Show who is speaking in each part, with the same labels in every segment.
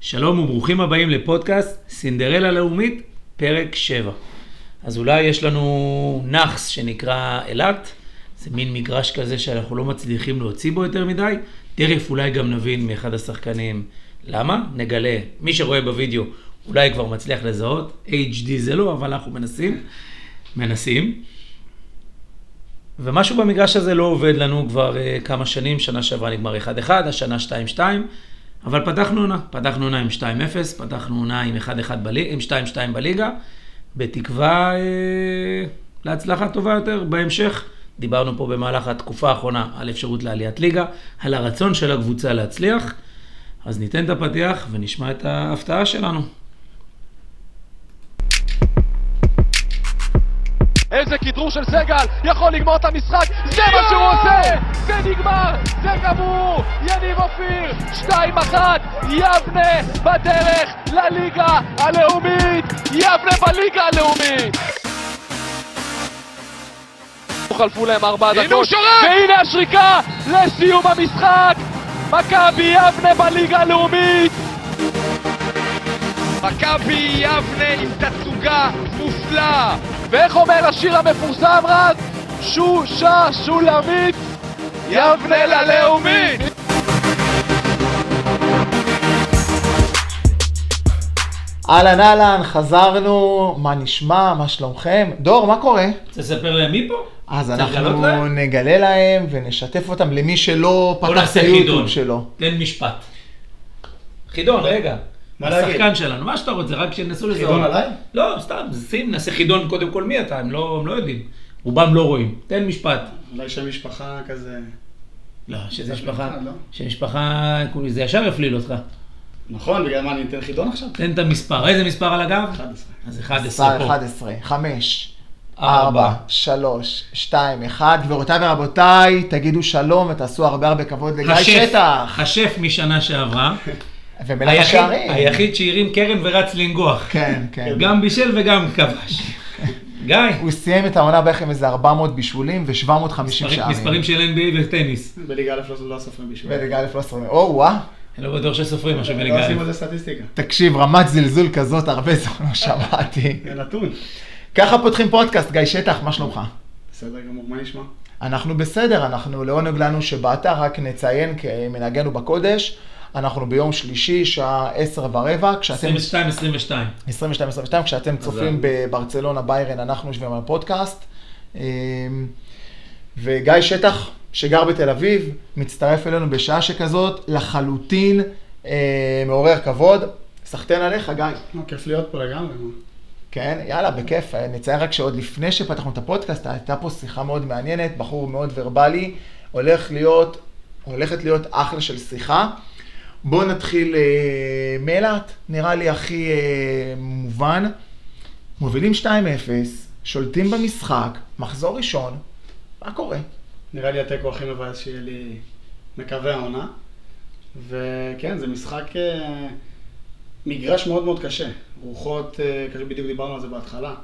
Speaker 1: שלום וברוכים הבאים לפודקאסט סינדרלה לאומית, פרק 7. אז אולי יש לנו נאחס שנקרא אילת, זה מין מגרש כזה שאנחנו לא מצליחים להוציא בו יותר מדי, תכף אולי גם נבין מאחד השחקנים למה, נגלה, מי שרואה בווידאו אולי כבר מצליח לזהות, HD זה לא, אבל אנחנו מנסים, מנסים. ומשהו במגרש הזה לא עובד לנו כבר אה, כמה שנים, שנה שעברה נגמר 1-1, השנה 2-2, אבל פתחנו עונה, פתחנו עונה עם 2-0, פתחנו עונה עם 1-1 בלי- עם 2-2 בליגה, בתקווה אה, להצלחה טובה יותר בהמשך. דיברנו פה במהלך התקופה האחרונה על אפשרות לעליית ליגה, על הרצון של הקבוצה להצליח, אז ניתן את הפתיח ונשמע את ההפתעה שלנו.
Speaker 2: איזה כדרור של סגל, יכול לגמור את המשחק, זה מה שהוא עושה! זה נגמר, זה גמור! יניב אופיר, 2-1, יבנה בדרך לליגה הלאומית! יבנה בליגה הלאומית! חלפו להם ארבע
Speaker 3: הנה הוא
Speaker 2: דקות,
Speaker 3: שורק!
Speaker 2: והנה השריקה לסיום המשחק! מכבי יבנה בליגה הלאומית!
Speaker 3: מכבי יבנה עם תצוגה מופלאה.
Speaker 2: ואיך אומר השיר המפורסם רז? שושה שולמית יבנה ללאומית!
Speaker 4: אהלן אהלן, חזרנו, מה נשמע, מה שלומכם? דור, מה קורה?
Speaker 1: תספר להם מי פה?
Speaker 4: אז
Speaker 1: צריך לגלות
Speaker 4: אנחנו
Speaker 1: להם?
Speaker 4: נגלה להם ונשתף אותם למי שלא
Speaker 1: בוא
Speaker 4: פתח את
Speaker 1: נעשה חידון.
Speaker 4: היוטיוב שלו.
Speaker 1: תן משפט. חידון, רגע.
Speaker 5: מה להגיד?
Speaker 1: השחקן שלנו, מה שאתה רוצה, רק שינסו לזהות.
Speaker 5: חידון עליי?
Speaker 1: לא, סתם, שים, נעשה חידון קודם כל מי אתה, הם לא, הם לא יודעים. רובם לא רואים. תן משפט.
Speaker 5: אולי שם משפחה כזה...
Speaker 1: לא, שזה
Speaker 5: זה
Speaker 1: משפחה,
Speaker 5: אחד, לא?
Speaker 1: שמשפחה, זה ישר יפליל אותך.
Speaker 5: נכון, בגלל מה אני אתן חידון עכשיו?
Speaker 1: תן את המספר, איזה מספר על הגב?
Speaker 5: 11.
Speaker 1: אז 11
Speaker 4: מספר
Speaker 1: פה.
Speaker 4: 11, 5,
Speaker 1: ארבע.
Speaker 4: 4, 3, 2, 1. גבירותיי ורבותיי, תגידו שלום ותעשו הרבה הרבה כבוד לגיא
Speaker 1: השף,
Speaker 4: שטח.
Speaker 1: השף משנה שעברה.
Speaker 4: ומלך
Speaker 1: היחיד-
Speaker 4: השערים.
Speaker 1: היחיד שהרים קרן ורץ לנגוח.
Speaker 4: כן, כן.
Speaker 1: גם בישל וגם כבש. גיא,
Speaker 4: הוא סיים את העונה בערך עם איזה 400 בישולים ו-750
Speaker 1: מספרים-
Speaker 4: שערים.
Speaker 1: מספרים של NBA וטניס.
Speaker 5: בליגה א' לא- לא סופרים בשביל...
Speaker 4: בליגה א' לא סופרים. או וואה,
Speaker 1: אני לא בטוח שסופרים משהו
Speaker 5: לא
Speaker 1: בליגה
Speaker 5: עושים
Speaker 1: א'.
Speaker 5: על זה סטטיסטיקה.
Speaker 4: תקשיב, רמת זלזול כזאת הרבה זמן לא שמעתי.
Speaker 5: זה נתון.
Speaker 4: ככה פותחים פודקאסט, גיא שטח, מה שלומך?
Speaker 5: בסדר גמור, מה נשמע?
Speaker 4: אנחנו בסדר, אנחנו לעונג לנו שבאת, רק נציין כמנהגנו בקודש, אנחנו ביום שלישי, שעה עשר ורבע, כשאתם,
Speaker 1: 22-22.
Speaker 4: 22-22, כשאתם צופים בברצלונה ביירן, אנחנו יושבים על פודקאסט. אמ, וגיא שטח, שגר בתל אביב, מצטרף אלינו בשעה שכזאת, לחלוטין אה, מעורר כבוד. סחטיין עליך, גיא.
Speaker 5: נו, לא, כיף להיות פה לגמרי, מה?
Speaker 4: כן, יאללה, בכיף. נציין רק שעוד לפני שפתחנו את הפודקאסט, הייתה פה שיחה מאוד מעניינת, בחור מאוד ורבלי, הולך להיות, הולכת להיות אחלה של שיחה. בואו נתחיל אה, מאילת, נראה לי הכי אה, מובן. מובילים 2-0, שולטים במשחק, מחזור ראשון, מה קורה?
Speaker 5: נראה לי התיקו הכי מבאס שיהיה לי מקווה העונה. וכן, זה משחק... אה, מגרש מאוד מאוד קשה. רוחות, אה, קשה, בדיוק דיברנו על זה בהתחלה.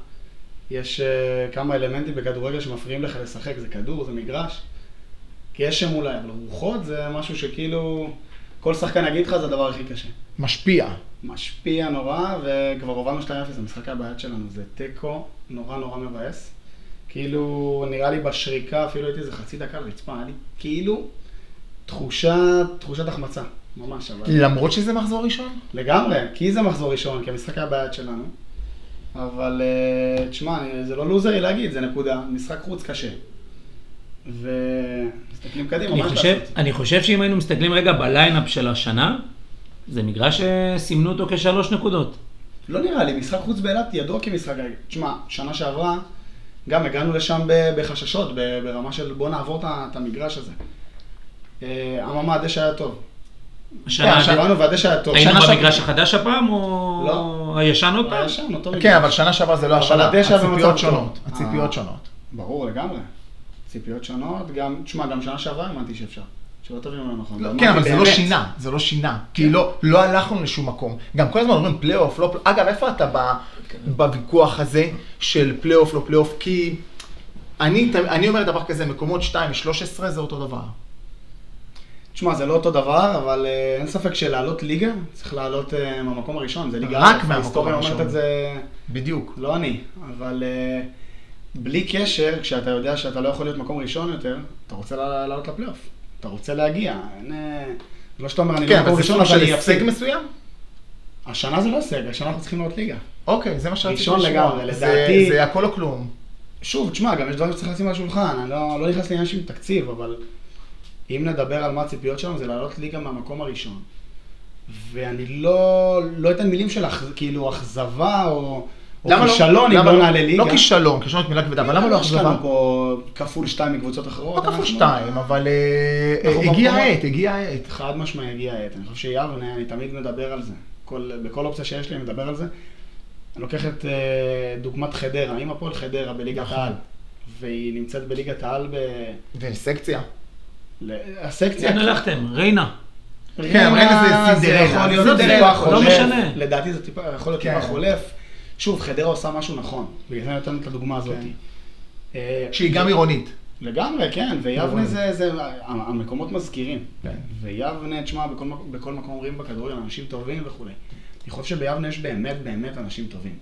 Speaker 5: יש אה, כמה אלמנטים בכדורגל שמפריעים לך לשחק, זה כדור, זה מגרש. גשם אולי, אבל רוחות זה משהו שכאילו... כל שחקן יגיד לך זה הדבר הכי קשה.
Speaker 4: משפיע.
Speaker 5: משפיע נורא, וכבר הובלנו 2-0, המשחק הבעיה שלנו זה תיקו, נורא נורא מבאס. כאילו, נראה לי בשריקה, אפילו הייתי איזה חצי דקה על רצפה, היה לי כאילו תחושה, תחושת החמצה, ממש, אבל
Speaker 4: למרות שזה מחזור ראשון?
Speaker 5: לגמרי, כי זה מחזור ראשון, כי המשחק היה בעיה שלנו. אבל אה, תשמע, אני- זה לא לוזרי להגיד, זה נקודה, משחק חוץ קשה. ומסתכלים קדימה,
Speaker 1: אני
Speaker 5: מה יש
Speaker 1: חושב-
Speaker 5: לעשות?
Speaker 1: אני חושב שאם היינו מסתכלים רגע בליינאפ של השנה, זה מגרש שסימנו אותו כשלוש נקודות.
Speaker 5: לא נראה לי, משחק חוץ באילת ידוע כמשחק רגל. תשמע, שנה שעברה, גם הגענו לשם ב- בחששות, ב- ברמה של בוא נעבור את ה- את המגרש הזה. אה, אממה, הדשא היה טוב.
Speaker 1: השנה-
Speaker 5: כן, שבאנו והדשא היה טוב.
Speaker 1: היינו
Speaker 5: שנה שעברה-
Speaker 1: במגרש החדש הפעם, או
Speaker 5: לא.
Speaker 1: הישן עוד פעם?
Speaker 5: היה שם, אותו
Speaker 4: כן,
Speaker 5: מגרש.
Speaker 4: אבל שנה שעברה זה לא
Speaker 5: אבל
Speaker 4: השנה.
Speaker 5: הדשא במצב
Speaker 4: הציפיות
Speaker 5: טוב.
Speaker 4: שונות.
Speaker 5: אה.
Speaker 4: הציפיות שונות.
Speaker 5: ברור לגמרי. ציפיות שונות, גם, תשמע, גם שנה שעברה האמנתי שאפשר. שלא תבינו לא נכון.
Speaker 4: כן, אבל
Speaker 5: אמרתי,
Speaker 4: זה לא
Speaker 5: באמת.
Speaker 4: שינה, זה לא שינה. כי לא, לא הלכנו לשום מקום. גם כל הזמן אומרים פלייאוף, לא פלייאוף. אגב, איפה אתה ב- בוויכוח הזה של פלייאוף, לא פלייאוף? כי אני, תמ- אני אומר דבר כזה, מקומות 2 מ-13 זה אותו דבר.
Speaker 5: תשמע, זה לא אותו דבר, אבל אה, אין ספק שלעלות ליגה, צריך לעלות אה, מהמקום הראשון, זה ליגה...
Speaker 4: רק
Speaker 5: א',
Speaker 4: מהמקום
Speaker 5: ההיסטוריה אומרת
Speaker 4: הראשון.
Speaker 5: את זה,
Speaker 4: בדיוק.
Speaker 5: לא אני, אבל אה, בלי קשר, כשאתה יודע שאתה לא יכול להיות מקום ראשון יותר, אתה רוצה לע- לעלות לפלייאוף. אתה רוצה להגיע, אין... אה, לא שאתה אומר, אני
Speaker 4: כן,
Speaker 5: לא
Speaker 4: אבל
Speaker 5: מקום
Speaker 4: זה
Speaker 5: ראשון,
Speaker 4: סוג
Speaker 5: אבל
Speaker 4: של
Speaker 5: אני
Speaker 4: הישג
Speaker 5: אפסיק.
Speaker 4: מסוים?
Speaker 5: השנה זה לא הישג, השנה אנחנו צריכים לעלות ליגה.
Speaker 4: אוקיי, זה מה שרציתי
Speaker 5: ראשון
Speaker 4: לשמוע.
Speaker 5: לגמרי,
Speaker 4: זה-
Speaker 5: לדעתי-
Speaker 4: זה הכל או כלום.
Speaker 5: שוב, תשמע, גם יש דברים שצריך לשים על השולחן, אני לא, לא נכנס לעניין של תקציב, אבל אם נדבר על מה הציפיות שלנו, זה לעלות ליגה מהמקום הראשון. ואני לא, לא אתן מילים של אכ- כאילו אכזבה או, או
Speaker 4: למה לא-
Speaker 5: כישלון אם
Speaker 4: למה
Speaker 5: לא נעלה ליגה.
Speaker 4: לא כישלון, כישלון זאת מילה כבדה, אבל למה לא
Speaker 5: יש לנו
Speaker 4: אכזבה?
Speaker 5: פה כפול שתיים מקבוצות אחרות.
Speaker 4: לא כפול
Speaker 5: אנחנו-
Speaker 4: שתיים, אבל אה,
Speaker 5: אנחנו
Speaker 4: הגיעה
Speaker 5: במקומות-
Speaker 4: העת, הגיעה העת.
Speaker 5: חד משמעי הגיעה העת. אני חושב שיבנה, אני תמיד מדבר על זה. כל, בכל אופציה שיש לי, אני מדבר על זה. אני לוקח את אה, דוגמת חדרה. אם הפועל חדרה בליגת
Speaker 4: נכון.
Speaker 5: העל, והיא נמצאת בליגת העל ב...
Speaker 4: זה סקציה.
Speaker 5: ל- הסקציה...
Speaker 1: כן, הלכתם, ריינה.
Speaker 4: כן, אבל אין איזה סינדרלה.
Speaker 5: זה יכול להיות
Speaker 1: עזוב, זה
Speaker 5: טיפה
Speaker 1: לא
Speaker 5: חולף.
Speaker 1: משנה.
Speaker 5: לדעתי זה טיפה, יכול להיות
Speaker 4: כן.
Speaker 5: טיפה חולף. שוב, חדרה עושה משהו נכון. בגלל זה אני נותן את הדוגמה הזאת.
Speaker 4: כן.
Speaker 5: אה,
Speaker 4: שהיא גם עירונית.
Speaker 5: לגמרי, כן,
Speaker 4: נכון.
Speaker 5: ויבנה זה, זה, המקומות מזכירים.
Speaker 4: כן.
Speaker 5: ויבנה, תשמע, בכל, מק- בכל מקום אומרים בכדורגל אנשים טובים וכולי. אני חושב שביבנה יש באמת באמת אנשים טובים.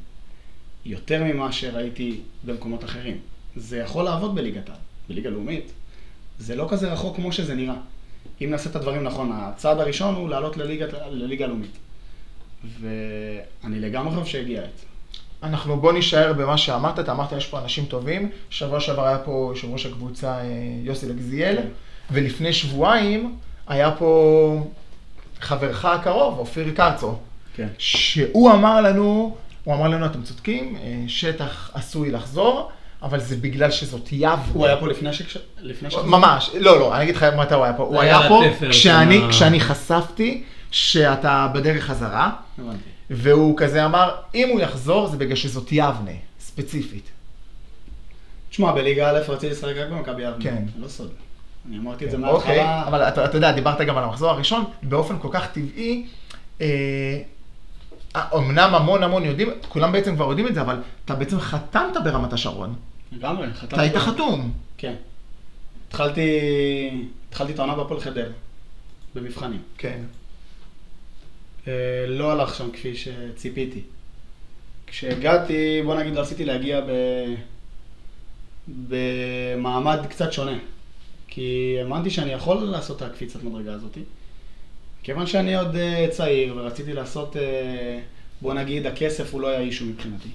Speaker 5: יותר ממה שראיתי במקומות אחרים. זה יכול לעבוד בליגת העל, בליגה לאומית. זה לא כזה רחוק כמו שזה נראה. אם נעשה את הדברים נכון, הצעד הראשון הוא לעלות לליגת- לליגה הלאומית. ואני לגמרי חושב שהגיע העת.
Speaker 4: אנחנו בוא נישאר במה שאמרת, אתה אמרת יש פה אנשים טובים, שבוע שעבר היה פה יושב ראש הקבוצה אה, יוסי לגזיאל,
Speaker 5: כן.
Speaker 4: ולפני שבועיים היה פה חברך הקרוב, אופיר קרצו,
Speaker 5: כן.
Speaker 4: שהוא אמר לנו, הוא אמר לנו אתם צודקים, אה, שטח עשוי לחזור, אבל זה בגלל שזאת יבנה.
Speaker 5: הוא היה פה לפני ש... לפני ש...
Speaker 4: ממש, לא, לא, אני אגיד לך מתי הוא היה פה. הוא
Speaker 1: היה
Speaker 4: היה פה
Speaker 1: לתפר,
Speaker 4: כשאני,
Speaker 1: אה.
Speaker 4: כשאני חשפתי שאתה בדרך חזרה,
Speaker 5: הבנתי.
Speaker 4: והוא כזה אמר, אם הוא יחזור זה בגלל שזאת יבנה, ספציפית.
Speaker 5: תשמע, בליגה א' רציתי לשחק רק במכבי יבנה.
Speaker 4: כן.
Speaker 5: זה לא סוד. אני אמרתי את זה
Speaker 4: אוקיי,
Speaker 5: מההתחלה.
Speaker 4: אבל אתה, אתה יודע, דיברת גם על המחזור הראשון, באופן כל כך טבעי, אה, אמנם המון המון יודעים, כולם בעצם כבר יודעים את זה, אבל אתה בעצם חתמת ברמת השרון,
Speaker 5: לגמרי, חתמתי.
Speaker 4: אתה היית חתום.
Speaker 5: כן. התחלתי, התחלתי את העונה בהפועל חדרה, במבחנים.
Speaker 4: כן.
Speaker 5: אה, לא הלך שם כפי שציפיתי. כשהגעתי, בוא נגיד, רציתי להגיע ב... במעמד קצת שונה. כי האמנתי שאני יכול לעשות את הקפיצת מדרגה הזאת. כיוון שאני עוד אה, צעיר ורציתי לעשות, אה, בוא נגיד, הכסף הוא לא היה אישו מבחינתי.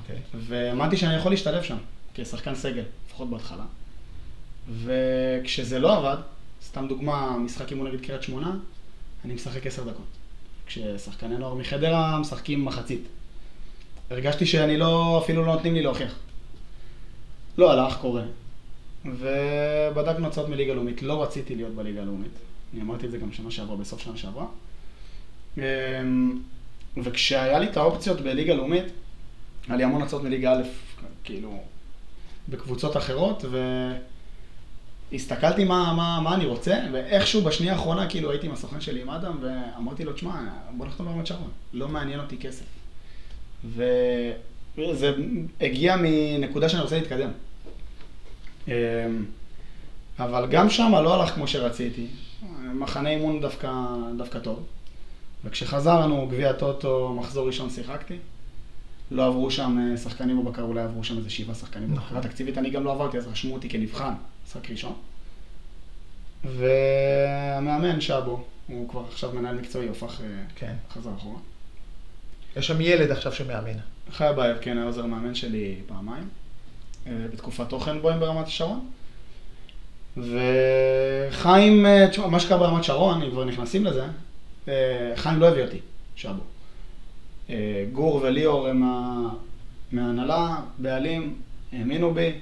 Speaker 4: אוקיי.
Speaker 5: והאמנתי שאני יכול להשתלב שם, כשחקן סגל, לפחות בהתחלה. וכשזה לא עבד, סתם דוגמה, משחק אימון נגד קריית שמונה, אני משחק עשר דקות. כששחקני נוער מחדרה משחקים מחצית. הרגשתי שאני לא, אפילו לא נותנים לי להוכיח. לא הלך, קורה. ובדקנו הצעות מליגה לאומית. לא רציתי להיות בליגה הלאומית. אני אמרתי את זה גם שנה שעברה, בסוף שנה שעברה. אמ, וכשהיה לי את האופציות בליגה לאומית, היה לי המון הצעות מליגה א', כאילו, בקבוצות אחרות, והסתכלתי מה, מה, מה אני רוצה, ואיכשהו בשנייה האחרונה, כאילו, הייתי עם הסוכן שלי, עם אדם, ואמרתי לו, תשמע, בוא נחתום ברמת שרון, לא מעניין אותי כסף. וזה הגיע מנקודה שאני רוצה להתקדם. אמ, אבל גם שם לא הלך כמו שרציתי. מחנה אימון דווקא, דווקא טוב. וכשחזרנו, גביע טוטו, מחזור ראשון שיחקתי. לא עברו שם אה, שחקנים בבקר, אולי עברו שם איזה שבעה שחקנים
Speaker 4: נכון.
Speaker 5: בבקרה תקציבית, אני גם לא עברתי, אז רשמו אותי כנבחן, משחק ראשון. והמאמן שבו, הוא כבר עכשיו מנהל מקצועי, הוא הפך, אה,
Speaker 4: כן.
Speaker 5: חזר אחורה.
Speaker 4: יש שם ילד עכשיו שמאמן.
Speaker 5: חי הבעיה, כן, היה עוזר מאמן שלי פעמיים, אה, בתקופת תוכן בוים ברמת השרון. וחיים, אה, תשמע, מה שקרה ברמת שרון, אם כבר נכנסים לזה, אה, חיים לא הביא אותי, שבו. אה, גור וליאור הם ה- מההנהלה, בעלים, האמינו בי,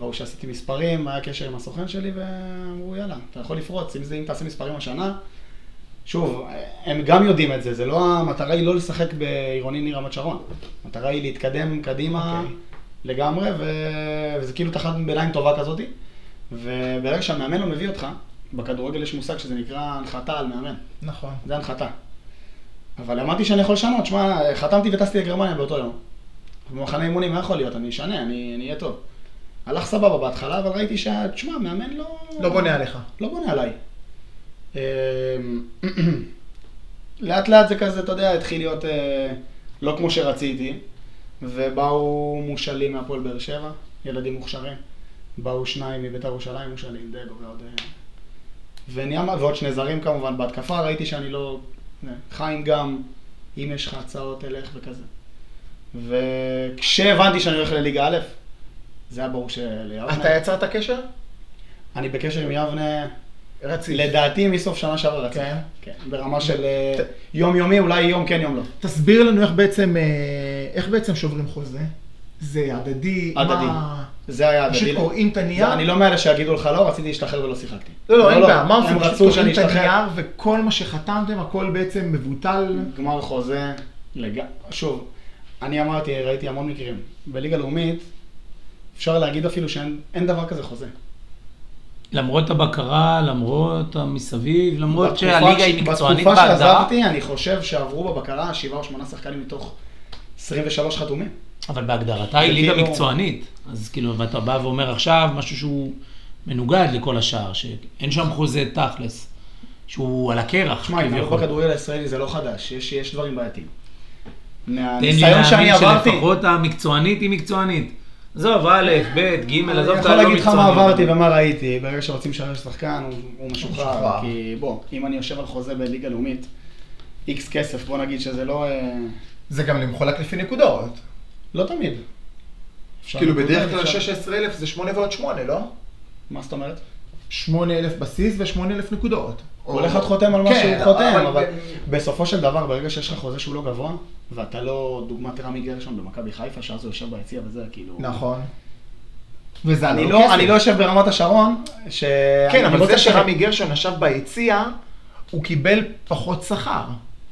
Speaker 5: ראו שעשיתי מספרים, היה קשר עם הסוכן שלי, ואמרו יאללה, אתה יכול לפרוץ, אם, זה, אם תעשה מספרים השנה. שוב, הם גם יודעים את זה, זה לא, המטרה היא לא לשחק בעירוני ניר רמת שרון. המטרה היא להתקדם קדימה
Speaker 4: אוקיי.
Speaker 5: לגמרי, ו... וזה כאילו תחת ביניים טובה כזאתי. וברגע שהמאמן לא מביא אותך, בכדורגל יש מושג שזה נקרא הנחתה על מאמן.
Speaker 4: נכון.
Speaker 5: זה הנחתה. אבל אמרתי שאני יכול לשנות, שמע, חתמתי וטסתי לגרמניה באותו יום. במחנה אימונים, מה יכול להיות? אני אשנה, אני אני אהיה טוב. הלך סבבה בהתחלה, אבל ראיתי שה... תשמע, מאמן לא...
Speaker 4: לא בונה עליך.
Speaker 5: לא בונה עליי. אמ, לאט לאט זה כזה, אתה יודע, התחיל להיות אה, לא כמו שרציתי, ובאו מושאלים מהפועל באר שבע, ילדים מוכשרים. באו שניים מביתר ירושלים מושאלים, דגו ועוד... אה, ונהיה מה- ועוד שני זרים כמובן בהתקפה, ראיתי שאני לא... חיים גם, אם יש לך הצעות, תלך וכזה. וכשהבנתי שאני הולך לליגה א', זה היה ברור שליבנה.
Speaker 4: אתה יצרת קשר?
Speaker 5: אני בקשר עם יבנה,
Speaker 4: רציף.
Speaker 5: לדעתי מסוף שנה שעברה רצה.
Speaker 4: כן.
Speaker 5: כן, ברמה של אה, יום יומי, אולי יום כן יום לא.
Speaker 4: תסביר לנו איך בעצם, אה, איך בעצם שוברים חוזה. זה הדדי?
Speaker 5: הדדי.
Speaker 4: מה-
Speaker 5: זה היה הדדי.
Speaker 4: פשוט קוראים את הנייר?
Speaker 5: זה- אני לא מאלה שיגידו לך לא, רציתי להשתחרר ולא שיחקתי.
Speaker 4: לא, לא, אין בעיה. מה
Speaker 5: הם
Speaker 4: עושים? פשוט
Speaker 5: רצו שאני
Speaker 4: קוראים את
Speaker 5: אשתחרר.
Speaker 4: הנייר וכל מה שחתמתם, הכל בעצם מבוטל.
Speaker 5: גמר חוזה, לג... שוב, אני אמרתי, ראיתי המון מקרים. בליגה לאומית, אפשר להגיד אפילו שאין אין דבר כזה חוזה.
Speaker 1: למרות הבקרה, למרות המסביב, למרות
Speaker 5: בתקופה
Speaker 1: שהליגה
Speaker 5: ש-
Speaker 1: היא מקצוענית
Speaker 5: בתקופה
Speaker 1: בהגדרה,
Speaker 5: שעזבתי, אני חושב שעברו בבקרה שבעה או שמונה שחקנים מתוך 23 חתומים.
Speaker 1: אבל בהגדרתה היא ליגה
Speaker 5: כאילו-
Speaker 1: מקצוענית. אז כאילו, ואתה בא ואומר עכשיו משהו שהוא מנוגד לכל השאר, שאין שם חוזה תכלס, שהוא על הקרח,
Speaker 5: תשמע, התנהלות
Speaker 1: כביכול.
Speaker 5: בכדורגל הישראלי זה לא חדש, יש, יש דברים בעייתיים.
Speaker 1: תן לי להאמין
Speaker 5: מהניסיון שאני עברתי,
Speaker 1: שלפחות המקצוענית היא מקצוענית. עזוב, א', ב', ג',
Speaker 5: אני
Speaker 1: עזוב לא את
Speaker 5: יכול
Speaker 1: הלא
Speaker 5: להגיד לך מה עברתי
Speaker 1: מקצוענית.
Speaker 5: ומה ראיתי, ברגע שרוצים לשחרר שחקן הוא- הוא משוחרר,
Speaker 4: משוחרר.
Speaker 5: כי בוא, אם אני יושב על חוזה בליגה לאומית, איקס כסף, בוא נגיד שזה לא... אה,
Speaker 4: זה גם למחולק לפי נקודות.
Speaker 5: לא תמיד. אפשר
Speaker 4: כאילו
Speaker 5: לקרוא
Speaker 4: בדרך
Speaker 5: לזה,
Speaker 4: כלל
Speaker 5: אפשר-
Speaker 4: 16,000 זה 8 ועוד 8, לא?
Speaker 5: מה זאת אומרת?
Speaker 4: 8,000 בסיס ו-8,000 נקודות.
Speaker 5: הוא הולך להיות חותם על מה
Speaker 4: כן,
Speaker 5: שהוא חותם, אבל
Speaker 4: ב-
Speaker 5: בסופו של דבר, ברגע שיש לך חוזה שהוא לא גבוה, ואתה לא דוגמת רמי גרשון במכבי חיפה, שאז הוא יושב ביציע וזה, כאילו...
Speaker 4: נכון. וזה
Speaker 5: אני
Speaker 4: עלה
Speaker 5: לא,
Speaker 4: כסף.
Speaker 5: אני לא יושב ברמת השרון, ש...
Speaker 4: כן,
Speaker 5: אני
Speaker 4: אבל
Speaker 5: לא
Speaker 4: זה
Speaker 5: צריך-
Speaker 4: שרמי גרשון ישב ביציע, הוא קיבל פחות שכר.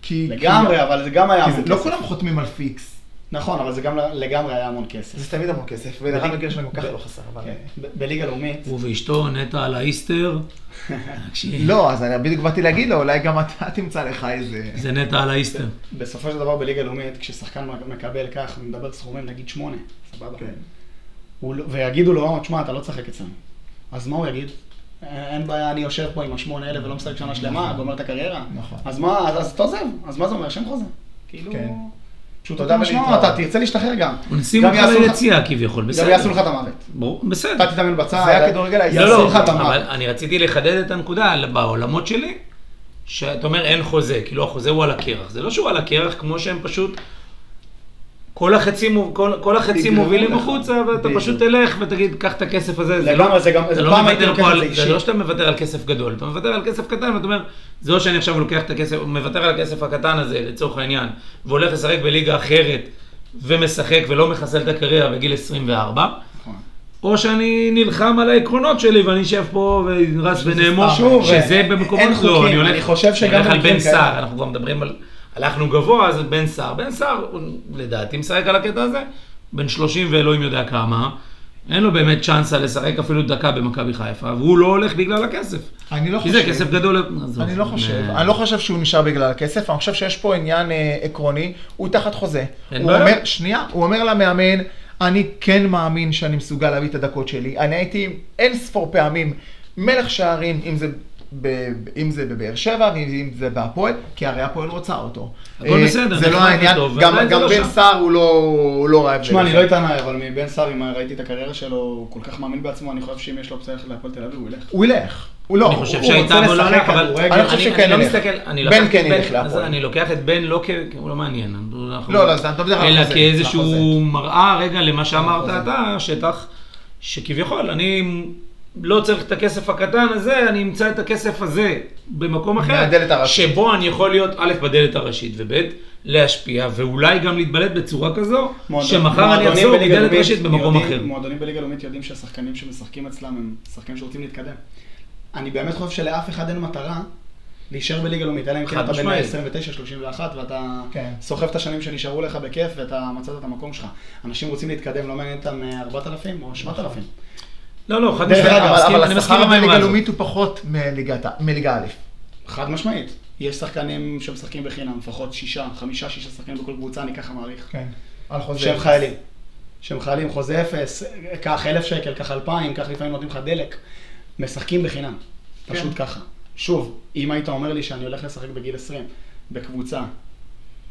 Speaker 4: כי...
Speaker 5: לגמרי, אבל זה גם היה
Speaker 4: כי
Speaker 5: המון
Speaker 4: זה- לא
Speaker 5: כסף.
Speaker 4: כולם חותמים על פיקס.
Speaker 5: נכון, אבל זה גם לגמרי היה המון כסף.
Speaker 4: זה תמיד המון כסף,
Speaker 5: בדיוק.
Speaker 4: ולרמי גרשון גם ככה לא חסר, אבל...
Speaker 5: כן. ב- בליגה לאומית,
Speaker 1: הוא ואשתו נטע על האיסטר. תקשיב,
Speaker 4: לא, אז אני בדיוק באתי להגיד לו, אולי גם אתה תמצא לך איזה...
Speaker 1: זה נטע על האיסטר.
Speaker 5: בסופו של דבר בליגה לאומית, כששחקן מקבל כך, אני מדבר סכומים, נגיד שמונה, סבבה?
Speaker 4: כן.
Speaker 5: הוא לא- ויגידו לו, תשמע, אתה לא תשחק אצלנו. אז מה הוא יגיד? "אה, אין בעיה, אני יושב פה עם השמונה האלה ולא משחק שנה שלמה, גומר את הקריירה.
Speaker 4: נכון.
Speaker 5: אז מה, אז- אז תעזב, אז מה זה אומר? שם חוזה. כאילו...
Speaker 4: כן.
Speaker 5: פשוט
Speaker 4: תודה
Speaker 5: תודה ולהתראות.
Speaker 4: ולהתראות.
Speaker 5: אתה תרצה להשתחרר גם.
Speaker 1: הוא נשים
Speaker 5: גם
Speaker 1: אותך
Speaker 5: יעשו לך-
Speaker 1: ליציאה כביכול,
Speaker 5: גם יעשו לך
Speaker 1: בסדר.
Speaker 5: את המוות.
Speaker 1: ברור,
Speaker 5: אתה
Speaker 1: בסדר.
Speaker 5: תתאמן בצד.
Speaker 4: זה הכדורגל הישראלי.
Speaker 1: לא,
Speaker 5: יעשו
Speaker 1: לא,
Speaker 5: לך את
Speaker 1: אבל
Speaker 5: המוות.
Speaker 1: אני רציתי לחדד את הנקודה על- בעולמות שלי, שאתה אומר אין חוזה, כאילו החוזה הוא על הקרח. זה לא שהוא על הקרח, כמו שהם פשוט... כל החצים, מוב- כל, כל החצים
Speaker 5: יגרמו
Speaker 1: מובילים
Speaker 5: לך.
Speaker 1: החוצה, ואתה
Speaker 5: בדיוק.
Speaker 1: פשוט תלך ותגיד, קח את הכסף הזה. זה
Speaker 5: לגמרי,
Speaker 1: לא,
Speaker 5: זה גם-
Speaker 1: אתה
Speaker 5: זה
Speaker 1: לא
Speaker 5: פעם
Speaker 1: מוותר
Speaker 5: הייתי לוקח
Speaker 1: פה
Speaker 5: את
Speaker 1: על-
Speaker 5: זה אישי.
Speaker 1: זה לא שאתה מוותר על כסף גדול, אתה מוותר על כסף קטן, ואתה אומר, זה או שאני עכשיו לוקח את הכסף, מוותר על הכסף הקטן הזה, לצורך העניין, והולך לשחק בליגה אחרת, ומשחק ולא מחסל את הקריירה בגיל 24,
Speaker 5: נכון.
Speaker 1: או שאני נלחם על העקרונות שלי ואני אשב פה ורץ ונאמור,
Speaker 5: שוב,
Speaker 1: שזה
Speaker 5: אין-
Speaker 1: במקומות, לא,
Speaker 5: אין חוקים,
Speaker 1: אני
Speaker 5: אני חושב שגם
Speaker 1: אני הולך על
Speaker 5: במקרים
Speaker 1: בן
Speaker 5: כאלה.
Speaker 1: סער, אנחנו כבר מדברים על, הלכנו גבוה, אז בן סער, בן סער, הוא לדעתי משחק על הקטע הזה, בן 30 ואלוהים יודע כמה, אין לו באמת צ'אנסה לשחק אפילו דקה במכבי חיפה, והוא לא הולך בגלל הכסף.
Speaker 4: אני לא
Speaker 1: כי זה
Speaker 4: חושב.
Speaker 1: כסף גדול. עזוב,
Speaker 4: אני לא חושב,
Speaker 1: אה,
Speaker 4: אני לא חושב שהוא נשאר בגלל הכסף, אני חושב שיש פה עניין אה, עקרוני, הוא תחת חוזה.
Speaker 1: אין
Speaker 4: הוא
Speaker 1: בעיה.
Speaker 4: אומר, שנייה, הוא אומר למאמן, אני כן מאמין שאני מסוגל להביא את הדקות שלי. אני הייתי אין ספור פעמים מלך שערים, אם זה, ב, אם זה בבאר שבע ואם זה בהפועל, כי הרי הפועל רוצה אותו.
Speaker 1: הכל
Speaker 4: אה,
Speaker 1: בסדר,
Speaker 4: זה לא
Speaker 1: נחמד
Speaker 4: העניין,
Speaker 1: וטוב,
Speaker 4: גם,
Speaker 1: ועדיין זה
Speaker 4: גם
Speaker 1: לא
Speaker 4: בן
Speaker 1: שם.
Speaker 4: סער הוא לא, הוא לא רעב.
Speaker 5: תשמע, אני
Speaker 4: ללחם.
Speaker 5: לא אטענה, אבל מבן סער, אם ראיתי את הקריירה שלו, הוא כל כך מאמין בעצמו, אני חושב שאם יש לו פצע ללכת להפועל תל אביב, הוא ילך.
Speaker 4: הוא ילך, הוא לא.
Speaker 1: אני חושב
Speaker 4: הוא-
Speaker 5: רוצה
Speaker 1: שהייתה בו לא
Speaker 5: לשחק
Speaker 1: הלך, אבל
Speaker 5: כדורגל.
Speaker 1: אני-
Speaker 4: אני חושב
Speaker 1: אני-
Speaker 4: שכן
Speaker 1: אני לא
Speaker 4: ילך.
Speaker 1: מסתכל, אני
Speaker 4: בן
Speaker 1: לוקח-
Speaker 4: כן ילך
Speaker 1: אז
Speaker 4: להפועל.
Speaker 1: אני לוקח את בן לא כ... הוא לא מעניין. אנחנו-
Speaker 4: לא, לא, זה- אתה מדבר על
Speaker 1: אלא
Speaker 4: חוזה,
Speaker 1: כאיזשהו מראה, רגע, למה שאמרת
Speaker 4: חוזה.
Speaker 1: אתה, שטח, שכביכול, אני לא צריך את הכסף הקטן הזה, אני אמצא את הכסף הזה במקום אחר.
Speaker 4: מהדלת הראשית.
Speaker 1: שבו אני יכול להיות, א', בדלת הראשית, וב', להשפיע, ואולי גם להתבלט בצורה כזו,
Speaker 5: מועדון-
Speaker 1: שמחר אני
Speaker 5: מועדונים
Speaker 1: אחזור
Speaker 5: בליגה
Speaker 1: בדלת
Speaker 5: לאומית
Speaker 1: ראשית במקום
Speaker 5: יודעים-
Speaker 1: אחר.
Speaker 5: מועדונים בליגה לאומית יודעים שהשחקנים שמשחקים אצלם הם שחקנים שרוצים להתקדם. אני באמת חושב שלאף אחד אין מטרה להישאר בליגה לאומית, אלא אם כן
Speaker 1: חד
Speaker 5: אתה בן
Speaker 1: משמעית.
Speaker 5: 29, 31, ואתה
Speaker 4: כן.
Speaker 5: סוחב את השנים שנשארו לך בכיף, ואתה מצאת את המקום שלך. אנשים רוצים להתקדם, לא מעניין אותם אה, 4,000 או 7,000.
Speaker 1: לא, לא, חד
Speaker 5: דרך
Speaker 1: משמעית,
Speaker 5: אגב,
Speaker 1: אני
Speaker 4: אבל,
Speaker 1: מסכים-
Speaker 4: אבל
Speaker 1: אני מסכים עם
Speaker 4: השכר
Speaker 1: האמרה
Speaker 4: בליגה
Speaker 1: הזאת.
Speaker 4: לאומית הוא פחות מליגת ה- מליגה א'.
Speaker 5: חד משמעית. יש שחקנים שמשחקים בחינם, לפחות שישה, חמישה, שישה שחקנים בכל קבוצה, אני ככה מעריך.
Speaker 4: כן, על חוזה.
Speaker 5: שהם חיילים. שהם חיילים, חוזה אפס,
Speaker 4: כן.
Speaker 5: קח אלף שקל, קח אלפיים, קח לפעמים נותנים לך דלק. משחקים בחינם, פשוט ככה. שוב, אם היית אומר לי שאני הולך לשחק בגיל 20, בקבוצה,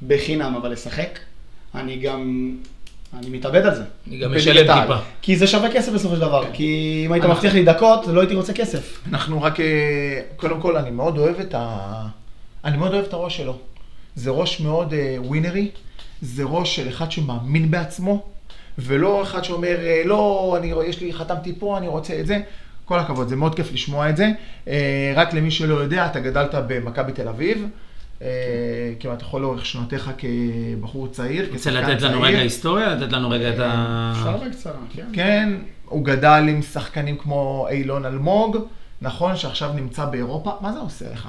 Speaker 5: בחינם, אבל לשחק, אני גם... אני מתאבד על זה.
Speaker 1: אני גם
Speaker 4: בליגת
Speaker 1: משלם
Speaker 4: העל.
Speaker 1: טיפה.
Speaker 5: כי זה שווה כסף בסופו של דבר, כי אם היית
Speaker 4: כן. אנחנו-
Speaker 5: מבטיח לי דקות, לא הייתי רוצה כסף.
Speaker 4: אנחנו רק, אה, קודם כל, אני מאוד אוהב את ה... אני מאוד אוהב את הראש שלו. זה ראש מאוד אה, ווינרי, זה ראש של אחד שמאמין בעצמו, ולא אחד שאומר, אה, לא, אני, יש לי, חתמתי פה, אני רוצה את זה. כל הכבוד, זה מאוד כיף לשמוע את זה. אה, רק למי שלא יודע, אתה גדלת במכבי תל אביב, אה, כמעט לכל אורך שנותיך כבחור צעיר,
Speaker 1: רוצה לתת לנו רגע היסטוריה? לתת לנו רגע את ה...
Speaker 5: אפשר בקצרה, כן.
Speaker 4: אה. כן, הוא גדל עם שחקנים כמו אילון אלמוג, נכון שעכשיו נמצא באירופה, מה זה עושה לך?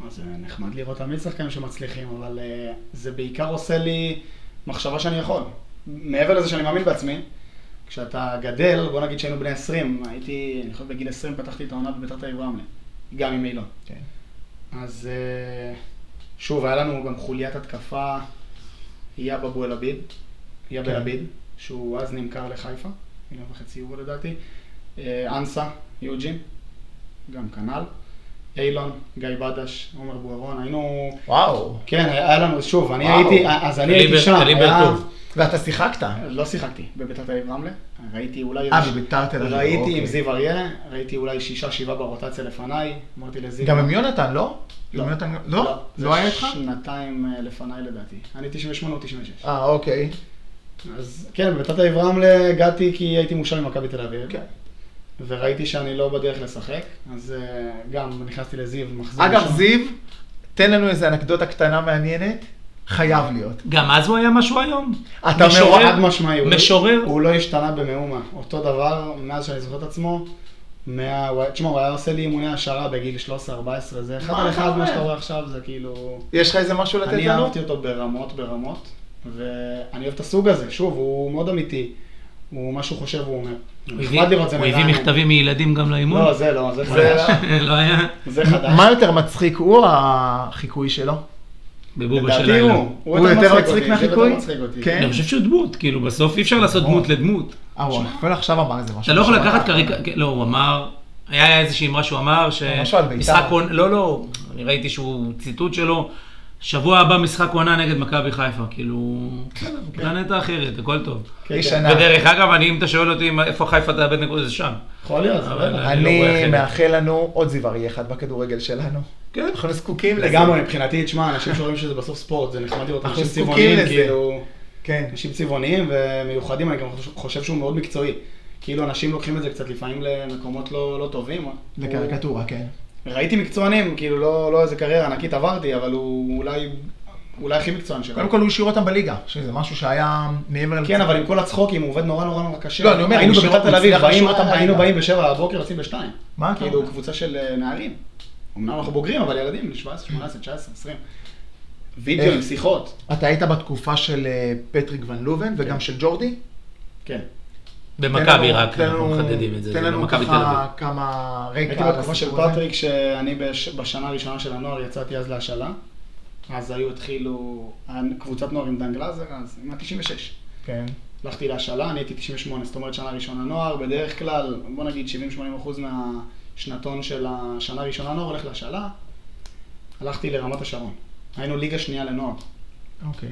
Speaker 5: מה זה נחמד לראות תמיד שחקנים שמצליחים, אבל אה, זה בעיקר עושה לי מחשבה שאני יכול. מעבר לזה שאני מאמין בעצמי, כשאתה גדל, בוא נגיד שהיינו בני 20, הייתי, אני חושב בגיל 20 פתחתי את העונה בביתר תל אביב רמלה, גם עם אילון.
Speaker 4: כן.
Speaker 5: אז אה, שוב, היה לנו גם חוליית התקפה, יאב אבו אל-עביד, יאב
Speaker 4: כן.
Speaker 5: אל-עביד, שהוא אז נמכר לחיפה, מיליון וחצי יורו לדעתי, אה, אנסה, יוג'ין, גם כנ"ל, אילון, גיא בדש, עומר בוארון, היינו,
Speaker 4: וואו.
Speaker 5: כן, היה לנו, שוב, אני
Speaker 4: וואו.
Speaker 5: הייתי, אז אני הייתי
Speaker 1: קליבר-
Speaker 5: שם,
Speaker 1: קליבר
Speaker 5: היה-
Speaker 1: טוב.
Speaker 4: ואתה שיחקת.
Speaker 5: לא שיחקתי בביתר תל אביב רמלה, ראיתי אולי...
Speaker 4: אה, בביתר תל אביב,
Speaker 5: ראיתי
Speaker 4: אוקיי.
Speaker 5: עם זיו אריה, ראיתי אולי שישה, שבעה ברוטציה לפניי, אמרתי לזיו...
Speaker 4: גם עם יונתן, לא?
Speaker 5: לא.
Speaker 4: עם יונתן- לא? לא
Speaker 5: זה
Speaker 4: היה איתך?
Speaker 5: שנתיים אה, לפניי לדעתי. אני 98 או 96.
Speaker 4: אה, אוקיי.
Speaker 5: אז כן, בביתת העיר רמלה הגעתי כי הייתי מושל ממכבי תל אביב.
Speaker 4: כן.
Speaker 5: וראיתי שאני לא בדרך לשחק, אז אה, גם נכנסתי לזיו, מחזיר
Speaker 4: אגב,
Speaker 5: ראשון.
Speaker 4: זיו, תן לנו איזה אנקדוטה קטנה מעניינת. חייב להיות.
Speaker 1: גם אז הוא היה משהו היום?
Speaker 4: אתה
Speaker 5: משורר,
Speaker 4: אומר,
Speaker 5: חד משמעי. הוא לא-
Speaker 1: משורר?
Speaker 5: הוא לא השתנה במאומה. אותו דבר, מאז שאני זוכר את עצמו, מה... הוא היה- תשמע, הוא היה עושה לי אימוני השערה בגיל 13-14, זה אחד
Speaker 4: מה
Speaker 5: על
Speaker 4: אתה
Speaker 5: אחד
Speaker 4: אומר?
Speaker 5: מה שאתה רואה עכשיו, זה כאילו...
Speaker 4: יש לך איזה משהו לתת
Speaker 5: אני
Speaker 4: לנו?
Speaker 5: אהבתי אותו ברמות ברמות, ואני אוהב את הסוג הזה, שוב, הוא מאוד אמיתי, הוא מה שהוא חושב הוא אומר.
Speaker 1: הוא
Speaker 5: נחמד לראות זה
Speaker 1: הביא- הוא הביא
Speaker 5: בעיניים.
Speaker 1: מכתבים מילדים גם לאימון?
Speaker 5: לא, זה לא, זה
Speaker 4: זה-
Speaker 5: חדש.
Speaker 1: לא היה?
Speaker 5: זה חדש.
Speaker 4: מה יותר מצחיק, הוא או החיקוי שלו?
Speaker 1: בבובה של
Speaker 5: לדעתי
Speaker 1: לילה.
Speaker 5: הוא,
Speaker 4: הוא יותר מצחיק
Speaker 5: אותי, זה
Speaker 4: מהחיקוי?
Speaker 5: יותר מצחיק אותי.
Speaker 4: כן.
Speaker 1: אני חושב שהוא דמות, כאילו בסוף אי אפשר לעשות דמות לדמות.
Speaker 4: אה, הוא אפילו עכשיו אמר איזה משהו.
Speaker 1: אתה לא יכול
Speaker 4: שמעת.
Speaker 1: לקחת קריקה, כן, לא, הוא אמר, היה איזושהי אמרה שהוא אמר, ש...
Speaker 4: משהו על בית"ר.
Speaker 1: משחק עונה, לא, לא, אני ראיתי שהוא ציטוט שלו, שבוע הבא משחק עונה נגד מכבי חיפה, כאילו, בסדר, פלנטה אחרת, הכל טוב.
Speaker 5: כן,
Speaker 4: איש
Speaker 5: כן.
Speaker 4: ענק.
Speaker 1: ודרך אגב, אני, אם אתה שואל אותי מה- איפה חיפה תאבד נקודות, זה שם.
Speaker 5: יכול להיות, זה
Speaker 1: אבל-
Speaker 5: בטח.
Speaker 1: אני לא רואה
Speaker 4: אני
Speaker 1: אחרת.
Speaker 4: מאחל לנו עוד זיו אריה אחד בכדורגל שלנו.
Speaker 1: כן.
Speaker 4: אנחנו זקוקים לזה.
Speaker 5: לגמרי, מבחינתי, תשמע, אנשים שאומרים שזה בסוף ספורט, זה נחמד לראות
Speaker 4: אנחנו
Speaker 5: אנשים
Speaker 4: זקוקים
Speaker 5: צבעוניים,
Speaker 4: לזה.
Speaker 5: כאילו,
Speaker 4: כן.
Speaker 5: אנשים צבעוניים ומיוחדים, אני גם חוש- חושב שהוא מאוד מקצועי. כאילו, אנשים לוקחים את זה קצת לפעמים למקומות לא לא טובים. הוא-
Speaker 4: לקריקטורה, כן.
Speaker 5: ראיתי מקצוענים, כאילו לא, לא איזה קריירה ענקית עברתי, אבל הוא אולי, אולי הכי מקצוען שלו.
Speaker 4: קודם כל הוא השאיר אותם בליגה, שזה משהו שהיה מעבר
Speaker 5: כן, אבל עם כל הצחוקים, הוא עובד נורא נורא נורא קשה.
Speaker 4: לא, אני אומר,
Speaker 5: היינו
Speaker 4: הוא
Speaker 5: בביתר
Speaker 4: שירות-
Speaker 5: תל אביב,
Speaker 4: הצליח
Speaker 5: באים,
Speaker 4: לשמור על
Speaker 5: היינו
Speaker 4: הליגה.
Speaker 5: באים בשבע בבוקר, יוצאים בשתיים.
Speaker 4: מה אתה
Speaker 5: כאילו,
Speaker 4: אומר?
Speaker 5: קבוצה של אה, נערים. אמנם אנחנו בוגרים, אבל ילדים, 17, 18, 19, 20. וידאו
Speaker 4: איך?
Speaker 5: עם שיחות.
Speaker 4: אתה היית בתקופה של אה, פטריק ון לובן וגם של ג'ורדי?
Speaker 5: כן.
Speaker 4: אה,
Speaker 1: במכבי
Speaker 4: תן לנו-
Speaker 1: רק,
Speaker 4: תן
Speaker 1: אנחנו
Speaker 4: לנו-
Speaker 1: מחדדים את זה,
Speaker 4: תן
Speaker 1: זה
Speaker 4: לנו
Speaker 1: במכבי תל אביב.
Speaker 4: ככה כמה רקע.
Speaker 5: הייתי
Speaker 4: על
Speaker 5: בתקופה של
Speaker 4: הסיפור הזה.
Speaker 5: פטריק, שאני בש- בשנה הראשונה של הנוער יצאתי אז להשאלה. אז היו התחילו, אה, קבוצת נוער עם דן גלאזר, אז עם ה-96.
Speaker 4: כן.
Speaker 5: הלכתי להשאלה, אני הייתי 98, זאת אומרת שנה ראשונה נוער, בדרך כלל, בוא נגיד 70-80% מהשנתון של השנה הראשונה נוער הולך להשאלה, הלכתי לרמת השרון. היינו ליגה שנייה לנוער.
Speaker 4: אוקיי.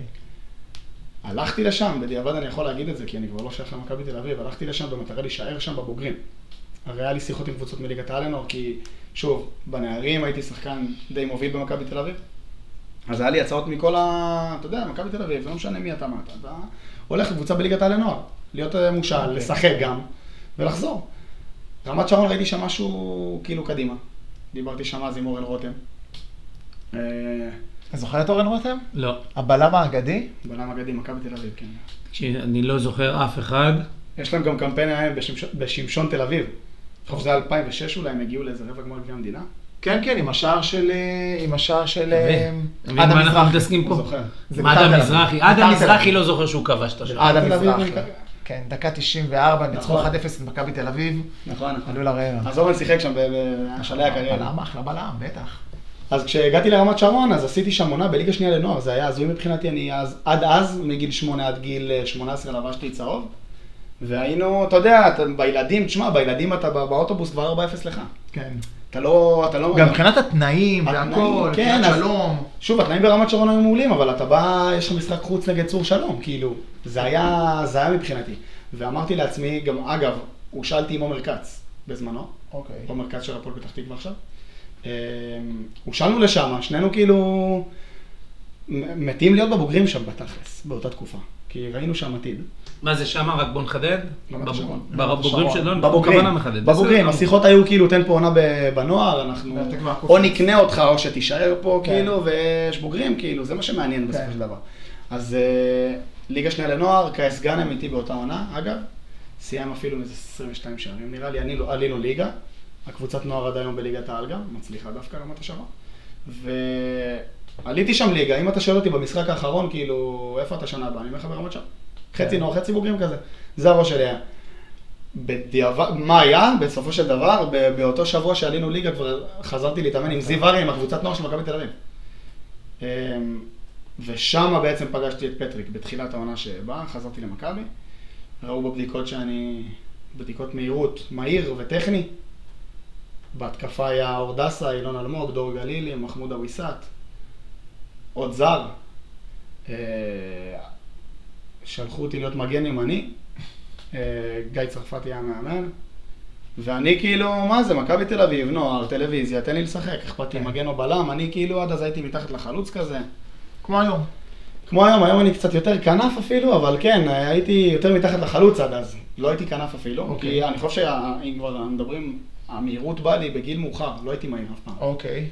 Speaker 5: הלכתי לשם, בדיעבד אני יכול להגיד את זה, כי אני כבר לא שייך למכבי תל אביב, הלכתי לשם במטרה להישאר שם בבוגרים. הרי היה לי שיחות עם קבוצות מליגת העל לנוער, כי שוב, בנערים הייתי שחקן די מוביל במכבי תל אביב. אז היה לי הצעות מכל ה... אתה יודע, מכבי תל אביב, לא משנה מי אתה, מה אתה, אתה הולך לקבוצה בליגת העל לנוער, להיות אה, מושל, לשחק גם, ולחזור. רמת שרון ראיתי שם משהו כאילו קדימה. דיברתי שם אז עם אורן רותם. אה,
Speaker 4: אתה זוכר את אורן רותם?
Speaker 1: לא,
Speaker 4: הבלם האגדי?
Speaker 5: בלם אגדי, מכבי תל אביב, כן.
Speaker 1: אני לא זוכר אף אחד.
Speaker 4: אה,
Speaker 5: יש להם גם קמפיין היה בשמשון, בשמשון תל אביב. אני חושב שזה היה 2006 אולי, הם הגיעו לאיזה רבע גמר גביע המדינה.
Speaker 4: כן, כן, עם השער של... אה, עם השער של... אה,
Speaker 1: אתה מבין
Speaker 4: עד
Speaker 1: מה אנחנו
Speaker 4: המזרחי.
Speaker 1: מתעסקים
Speaker 5: אני
Speaker 1: פה?
Speaker 5: זוכר.
Speaker 4: זה אה.
Speaker 1: עד
Speaker 4: ביתר תל אביב.
Speaker 1: המזרחי,
Speaker 4: ביתר
Speaker 1: עד
Speaker 4: תל אביב.
Speaker 1: המזרחי לא זוכר שהוא כבש את השער.
Speaker 4: עד
Speaker 5: תל אביב
Speaker 4: המזרחי.
Speaker 5: בעיקר.
Speaker 4: כן, דקה 94, ניצחו 1-0
Speaker 5: נכון.
Speaker 4: את מכבי תל אביב,
Speaker 5: נכון, נכון.
Speaker 4: עלו לרעב.
Speaker 5: אז אורן שיחק שם ב- בשלהי הקריירה.
Speaker 4: בלם, אחלה בלם, בטח.
Speaker 5: אז כשהגעתי לרמת שרון, אז עשיתי שם עונה בליגה שנייה לנוער, זה היה הזוי מבחינתי, אני אז, עד אז, מגיל 8 עד גיל אה, 18 לבשתי צהוב, והיינו, אתה יודע, אתה, בילדים, תשמע, בילדים אתה בא- באוטובוס כבר 4-0 לך.
Speaker 4: כן.
Speaker 5: אתה לא... אתה לא
Speaker 4: גם מבחינת התנאים
Speaker 5: התנאים,
Speaker 4: והכל,
Speaker 5: כן,
Speaker 4: מבחינת
Speaker 5: אז-
Speaker 4: שלום.
Speaker 5: שוב, התנאים ברמת שרון היו מעולים, אבל אתה בא, יש לך משחק חוץ נגד צור שלום, כאילו, זה היה, זה היה מבחינתי. ואמרתי לעצמי, גם אגב, הושאלתי עם עומר כץ בזמנו,
Speaker 4: אוקיי.
Speaker 5: עומר כץ של הפועל פתח תקווה עכשיו. אמ, הושאלנו לשם, שנינו כאילו מ- מתים להיות בבוגרים שם בתכלס, באותה תקופה, כי ראינו שם עתיד.
Speaker 1: מה זה שמה? רק בוא נחדד.
Speaker 4: לא,
Speaker 5: רמת השרון.
Speaker 1: בבוגרים שלנו,
Speaker 4: נכון.
Speaker 5: בבוגרים,
Speaker 1: בכוונה מחדד.
Speaker 5: בבוגרים,
Speaker 1: בסדר.
Speaker 5: השיחות היו כאילו תן פה עונה ב- בנוער, אנחנו
Speaker 4: ואתה כבר קופץ.
Speaker 5: או נקנה אותך או שתישאר פה,
Speaker 4: כן.
Speaker 5: כאילו, ויש בוגרים, כאילו, זה מה שמעניין בסופו של דבר. אז אה, ליגה שנייה לנוער, קייס גאנם איתי באותה עונה, אגב, סיים אפילו עם איזה 22 שערים, נראה לי, עלינו- עלינו ליגה, הקבוצת נוער עד היום בליגת העל גם, מצליחה דווקא רמת השרון. ועליתי שם ליגה, אם אתה שואל אותי במשחק האחרון, כאילו, איפה אתה שנה הבאה, אני אומר לך ברמת שם. חצי נוער, חצי בוגרים כזה, זה הראש שלי היה. בדיעבד, מה היה? בסופו של דבר, ב- באותו שבוע שעלינו ליגה כבר חזרתי להתאמן עם זיו אריה, עם הקבוצת נוער של מכבי תל אביב. אמ, ושם בעצם פגשתי את פטריק בתחילת העונה שבאה, חזרתי למכבי. ראו בבדיקות שאני, בדיקות מהירות, מהיר וטכני. בהתקפה היה אור דסה, אילון אלמוג, דור גלילי, מחמוד אביסת, עוד זר. אה, שלחו אותי להיות מגן ימני, אה, גיא צרפתי היה מאמן, ואני כאילו, מה זה, מכבי תל אביב, נוער, טלוויזיה, תן לי לשחק, אכפת לי מגן או בלם, אני כאילו עד אז הייתי מתחת לחלוץ כזה.
Speaker 4: כמו היום.
Speaker 5: כמו היום, היום אני קצת יותר כנף אפילו, אבל כן, הייתי יותר מתחת לחלוץ עד אז. לא הייתי כנף אפילו,
Speaker 4: אוקיי.
Speaker 5: כי אני חושב שאם כבר מדברים, המהירות באה לי בגיל מאוחר, לא הייתי מהיר אף פעם.
Speaker 4: אוקיי.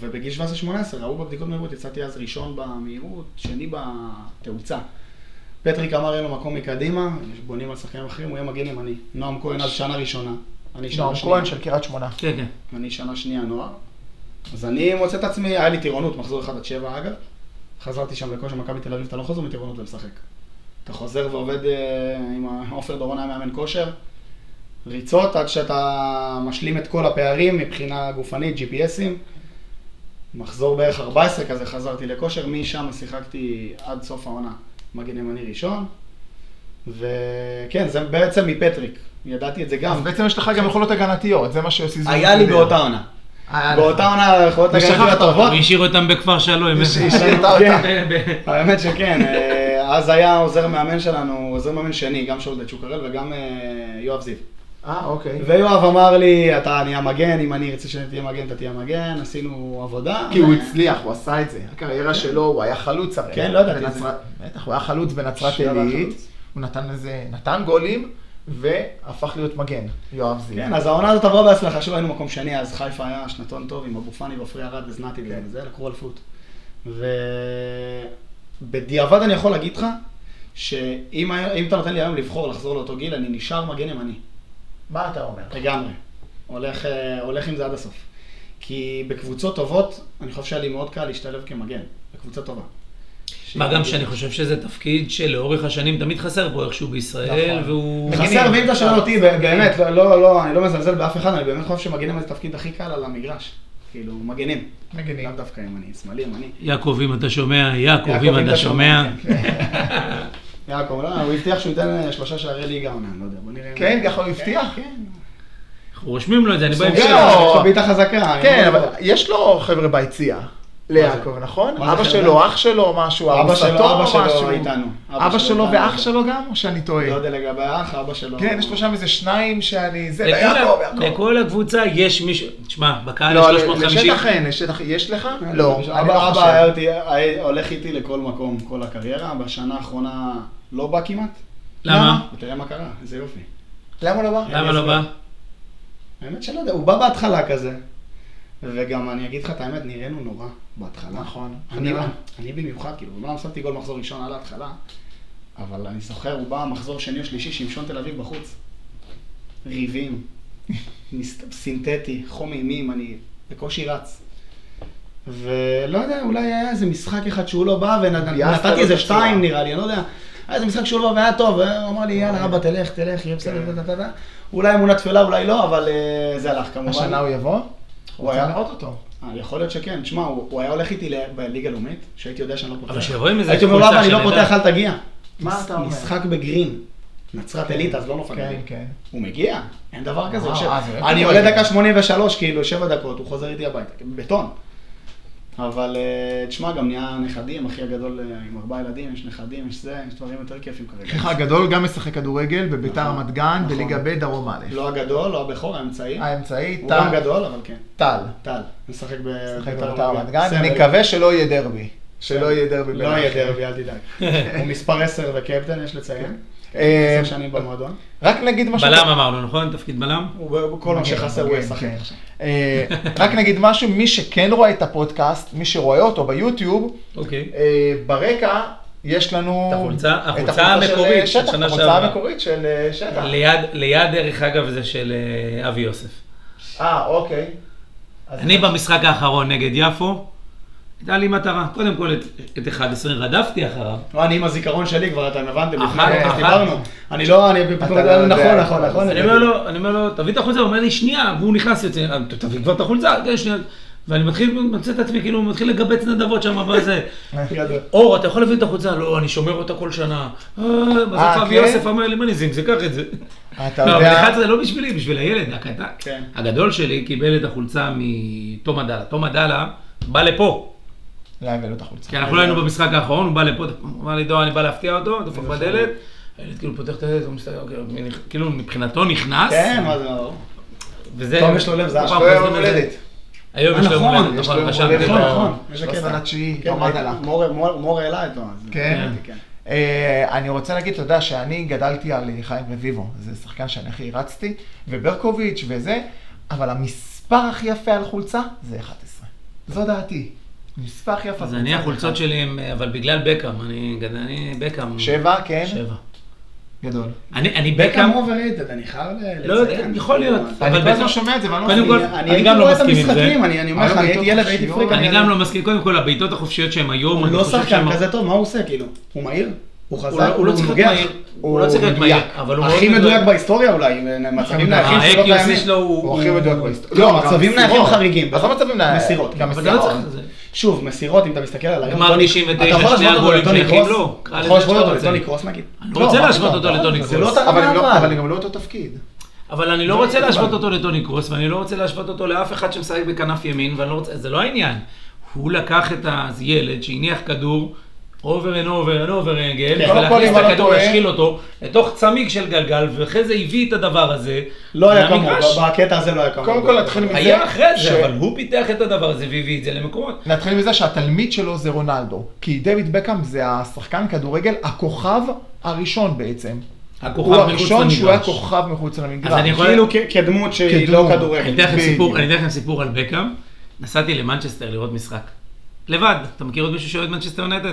Speaker 5: ובגיל 17-18 ראו בבדיקות מהירות, יצאתי אז ראשון במהירות, שני בתאוצה. פטריק אמר אין לו מקום מקדימה, בונים על שחקנים אחרים, הוא יהיה מגן ימני. נועם כהן אז שנה ראשונה, אני שנה
Speaker 4: נועם
Speaker 5: שנייה,
Speaker 4: כהן של קריית שמונה.
Speaker 1: כן, כן.
Speaker 5: אני שנה שנייה נוער. אז אני מוצא את עצמי, היה לי טירונות, מחזור 1 עד 7 אגב. חזרתי שם לכושר מכבי תל אביב, אתה לא חוזר מטירונות ומשחק. אתה חוזר ועובד אה, עם ה- עופר דורון היה מאמן כושר. ריצות עד שאתה משלים את כל הפערים מבחינה גופנית, GPSים. מחזור בערך 14 כזה חזרתי לכושר, משם שיחקתי עד סוף העונה מגן ימני ראשון. וכן, זה בעצם מפטריק, ידעתי את זה גם.
Speaker 4: אז בעצם יש לך גם יכולות הגנתיות, זה מה אה, שיוסי זוהר.
Speaker 5: היה לי
Speaker 4: דיבר.
Speaker 5: באותה עונה.
Speaker 4: היה לך.
Speaker 5: באותה עונה יכולות
Speaker 4: ושכחת
Speaker 5: הגנתיות
Speaker 4: אותו,
Speaker 5: הטובות.
Speaker 1: והשאיר אותם בכפר שלום.
Speaker 4: השארת אותה.
Speaker 5: כן. האמת שכן, אה, אז היה עוזר מאמן שלנו, עוזר מאמן שני, גם שאול דצ'וקרל וגם אה, יואב זיו.
Speaker 4: אה, אוקיי.
Speaker 5: ויואב אמר לי, אתה נהיה מגן, אם אני ארצה שתהיה מגן, אתה תהיה מגן, עשינו עבודה.
Speaker 4: כי הוא הצליח, הוא עשה את זה. הקריירה שלו, הוא היה חלוץ הרי.
Speaker 5: כן, לא ידעתי את זה.
Speaker 4: בנצרת- בטח, הוא היה חלוץ בנצרת
Speaker 5: שנייה, הוא היה
Speaker 4: עילית.
Speaker 5: חלוץ.
Speaker 4: הוא נתן איזה, נתן גולים, והפך להיות מגן, יואב זיו.
Speaker 5: כן, אז העונה הזאת עברה בהצלחה, שוב היינו מקום שני, אז חיפה היה שנתון טוב עם אבו פאני ועפרי ארד וזנתי וזה, לקחו אליפות. ובדיעבד אני יכול להגיד לך, שאם היה- אם אתה נותן לי היום לבחור לחזור לאותו גיל, אני נשאר מגן ימני.
Speaker 4: מה אתה אומר?
Speaker 5: לגמרי. הולך, אה, הולך עם זה עד הסוף. כי בקבוצות טובות, אני חושב שהיה לי מאוד קל להשתלב כמגן, בקבוצה טובה.
Speaker 1: מה גם שאני חושב שזה תפקיד שלאורך השנים תמיד חסר פה איכשהו בישראל,
Speaker 4: נכון.
Speaker 1: והוא...
Speaker 5: חסר, ואם אתה שואל אותי, ב- באמת, לא, לא, לא, אני לא מזלזל באף אחד, אני באמת חושב שמגנים זה התפקיד הכי קל על המגרש. כאילו, מגנים.
Speaker 4: מגנים.
Speaker 5: לאו דווקא ימני, שמאלי, ימני.
Speaker 1: יעקב, אם אתה שומע, יעקב,
Speaker 5: יעקב,
Speaker 1: אם אתה שומע.
Speaker 5: כן. יעקב, לא, הוא הבטיח שהוא ייתן אה, שלושה שערי ליגה עונה, אני לא יודע, בוא נראה.
Speaker 4: כן, ככה הוא הבטיח?
Speaker 5: כן.
Speaker 1: אנחנו רושמים לו את זה, אני
Speaker 5: כן,
Speaker 1: בהמשך.
Speaker 5: יש לו בעיטה חזקה. אני
Speaker 4: כן,
Speaker 5: לא-
Speaker 4: אבל יש לו חבר'ה ביציע. ליעקב, נכון?
Speaker 5: מה זה
Speaker 4: אבא
Speaker 5: חבר'ה?
Speaker 4: שלו, אח שלו, משהו,
Speaker 5: אבא
Speaker 4: ארוסתו,
Speaker 5: שלו, אבא שלו
Speaker 4: משהו.
Speaker 5: איתנו. אבא
Speaker 4: אבא
Speaker 5: שלו
Speaker 4: שלו
Speaker 5: איתנו.
Speaker 4: ואח שלו גם, או שאני טועה?
Speaker 5: לא יודע לגבי האח, אבא שלו.
Speaker 4: כן, יש לו שם איזה שניים שאני... זה,
Speaker 1: לכל ה-
Speaker 4: יעקב, יעקב.
Speaker 1: לכל הקבוצה יש מישהו, תשמע, בקהל יש
Speaker 4: לא,
Speaker 1: 350.
Speaker 4: לשטח אין, לשטח יש לך? לא,
Speaker 5: אבא,
Speaker 4: אני לא
Speaker 5: אבא
Speaker 4: חושב.
Speaker 5: היה אותי, היה הולך איתי לכל מקום, כל הקריירה, בשנה האחרונה לא בא כמעט.
Speaker 1: למה?
Speaker 5: ותראה מה קרה, איזה יופי.
Speaker 4: למה לא בא?
Speaker 1: למה לא בא?
Speaker 5: האמת שלא יודע, הוא בא בהתחלה כזה. וגם אני אגיד לך את האמת, נראינו נורא בהתחלה.
Speaker 4: נכון.
Speaker 5: אני,
Speaker 4: אני-
Speaker 5: אני במיוחד, כאילו, אמנם שמתי גול מחזור ראשון על ההתחלה, אבל אני זוכר, הוא בא מחזור שני או שלישי, שמשון תל אביב בחוץ. ריבים, ניס- סינתטי, חום אימים, אני בקושי רץ. ולא יודע, אולי היה איזה משחק אחד שהוא לא בא,
Speaker 4: ביאסת
Speaker 5: ונתתי
Speaker 4: לו את
Speaker 5: איזה
Speaker 4: הצורה.
Speaker 5: שתיים נראה לי, אני לא יודע. היה איזה משחק שהוא לא בא והיה טוב, הוא אמר לי, יאללה, אבא, תלך, תלך, יהיה בסדר,
Speaker 4: אה. כן.
Speaker 5: דה, דה, דה. אולי אמונה תפלה, אולי לא, אבל אה, זה הלך כמובן.
Speaker 4: השנה הוא יבוא?
Speaker 5: הוא היה-
Speaker 4: רוצה לראות אותו.
Speaker 5: אה, יכול להיות שכן, תשמע, הוא הוא היה הולך איתי ל- בליגה הלאומית, שהייתי יודע שאני לא פותח.
Speaker 1: אבל שיבוא עם איזה
Speaker 5: הייתי אומר,
Speaker 1: חולצה
Speaker 5: אבא, אני לא
Speaker 1: שנדע."
Speaker 5: פותח, אל תגיע.
Speaker 4: מה אתה אומר?
Speaker 5: משחק בגרין. נצרת עילית, אז לא נופל.
Speaker 4: כן, כן.
Speaker 5: הוא מגיע, אין דבר כזה.
Speaker 4: וואו,
Speaker 5: יושב.
Speaker 4: אה, זה
Speaker 5: אני
Speaker 4: באמת
Speaker 5: עולה
Speaker 4: כדורגל.
Speaker 5: דקה 83, כאילו, שבע דקות, הוא חוזר איתי הביתה, בטון. אבל אה, תשמע, גם נהיה נכדים, אחי הגדול אה, עם ארבעה ילדים, יש נכדים, יש זה, יש דברים יותר כיפים
Speaker 4: אחיך
Speaker 5: כרגע.
Speaker 4: הגדול גם משחק כדורגל בביתר
Speaker 5: נכון,
Speaker 4: רמת גן,
Speaker 5: נכון.
Speaker 4: בליגה ב' דרום א'.
Speaker 5: לא הגדול, לא הבכור, האמצעי.
Speaker 4: האמצעי,
Speaker 5: הוא גם
Speaker 4: אה, טל.
Speaker 5: גדול, אבל כן.
Speaker 4: טל.
Speaker 5: טל, משחק
Speaker 4: משחק
Speaker 5: בבית"ר
Speaker 4: בביתר רמת גן.
Speaker 5: סמל.
Speaker 4: נקווה שלא יהיה דרבי. שלא יהיה דרבי.
Speaker 5: לא
Speaker 4: בין
Speaker 5: יהיה
Speaker 4: האחים.
Speaker 5: דרבי, אל תדאג. הוא מספר 10 וקפטן, יש לציין.
Speaker 4: אה,
Speaker 5: עשר שנים במועדון.
Speaker 4: רק נגיד משהו.
Speaker 1: בלם אמרנו, נכון? תפקיד בלם?
Speaker 5: הוא- כל מה
Speaker 4: מגן,
Speaker 5: שחסר הוא
Speaker 4: מגן,
Speaker 5: ישחק
Speaker 4: כן.
Speaker 5: עכשיו.
Speaker 4: אה, רק נגיד משהו, מי שכן רואה את הפודקאסט, מי שרואה אותו ביוטיוב,
Speaker 1: אוקיי.
Speaker 4: אה, ברקע יש לנו...
Speaker 1: את החולצה-
Speaker 4: את
Speaker 1: החולצה
Speaker 4: של,
Speaker 1: המקורית
Speaker 4: אה,
Speaker 1: של
Speaker 4: שטח,
Speaker 1: שנה
Speaker 4: החולצה
Speaker 1: שעברה.
Speaker 4: המקורית של אה, שטח.
Speaker 1: ליד- ליד, דרך אגב, זה של אה, אבי יוסף.
Speaker 4: אה, אוקיי. אז-
Speaker 1: אני במשחק האחרון נגד יפו, הייתה לי מטרה. קודם כל את- את 11 רדפתי אחריו.
Speaker 5: לא, אני עם הזיכרון שלי כבר, אתם הבנתם, לפני
Speaker 1: אחת,
Speaker 5: הפודקאסט
Speaker 1: אחת.
Speaker 5: דיברנו. אני לא, אני
Speaker 4: לא יודע.
Speaker 5: נכון, נכון, נכון.
Speaker 1: אני אומר לא. לו, אני אומר לו, תביא את החולצה, הוא אומר לי, שנייה, והוא נכנס, יוצא, "אה, תביא כבר את החולצה, כן, שנייה. ואני מתחיל, מוצא את עצמי, כאילו, מתחיל לגבץ נדבות שם בזה.
Speaker 5: גדול.
Speaker 1: אור, אתה יכול להביא את החולצה? לא, אני שומר אותה כל שנה. אה, בסוף
Speaker 4: אה,
Speaker 1: אבי
Speaker 4: כן?
Speaker 1: יוסף אמר לי, מה ניסים, קח את זה.
Speaker 4: אתה
Speaker 1: לא,
Speaker 4: יודע-
Speaker 1: אבל 11 לא בשבילי, בשביל הילד הקטן.
Speaker 5: כן.
Speaker 1: הגדול שלי קיבל את החולצה מתום עדאלה. תום עדאלה בא לפה,
Speaker 4: לא הבאנו את החולצה.
Speaker 1: כי אנחנו לא היינו במשחק האחרון, הוא בא לפה, הוא אמר לי, דור, אני בא להפתיע אותו, דופק
Speaker 4: לא
Speaker 1: בדלת. הילד כאילו פותח את הדלת, הוא מסתכל, אוקיי, מי נכ- כאילו מבחינתו נכנס.
Speaker 5: כן, מה זה ברור.
Speaker 1: וזה...
Speaker 5: טוב, יש לו לב זהב.
Speaker 1: אנחנו
Speaker 4: לא
Speaker 5: יש
Speaker 1: חוזרים
Speaker 4: יום
Speaker 1: לזה.
Speaker 4: הולדת.
Speaker 1: היום
Speaker 5: אה,
Speaker 1: יש לו יום
Speaker 5: נכון,
Speaker 1: הולדת,
Speaker 4: יש
Speaker 1: נכון,
Speaker 4: לו יום
Speaker 1: רשמתי.
Speaker 4: הולדת.
Speaker 5: נכון,
Speaker 4: אה,
Speaker 5: נכון, יש הקטע.
Speaker 4: שלוש עד תשיעי,
Speaker 5: כן,
Speaker 4: עמד
Speaker 5: ראיתי.
Speaker 4: עליו.
Speaker 5: מור- מור מור העלה איתו. אז-
Speaker 4: כן.
Speaker 5: כן.
Speaker 4: אה, אני רוצה להגיד תודה שאני גדלתי על אה, חיים רביבו, זה שחקן שאני הכי הרצתי, וברקוביץ' וזה, אבל המספר הכי יפה על חולצה זה 11. זו דעתי. המספר הכי יפה
Speaker 1: אז
Speaker 4: זה
Speaker 1: אני
Speaker 4: 11.
Speaker 1: החולצות שלי הם, אבל בגלל בקאם, אני גד- אני בקאם.
Speaker 4: שבע, כן?
Speaker 1: שבע.
Speaker 4: גדול.
Speaker 1: אני אני
Speaker 5: בקאם
Speaker 1: בקאם,
Speaker 5: overrated, אני חייב ל-
Speaker 1: לא יודע,
Speaker 5: לציין.
Speaker 1: יכול להיות.
Speaker 4: אני
Speaker 1: אבל
Speaker 4: כל הזמן
Speaker 1: בעצם-
Speaker 4: שומע את זה, ואני לא
Speaker 1: קודם
Speaker 4: מבין.
Speaker 1: כל,
Speaker 5: אני
Speaker 1: אני
Speaker 5: הייתי
Speaker 1: גם לא
Speaker 5: רואה את
Speaker 1: מסכים עם זה.
Speaker 5: המשחקים, אני אני אומר
Speaker 4: היה
Speaker 5: לך,
Speaker 4: לו
Speaker 5: אני
Speaker 4: בעיטות
Speaker 5: הייתי ילד והייתי
Speaker 4: חופשיות,
Speaker 5: פריק.
Speaker 1: אני גם לא מסכים, קודם כל הבעיטות החופשיות שהם היום,
Speaker 5: הוא
Speaker 1: אני
Speaker 5: לא
Speaker 1: חושב שהם-
Speaker 5: שחקן כזה טוב, מה הוא עושה כאילו? הוא מהיר? הוא חזק?
Speaker 1: הוא לא- הוא לא צריך להיות
Speaker 5: נוגח?
Speaker 1: מהיר, הוא לא צריך להיות
Speaker 5: מדויק.
Speaker 1: מהיר, אבל הוא
Speaker 5: הכי
Speaker 1: מאוד
Speaker 5: מדויק
Speaker 1: מדויק.
Speaker 5: בהיסטוריה אולי, עם מצבים
Speaker 4: מדויק.
Speaker 5: נייחים שלא
Speaker 1: ה-AQC
Speaker 5: קיימים.
Speaker 1: שלו הוא...
Speaker 4: הוא הכי מדויק בהיסטוריה.
Speaker 5: לא,
Speaker 4: גם
Speaker 5: מצבים
Speaker 4: מסירות.
Speaker 5: נייחים חריגים.
Speaker 4: עזוב מצבים נייחים.
Speaker 5: מסירות.
Speaker 4: גם
Speaker 1: אבל אתה לא
Speaker 4: מסירות.
Speaker 1: צריך את זה.
Speaker 5: שוב, מסירות, אם אתה מסתכל על היום,
Speaker 1: גמר
Speaker 5: טוני-
Speaker 1: 99,
Speaker 5: אתה יכול
Speaker 1: שני
Speaker 5: להשוות אותו
Speaker 1: הגולים
Speaker 5: לטוני
Speaker 1: שהקים
Speaker 5: קרוס?
Speaker 1: לו, קרא
Speaker 5: אתה
Speaker 1: לזה
Speaker 5: יכול להשוות
Speaker 1: שאתה
Speaker 5: אותו
Speaker 1: רוצה.
Speaker 5: לטוני קרוס נגיד?
Speaker 1: אני
Speaker 5: מה
Speaker 1: רוצה
Speaker 5: פתאום,
Speaker 1: להשוות אותו
Speaker 5: לא,
Speaker 1: לטוני
Speaker 5: זה לא
Speaker 1: קרוס.
Speaker 5: אותה
Speaker 4: אבל
Speaker 5: רמה,
Speaker 4: הם
Speaker 5: אבל.
Speaker 4: לא- אבל הם גם לא אותו תפקיד.
Speaker 1: אבל אני לא
Speaker 5: זה
Speaker 1: רוצה
Speaker 5: לא
Speaker 1: להשוות
Speaker 5: הבנתי.
Speaker 1: אותו לטוני קרוס, ואני לא רוצה להשוות אותו לאף אחד שמשחק בכנף ימין, ואני לא רוצה, זה לא העניין. הוא לקח את הילד שהניח כדור, over and over and over again,
Speaker 5: כן.
Speaker 4: קודם כל,
Speaker 1: ולהכניס
Speaker 4: אם
Speaker 1: את
Speaker 4: אני לא
Speaker 1: הכדור,
Speaker 4: טועה-
Speaker 1: להשחיל אותו, לתוך צמיג של גלגל, ואחרי זה הביא את הדבר הזה.
Speaker 5: לא היה כמוהו,
Speaker 1: למגרש.
Speaker 5: בקטע הזה לא היה כמוהו.
Speaker 4: קודם כל נתחיל מזה.
Speaker 1: היה אחרי
Speaker 4: ש-
Speaker 1: זה, אבל הוא פיתח את הדבר הזה והביא את זה למקומות.
Speaker 4: נתחיל מזה שהתלמיד שלו זה רונלדו, כי דויד בקאם זה השחקן כדורגל, הכוכב הראשון בעצם.
Speaker 1: הכוכב
Speaker 4: הוא
Speaker 1: מחוץ
Speaker 4: הראשון שהוא היה
Speaker 1: למגרש.
Speaker 4: כוכב מחוץ למגרש.
Speaker 1: אז אני יכול-
Speaker 5: כאילו כ- כדמות שהיא לא
Speaker 4: כדמות.
Speaker 1: אני
Speaker 5: כדורגל.
Speaker 1: אתן לכם סיפור-
Speaker 4: בדיוק.
Speaker 1: אני אתן לכם סיפור על בקאם. נסעתי למנצ'סטר לראות משחק. לבד. אתה מכיר עוד מישהו שאוהד מנצ'סטר יונטד?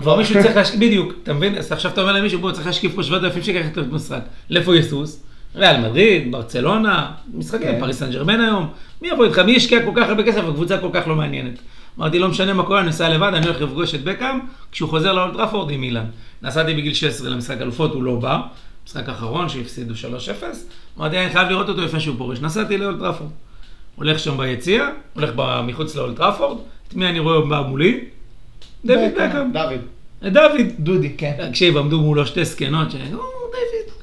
Speaker 1: כבר מישהו צריך להשקיף, בדיוק, אתה מבין? אז עכשיו אתה אומר למישהו, בוא, צריך להשקיף פה 7,000 שקל ללכת לראות משחק. לאיפה הוא יסוס? ריאל מדריד, ברצלונה, משחקים,
Speaker 4: כן.
Speaker 1: פריס סן ג'רמן היום. מי יבוא איתך? מי השקיע כל כך הרבה כסף וקבוצה כל כך לא מעניינת? אמרתי, לא משנה מה קורה, אני נוסע לבד, אני הולך לפגוש את בקאם, כשהוא חוזר לאולטראפורד עם אילן. נסעתי בגיל 16 למשחק אלופות, הוא לא בא. משחק אחרון שהפסידו 3-0. אמרתי, אני חייב לראות אותו לפני שהוא פורש. נסעתי לאולטראפורד. הולך שם ביציע, הולך ב- מחוץ לאולטראפורד, את מי אני רואה בא מולי? דויד בקאם.
Speaker 5: דוד.
Speaker 1: את דוד.
Speaker 4: דודי, כן.
Speaker 1: תקשיב, עמדו מולו שתי זקנות, ש... "או, דיוויד.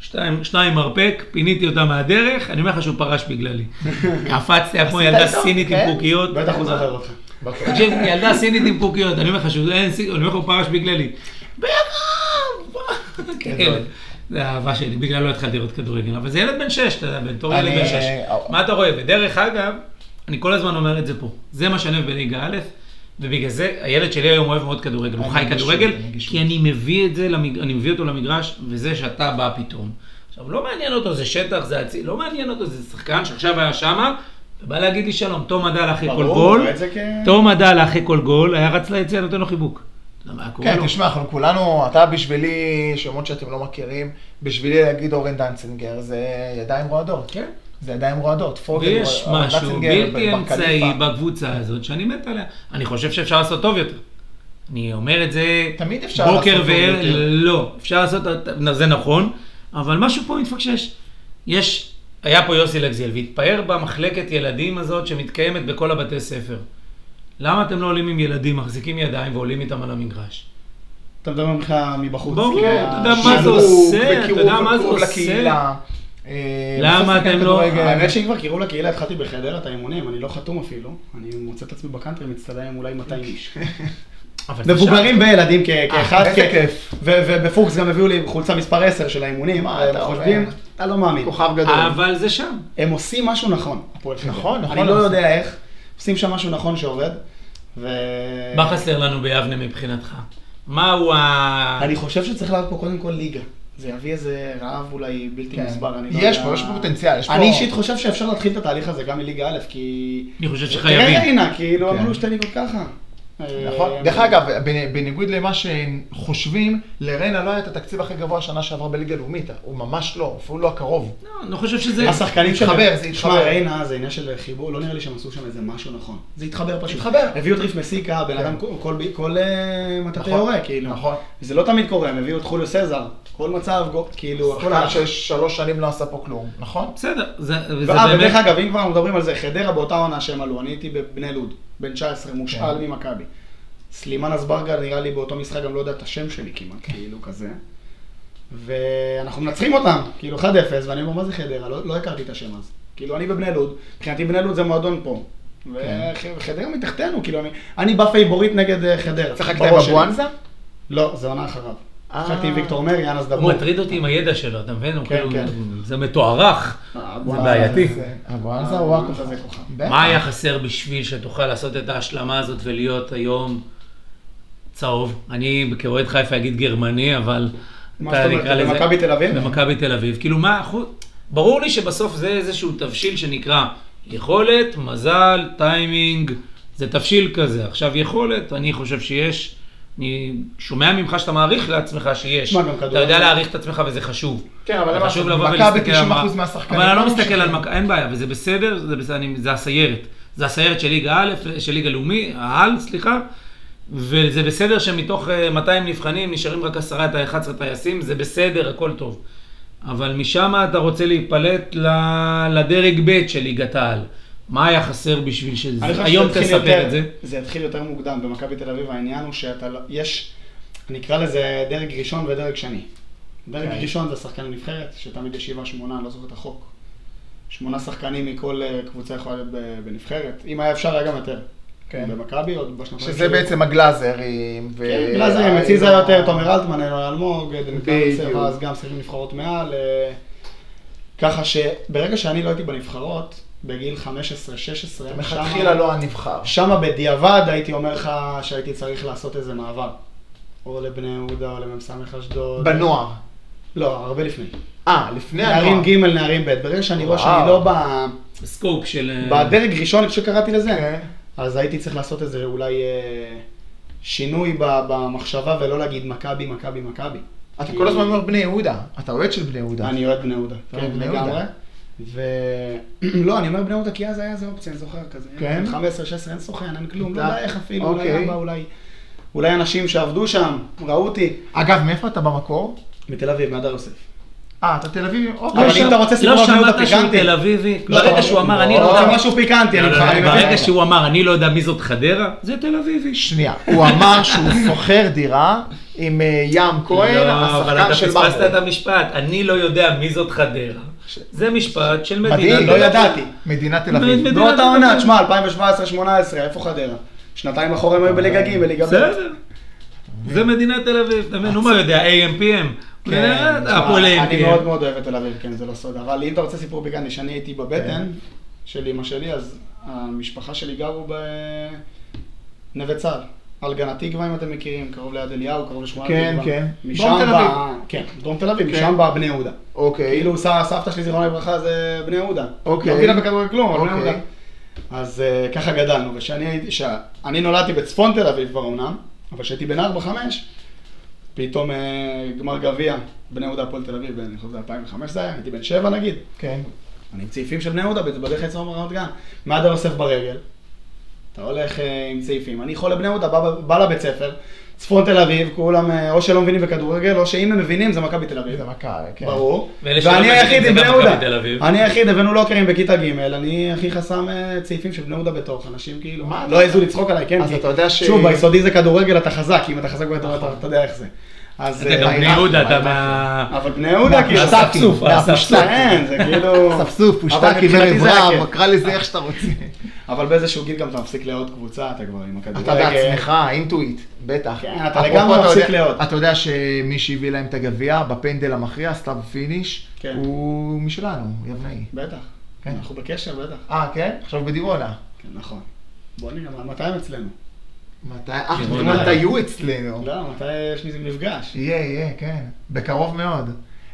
Speaker 1: שתיים, שניים מרפק, פיניתי אותה מהדרך, אני אומר לך שהוא פרש בגללי. קפצתי כמו ילדה
Speaker 4: איתו,
Speaker 1: סינית עם
Speaker 4: כן?
Speaker 1: קוקיות.
Speaker 5: בטח הוא זוכר אותך.
Speaker 1: תקשיב, ילדה סינית עם קוקיות, אני אומר לך שהוא אין סינית, אני אומר לך הוא פרש בגללי. בגלל!
Speaker 5: כן,
Speaker 1: כאלה. זה האהבה שלי, בגלל לא התחלתי לראות כדורגל, אבל זה ילד בן שש, אתה יודע, בתור ילד
Speaker 4: אני-
Speaker 1: בן שש.
Speaker 5: אה,
Speaker 1: מה אתה רואה? ודרך אגב, אני כל הזמן אומר את זה פה, זה מה שאני אוהב בליגה א', ובגלל זה הילד שלי היום אוהב מאוד כדורגל, הוא חי
Speaker 4: הנגישות,
Speaker 1: כדורגל,
Speaker 4: הנגישות.
Speaker 1: כי אני מביא את זה, למג... אני מביא אותו למגרש, וזה שאתה בא פתאום. עכשיו, לא מעניין אותו זה שטח, זה הציל, לא מעניין אותו זה שחקן שעכשיו היה שמה, ובא להגיד לי שלום, תום עדל אחרי כל
Speaker 5: ברור,
Speaker 1: גול,
Speaker 5: רואה את זה כן. כ-
Speaker 1: תום עדל לא אחרי כל גול, היה רץ ליציאה, נותן לו חיבוק. למה היה קורה
Speaker 4: כן,
Speaker 1: לו?
Speaker 4: תשמע, אנחנו כולנו, אתה בשבילי, שמות שאתם לא מכירים, בשבילי להגיד אורן דנצינגר, זה ידיים רועדות.
Speaker 1: כן.
Speaker 4: זה ידיים רועדות. פוגל,
Speaker 1: ויש
Speaker 4: אורן
Speaker 1: משהו
Speaker 4: דנצינגר,
Speaker 1: בלתי
Speaker 4: בר
Speaker 1: אמצעי
Speaker 4: קליפה.
Speaker 1: בקבוצה הזאת שאני מת עליה. אני חושב שאפשר לעשות טוב יותר. אני אומר את זה
Speaker 4: תמיד אפשר
Speaker 1: בוקר
Speaker 4: לעשות טוב
Speaker 1: וערב,
Speaker 4: יותר.
Speaker 1: לא, אפשר לעשות, זה נכון, אבל משהו פה מתפקשש. יש, היה פה יוסי לגזיאל והתפאר במחלקת ילדים הזאת שמתקיימת בכל הבתי ספר. למה אתם לא עולים עם ילדים, מחזיקים ידיים ועולים איתם על המגרש?
Speaker 5: אתה מדבר ממך מבחוץ.
Speaker 1: ברור,
Speaker 5: כי
Speaker 1: אתה יודע מה
Speaker 5: השילוב
Speaker 1: זה עושה? אתה
Speaker 4: וקירוב
Speaker 1: יודע מה זה
Speaker 4: וקרוב
Speaker 1: עושה?
Speaker 4: לקהילה. אה,
Speaker 1: למה
Speaker 4: בסוף שחקן
Speaker 1: אתם לא-
Speaker 4: כדורגל-
Speaker 5: האמת שאם כבר קראו לקהילה, התחלתי בחדרה את האימונים, אני לא חתום אפילו. אני מוצא את עצמי בקאנטרי, מצטדיין עם אולי 200 איש.
Speaker 1: אבל זה
Speaker 5: מבוגרים וילדים כ- כאחד.
Speaker 4: אה, איזה
Speaker 5: כ-
Speaker 4: כיף.
Speaker 5: ו- ובפוקס גם הביאו לי חולצה מספר 10 של האימונים. אה,
Speaker 4: מה, אתה
Speaker 5: הם חושבים,
Speaker 4: אומר?
Speaker 5: אתה לא מאמין.
Speaker 4: כוכב
Speaker 1: שם.
Speaker 4: גדול.
Speaker 1: אבל זה שם.
Speaker 5: הם עושים משהו נכון. הפועל חדרה.
Speaker 4: נכון, נכון,
Speaker 5: אני לא
Speaker 4: הם
Speaker 5: יודע איך, עושים שם משהו נכון שעובד. ו...
Speaker 1: מה חסר לנו ביבנה מבחינתך? מהו ה...
Speaker 5: אני חושב שצריך לעלות פה קודם כל ליגה. זה יביא איזה רעב אולי בלתי
Speaker 4: כן.
Speaker 5: מוסבר, אני לא
Speaker 4: יש
Speaker 5: יודע.
Speaker 4: פה, יש פה פוטנציאל, יש פה-
Speaker 5: אני אישית חושב שאפשר להתחיל את התהליך הזה גם מליגה א', כי... כן,
Speaker 1: אני חושב
Speaker 5: תראה
Speaker 1: שחייבים.
Speaker 5: הנה, כאילו,
Speaker 4: כן.
Speaker 5: אמרו שתי ליגות ככה.
Speaker 4: נכון.
Speaker 5: אה,
Speaker 4: דרך אגב, בנ- בניגוד למה שחושבים, לריינה לא היה את התקציב הכי גבוה שנה שעברה בליגה הלאומית, הוא ממש לא, אפילו לא הקרוב.
Speaker 1: לא, אני לא חושב שזה...
Speaker 5: השחקנים
Speaker 4: התחבר,
Speaker 5: שלהם-
Speaker 4: זה
Speaker 5: שמע,
Speaker 4: התחבר.
Speaker 5: ריינה זה עניין של חיבור, לא נראה לי שהם עשו שם איזה משהו נכון. זה התחבר פשוט.
Speaker 4: התחבר.
Speaker 5: הביאו את ריף מסיקה, בן
Speaker 4: כן.
Speaker 5: אדם, כל- כל- כל אה, מטאטי
Speaker 4: נכון,
Speaker 5: יורה, כאילו.
Speaker 4: נכון.
Speaker 5: זה לא תמיד קורה, הם הביאו את חוליו סזר, כל מצב, גו- כאילו, הכל
Speaker 4: שחקן
Speaker 5: הלך.
Speaker 4: ששלוש שנים לא עשה פה כלום, נכון?
Speaker 1: בסדר, זה זה
Speaker 5: ואה,
Speaker 1: באמת...
Speaker 5: אה, ודרך אגב, אם כבר אנחנו מדברים על זה, חדרה באותה עונה שהם עלו, אני הייתי בבני לוד, בן 19, מושאל
Speaker 4: כן.
Speaker 5: ממכבי. סלימן אזברגה נראה לי באותו משחק גם לא יודע את השם שלי כמעט, כאילו כזה. ואנחנו מנצחים אותם, כאילו 1-0, ואני אומר, מה זה חדרה? לא לא הכרתי את השם אז. כאילו, אני בבני לוד, מבחינתי בני לוד זה מועדון פה.
Speaker 4: כן.
Speaker 5: וחדרה מתחתנו, כאילו, אני- אני בא פייבוריט נגד אה, חדרה.
Speaker 4: שיחקת עם
Speaker 5: בראש שלי.
Speaker 4: אבואנזה?
Speaker 5: לא, זה עונה אחריו.
Speaker 4: אה.
Speaker 5: שיחקתי עם ויקטור מרי, אנס דבור.
Speaker 1: הוא מטריד אותי עם הידע שלו, אתה מבין? הוא
Speaker 5: כן,
Speaker 1: כאילו...
Speaker 5: כן.
Speaker 1: זה מתוארך.
Speaker 5: אה,
Speaker 1: זה
Speaker 5: אבואנזה
Speaker 1: בעייתי.
Speaker 4: כן. זה- אבואנזה הוא הכוכב.
Speaker 5: אבואנזה זה כוכב.
Speaker 4: בטח.
Speaker 1: מה היה חסר בשביל שתוכל לעשות את ההשלמה הזאת ולהיות היום צהוב? אני כאוהד חיפה אגיד גרמני, אבל...
Speaker 5: מה
Speaker 1: אתה
Speaker 5: זאת אומרת?
Speaker 1: נקרא לזה-
Speaker 5: במכבי תל אביב?
Speaker 1: במכבי תל אביב. כאילו מה אחוז... ברור לי שבסוף זה איזשהו תבשיל שנקרא יכולת, מזל, טיימינג, זה תבשיל כזה. עכשיו יכולת, אני חושב שיש. אני שומע ממך שאתה מעריך לעצמך שיש.
Speaker 5: שמע, גם
Speaker 1: אתה
Speaker 5: כדורגל-
Speaker 1: יודע להעריך את עצמך וזה חשוב.
Speaker 4: כן, אבל למה-
Speaker 1: חשוב לבוא
Speaker 4: מכבי
Speaker 1: ולהסתכל על מה...
Speaker 4: 90% מהשחקנים
Speaker 1: אבל אני
Speaker 4: לא
Speaker 1: לא מסתכל על
Speaker 4: ממשיכים.
Speaker 1: מכבי, אין בעיה, וזה בסדר, זה בסדר, אני- זה הסיירת. זה הסיירת של ליגה א', של ליגה לאומי, העל, סליחה. וזה בסדר שמתוך אה, 200 נבחנים נשארים רק עשרה את ה-11 טייסים, זה בסדר, הכל טוב. אבל משם אתה רוצה להיפלט ל- לדרג ב' של ליגת העל. מה היה חסר בשביל שזה...
Speaker 5: אני חושב
Speaker 1: היום
Speaker 5: שזה התחיל
Speaker 1: תספר
Speaker 5: יותר-
Speaker 1: את זה.
Speaker 5: זה התחיל יותר מוקדם במכבי תל אביב, העניין הוא שאתה לא, יש, אני אקרא לזה דרג ראשון ודרג שני. דרג
Speaker 4: כן.
Speaker 5: ראשון זה שחקן נבחרת, שתמיד יש שבעה שמונה, אני לא זוכר את החוק. שמונה שחקנים מכל אה, קבוצה יכולה להיות ב- בנבחרת. אם היה אפשר, היה גם יותר.
Speaker 4: כן.
Speaker 5: במכבי עוד בשנתיים.
Speaker 4: שזה
Speaker 5: שהיו.
Speaker 4: בעצם הגלאזרים. ו-
Speaker 5: כן, גלאזרים, אצלי זה היה יותר תומר אלטמן, אלון אלמוג, עדן קרצר,
Speaker 4: אה, בדיוק.
Speaker 5: אז גם שחקנים נבחרות מעל. אה, ככה שברגע שאני לא הייתי בנבחרות, בגיל 15-16,
Speaker 4: מלכתחילה לא הנבחר.
Speaker 5: שמה בדיעבד הייתי אומר לך שהייתי צריך לעשות איזה מעבר. או לבני יהודה או למ"ס אשדוד.
Speaker 4: בנוער.
Speaker 5: לא, הרבה לפני.
Speaker 4: אה, לפני הנוער.
Speaker 5: נערים ג', נערים ב'. ברגע שאני רואה שאני
Speaker 4: וואו.
Speaker 5: לא ב-
Speaker 1: סקופ של... אה,
Speaker 5: בדרג ראשון, איך שקראתי לזה,
Speaker 4: כן.
Speaker 5: אז הייתי צריך לעשות איזה אולי אה, שינוי ב- במחשבה ולא להגיד מכבי, מכבי, מכבי.
Speaker 4: אתה
Speaker 5: כי-
Speaker 4: כל הזמן אומר בני יהודה. אתה אוהד של בני יהודה.
Speaker 5: אני אוהד בני יהודה.
Speaker 4: אוהד
Speaker 5: כן,
Speaker 4: בני
Speaker 5: לגמרי.
Speaker 4: יהודה.
Speaker 5: ולא, אני אומר בני יהודה כי אז היה איזה אופציה, אני זוכר כזה.
Speaker 4: כן?
Speaker 5: 15, 16, אין סוכן, אין כלום, לא
Speaker 4: אתה-
Speaker 5: יודע איך אפילו, אולי
Speaker 4: אוקיי.
Speaker 5: אבא, אולי... אולי אנשים שעבדו שם, ראו אותי.
Speaker 4: אגב, מאיפה אתה במקור?
Speaker 5: מתל אביב, מהדר יוסף.
Speaker 4: אה, אתה תל אביבי?
Speaker 5: אבל
Speaker 1: לא
Speaker 4: אוקיי.
Speaker 5: אם
Speaker 1: שמע-
Speaker 5: אתה רוצה סיפור
Speaker 1: לא
Speaker 5: על בני יהודה
Speaker 1: שמעת שהוא
Speaker 5: פיקנטי.
Speaker 1: תל אביבי.
Speaker 5: לא,
Speaker 1: ברגע
Speaker 5: אתה-
Speaker 1: שהוא אמר, אני
Speaker 5: לא,
Speaker 1: לא...
Speaker 4: אה.
Speaker 5: אתה משהו פיקנטי, אני
Speaker 1: לא, לא,
Speaker 5: מבין.
Speaker 1: לא, ברגע שהוא אמר, אני לא יודע מי זאת חדרה, זה תל אביבי.
Speaker 4: שנייה, הוא אמר שהוא שוכר דירה עם אה, ים כהן,
Speaker 1: לא, אבל
Speaker 4: השחקן
Speaker 1: אתה
Speaker 4: של
Speaker 1: פספסת את
Speaker 4: מרמור.
Speaker 1: המשפט, אני לא יודע מי זאת חדרה. זה משפט של מדינה.
Speaker 4: מדהים,
Speaker 5: לא ידעתי.
Speaker 4: מדינת תל אביב.
Speaker 1: מדינת-
Speaker 5: באותה עונה, תשמע, 2017-2018, איפה חדרה? שנתיים אחורה הם היו בליגה ג', בליגה ב'.
Speaker 1: בסדר. זה מדינת תל אביב, אתה מבין? הוא מה יודע, AMPM. הוא יודע, כן,
Speaker 5: תשמע,
Speaker 1: אה,
Speaker 4: אה,
Speaker 1: הפועל
Speaker 5: אני מאוד
Speaker 1: AMPM.
Speaker 5: מאוד אוהב את תל אביב, כן, זה לא סוד. אבל אם אתה רוצה סיפור פיקנטי, שאני הייתי
Speaker 4: כן.
Speaker 5: בבטן של אמא שלי, אז המשפחה שלי גרו בנווה צל. על גן התקווה, אם אתם מכירים, קרוב ליד אליהו, קרוב לשמונה
Speaker 4: כן,
Speaker 5: תקווה.
Speaker 4: כן.
Speaker 5: משם
Speaker 4: דרום תל
Speaker 5: בא... כן, דרום תל אביב,
Speaker 4: כן.
Speaker 5: משם בא בני יהודה.
Speaker 4: אוקיי.
Speaker 5: כאילו ס- סבתא שלי, זיכרונה לברכה, זה בני יהודה.
Speaker 4: אוקיי.
Speaker 5: לא מבינה בכדורגל כלום, אבל בני
Speaker 4: אוקיי.
Speaker 5: יהודה. אז אה, ככה גדלנו, וכשאני הייתי, שאני נולדתי בצפון תל אביב כבר אמנם, אבל כשהייתי בן 4-5, פתאום אה, גמר גביע, בני יהודה הפועל תל אביב, אני חושב שזה 2005 זה היה, הייתי בן 7 נגיד.
Speaker 4: כן.
Speaker 5: אני עם צעיפים של בני יהודה, בדרך אצל עומר רמת גן. מעדה יוסף ברגל, אתה הולך אה, עם צעיפים. אני חולה בני יהודה, בא, בא לבית ספר, צפון תל אביב, כולם אה, או שלא מבינים בכדורגל, או שאם הם מבינים זה מכבי תל אביב.
Speaker 4: זה מכה, כן.
Speaker 5: ברור.
Speaker 1: ואלה שלא
Speaker 5: ואני
Speaker 1: מבינים,
Speaker 5: היחיד
Speaker 1: זה
Speaker 5: עם
Speaker 1: גם
Speaker 5: בני
Speaker 1: מכבי
Speaker 5: יהודה.
Speaker 1: תל אביב.
Speaker 5: אני היחיד, הבאנו לוקרים בכיתה ג', אני הכי חסם אה, צעיפים של בני יהודה בתוך, אנשים כאילו,
Speaker 4: מה
Speaker 5: לא
Speaker 4: אתה-
Speaker 5: העזו לצחוק עליי, כן?
Speaker 4: אז
Speaker 5: כי-
Speaker 4: אתה יודע ש- נכון.
Speaker 5: שוב, ביסודי זה כדורגל, אתה חזק, אם אתה חזק ביותר, אתה- אתה יודע איך זה. אז...
Speaker 1: אתה גם
Speaker 5: אה,
Speaker 1: בני
Speaker 5: ההיררכיה,
Speaker 1: יהודה, אתה
Speaker 5: ההיררכיה.
Speaker 1: מה...
Speaker 5: אבל בני יהודה כאילו,
Speaker 4: מהפושטקים,
Speaker 5: ספסוף,
Speaker 4: מהפושטקים.
Speaker 5: אין, זה כאילו...
Speaker 4: ספסוף,
Speaker 5: אבל
Speaker 4: פושטקי
Speaker 5: מבחינתי זה היה
Speaker 4: ורברב,
Speaker 5: כיף.
Speaker 4: קרא לזה איך שאתה רוצה.
Speaker 5: אבל באיזשהו גיל גם אתה מפסיק לאהוד קבוצה, אתה כבר עם הכדורגל.
Speaker 4: אתה בעצמך, אינטואיט, בטח.
Speaker 5: כן, אתה
Speaker 4: אפרופו,
Speaker 5: לגמרי
Speaker 4: אתה
Speaker 5: מפסיק
Speaker 4: יודע-
Speaker 5: להיות.
Speaker 4: אתה יודע שמי שהביא להם את הגביע, בפנדל המכריע, סתיו פיניש,
Speaker 5: כן.
Speaker 4: הוא משלנו, יבנאי.
Speaker 5: בטח.
Speaker 4: כן.
Speaker 5: אנחנו בקשר, בטח.
Speaker 4: אה, כן? עכשיו בדימונה.
Speaker 5: כן, נכון. בוא נראה, מה- מתי הם אצלנו?
Speaker 4: מתי, אה, אך,
Speaker 1: דימונה.
Speaker 4: מתי הוא אצלנו?
Speaker 5: לא, מתי יש מזה מפגש?
Speaker 4: יהיה, יהיה, כן. בקרוב מאוד.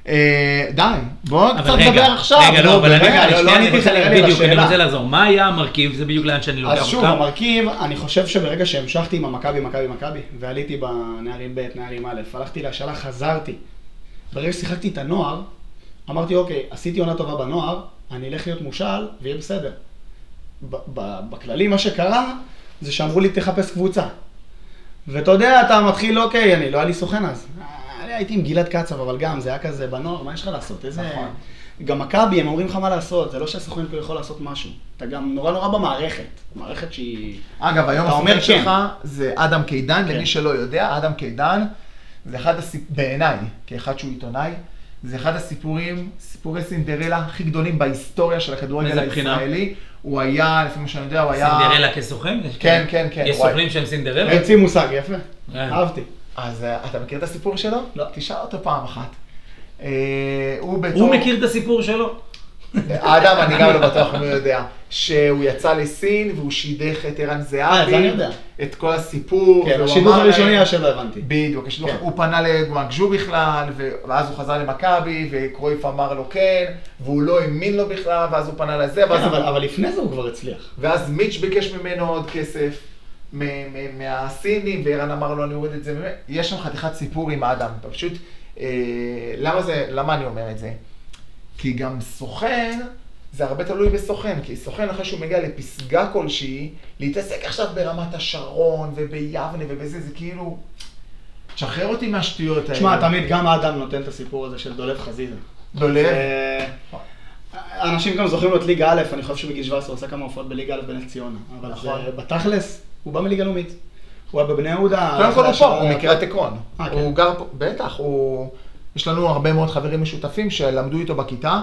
Speaker 4: אה, די, בואו
Speaker 1: אבל
Speaker 4: קצת
Speaker 1: רגע,
Speaker 4: נדבר עכשיו.
Speaker 1: רגע, לא,
Speaker 4: נו,
Speaker 1: אבל
Speaker 4: באמת.
Speaker 5: רגע,
Speaker 1: רגע,
Speaker 5: לא,
Speaker 1: שנייה,
Speaker 5: לא
Speaker 1: אני
Speaker 5: עניתי
Speaker 1: רוצה-
Speaker 5: לך רגע
Speaker 1: בדיוק, אני
Speaker 5: לשאלה.
Speaker 1: רוצה לחזור. מה היה המרכיב? זה בדיוק לאן שאני
Speaker 5: אז
Speaker 1: לוקח
Speaker 5: שוב,
Speaker 1: אותך.
Speaker 5: המרכיב, אני חושב שברגע שהמשכתי עם המכבי, מכבי, מכבי, ועליתי בנערים ב', נערים א', הלכתי להשאלה, חזרתי. ברגע ששיחקתי את הנוער, אמרתי, אוקיי, עשיתי עונה טובה בנוער, אני אלך להיות מושאל, ויהיה בסדר. ב- ב- בכללי, מה שקרה, זה שאמרו לי, תחפש קבוצה. ואתה יודע, אתה מתחיל, אוקיי, אני, לא היה לי סוכן אז. אה, אני הייתי עם גלעד קצב, אבל גם, זה היה כזה בנוער, מה יש לך לעשות? איזה...
Speaker 4: נכון.
Speaker 5: גם מכבי, הם אומרים לך מה לעשות, זה לא שהסוכן כאילו יכול לעשות משהו. אתה גם נורא נורא במערכת, מערכת שהיא...
Speaker 4: אגב, היום
Speaker 5: אתה אומר
Speaker 4: הסוכן
Speaker 5: כן.
Speaker 4: שלך זה אדם קידן, למי שלא יודע, אדם קידן זה אחד הסיפורים, בעיניי, כאחד שהוא עיתונאי, זה אחד הסיפורים, סיפורי סינדרלה הכי גדולים בהיסטוריה של הכדורגל
Speaker 1: מאיזה בחינה?
Speaker 4: הישראלי. הוא היה, לפי מה שאני יודע, הוא היה...
Speaker 1: סינדרלה כסוכן?
Speaker 4: כן, כן, כן,
Speaker 1: יש
Speaker 4: וואי.
Speaker 1: סוכנים שהם סינדרלה?
Speaker 5: המציא מושג, יפה.
Speaker 1: כן.
Speaker 5: אהבתי.
Speaker 4: אז אה, אתה מכיר את הסיפור שלו?
Speaker 5: לא.
Speaker 4: תשאל אותו פעם אחת. אה, הוא בתור...
Speaker 1: הוא מכיר את הסיפור שלו?
Speaker 4: אדם, אני גם לא בטוח אם הוא יודע. שהוא יצא לסין והוא שידך את ערן זהבי.
Speaker 5: אה, זה אני יודע.
Speaker 4: את כל הסיפור.
Speaker 5: כן,
Speaker 4: והוא
Speaker 5: השידור
Speaker 4: אמר אה,
Speaker 5: הראשוני
Speaker 4: להם-
Speaker 5: היה שלא הבנתי.
Speaker 4: בדיוק, יש לו-
Speaker 5: כן.
Speaker 4: הוא פנה לגואנג'ו בכלל, ו- ואז הוא חזר למכבי, וקרויף אמר לו כן, והוא לא האמין לו בכלל, ואז הוא פנה לזה,
Speaker 5: כן,
Speaker 4: ואז,
Speaker 5: אבל אבל לפני זה הוא כבר הצליח.
Speaker 4: ואז מיץ' ביקש ממנו עוד כסף מ- מ- מהסינים, וערן אמר לו אני אוריד את זה, ממנו." יש שם חתיכת סיפור עם האדם, אתה פשוט, אה, למה זה, למה אני אומר את זה? כי גם סוכן, זה הרבה תלוי בסוכן, כי סוכן אחרי שהוא מגיע לפסגה כלשהי, להתעסק עכשיו ברמת השרון וביבנה ובזה, זה כאילו, תשחרר אותי מהשטויות האלה.
Speaker 5: תשמע, תמיד גם האדם נותן את הסיפור הזה של דולב חזיזה.
Speaker 4: דולב.
Speaker 5: אה, אנשים גם זוכרים לו את ליגה א', אני חושב שבגיל 17 הוא עושה כמה הופעות בליגה א' בנס ציונה. אבל
Speaker 4: נכון.
Speaker 5: זה- בתכלס, הוא בא מליגה לאומית. הוא היה בבני יהודה.
Speaker 4: קודם כל הוא פה,
Speaker 5: השער-
Speaker 4: הוא מקריית עקרון.
Speaker 5: אה, כן.
Speaker 4: הוא גר פה, בטח, הוא... יש לנו הרבה מאוד חברים משותפים שלמדו איתו בכיתה,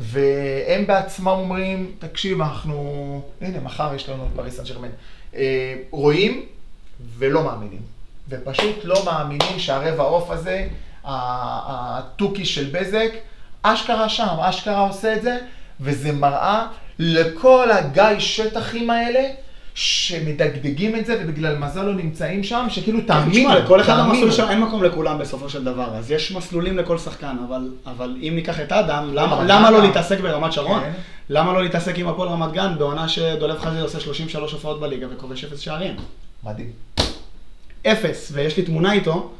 Speaker 4: והם בעצמם אומרים, תקשיב, אנחנו... הנה, מחר יש לנו את פריס סן ג'רמן. אה, רואים ולא מאמינים. ופשוט לא מאמינים שהרבע עוף הזה, ה- התוכי של בזק, אשכרה שם, אשכרה עושה את זה, וזה מראה לכל הגיא שטחים האלה. שמדגדגים את זה ובגלל מזל לא נמצאים שם, שכאילו תאמינו,
Speaker 5: תשמע, לכל אחד
Speaker 4: תאמינו.
Speaker 5: המסלול שם, אין מקום לכולם בסופו של דבר, אז יש מסלולים לכל שחקן, אבל, אבל אם ניקח את אדם, למה,
Speaker 4: אבל
Speaker 5: למה לא
Speaker 4: אדם-
Speaker 5: להתעסק ברמת שרון?
Speaker 4: כן.
Speaker 5: למה לא להתעסק עם הפועל רמת גן בעונה שדולב חזיז עושה 33 הופעות בליגה וכובש 0 שערים?
Speaker 4: מדהים.
Speaker 5: אפס, ויש לי תמונה איתו,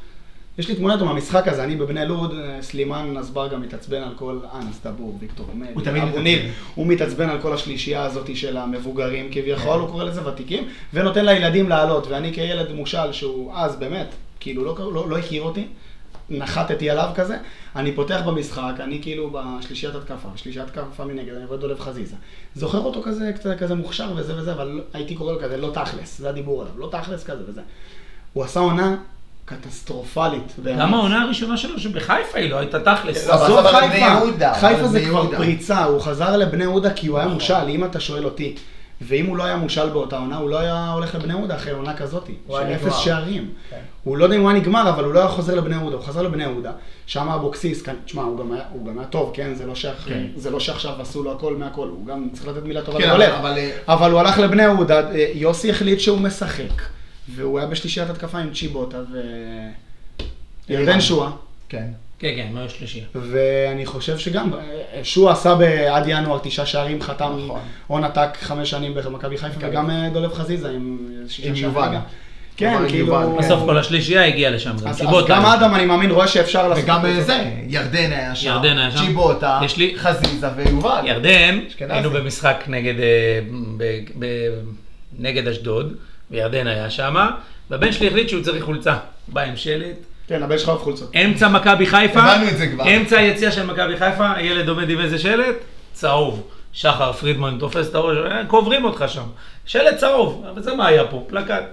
Speaker 5: יש לי תמונה איתו מהמשחק הזה, אני בבני לוד, אה, סלימן אזברגה מתעצבן על כל אנס דבור, ויקטור
Speaker 4: הוא
Speaker 5: מלי,
Speaker 4: תמיד
Speaker 5: אבו ניר, הוא מתעצבן על כל השלישייה הזאת של המבוגרים
Speaker 4: כן.
Speaker 5: כביכול, הוא קורא לזה ותיקים, ונותן לילדים לעלות, ואני כילד מושל שהוא אז באמת, כאילו לא, לא, לא הכיר אותי. נחתתי עליו כזה, אני פותח במשחק, אני כאילו בשלישיית התקפה, בשלישיית התקפה מנגד, אני רואה דולב חזיזה. זוכר אותו כזה, קצת כזה מוכשר וזה וזה, אבל הייתי קורא לו כזה לא תכלס, זה הדיבור עליו, לא תכלס כזה וזה. הוא עשה עונה קטסטרופלית. באמת.
Speaker 1: גם העונה הראשונה שלו שבחיפה היא לא הייתה תכלס.
Speaker 4: לא, אבל
Speaker 5: עזוב
Speaker 4: אבל בני
Speaker 5: חיפה,
Speaker 4: יהודה,
Speaker 5: חיפה
Speaker 4: אבל
Speaker 5: זה
Speaker 4: בני
Speaker 5: כבר
Speaker 4: יהודה.
Speaker 5: פריצה, הוא חזר לבני יהודה כי הוא היה מושל, אם אתה שואל אותי. ואם הוא לא היה מושל באותה עונה, הוא לא היה הולך לבני יהודה אחרי עונה כזאת,
Speaker 4: הוא
Speaker 5: של
Speaker 4: היה
Speaker 5: אפס
Speaker 4: נגמר.
Speaker 5: שערים.
Speaker 4: כן.
Speaker 5: הוא לא יודע אם הוא היה נגמר, אבל הוא לא היה חוזר לבני יהודה, הוא חזר לבני יהודה, שם אבוקסיס, כאן- תשמע, הוא גם היה- הוא גם היה טוב, כן? זה לא שאח-
Speaker 4: כן.
Speaker 5: זה לא שעכשיו עשו לו הכל מהכל, הוא גם צריך לתת מילה טובה
Speaker 4: כן,
Speaker 5: לדולב.
Speaker 4: אבל- אבל, אה,
Speaker 5: אבל הוא הלך לבני יהודה, אה, יוסי החליט שהוא משחק, והוא היה בשלישיית התקפה עם צ'יבוטה ו... ירדן
Speaker 4: אלירן.
Speaker 5: שואה.
Speaker 4: כן.
Speaker 1: כן, כן, מה יש שלישייה?
Speaker 5: ואני חושב שגם, אה, שהוא עשה ב- עד ינואר תשעה שערים, חתם
Speaker 4: נכון.
Speaker 5: הון עתק חמש שנים במכבי חיפה,
Speaker 4: מכבי.
Speaker 5: וגם אה, דולב חזיזה עם אה, שישה
Speaker 4: עם
Speaker 5: שערים.
Speaker 4: יובל.
Speaker 5: גם.
Speaker 4: יובל
Speaker 5: כן,
Speaker 4: עם
Speaker 5: כאילו...
Speaker 4: יובל.
Speaker 1: בסוף כל השלישייה הגיעה לשם, גם
Speaker 5: אז- אז
Speaker 1: שיבות
Speaker 5: גם
Speaker 1: היה.
Speaker 5: אדם, אני מאמין, רואה שאפשר לעשות...
Speaker 4: וגם
Speaker 5: את
Speaker 4: אה, זה, ירדן היה שם,
Speaker 1: ירדן היה שם.
Speaker 4: צ'יבוטה,
Speaker 1: יש לי-
Speaker 4: חזיזה ויובל.
Speaker 1: ירדן,
Speaker 4: אשכנזי.
Speaker 1: היינו במשחק נגד, אה, ב, ב, נגד אשדוד, וירדן היה שמה, והבן שלי החליט שהוא צריך חולצה. הוא בא עם שלט,
Speaker 5: כן, הבן שלך אוהב חולצות.
Speaker 1: אמצע מכבי חיפה,
Speaker 4: הבנו את זה כבר.
Speaker 1: אמצע היציאה של מכבי חיפה, הילד עומד עם איזה שלט, צהוב. שחר פרידמן תופס את הראש, "אה, קוברים אותך שם. שלט צהוב, אבל זה מה היה פה, פלקט.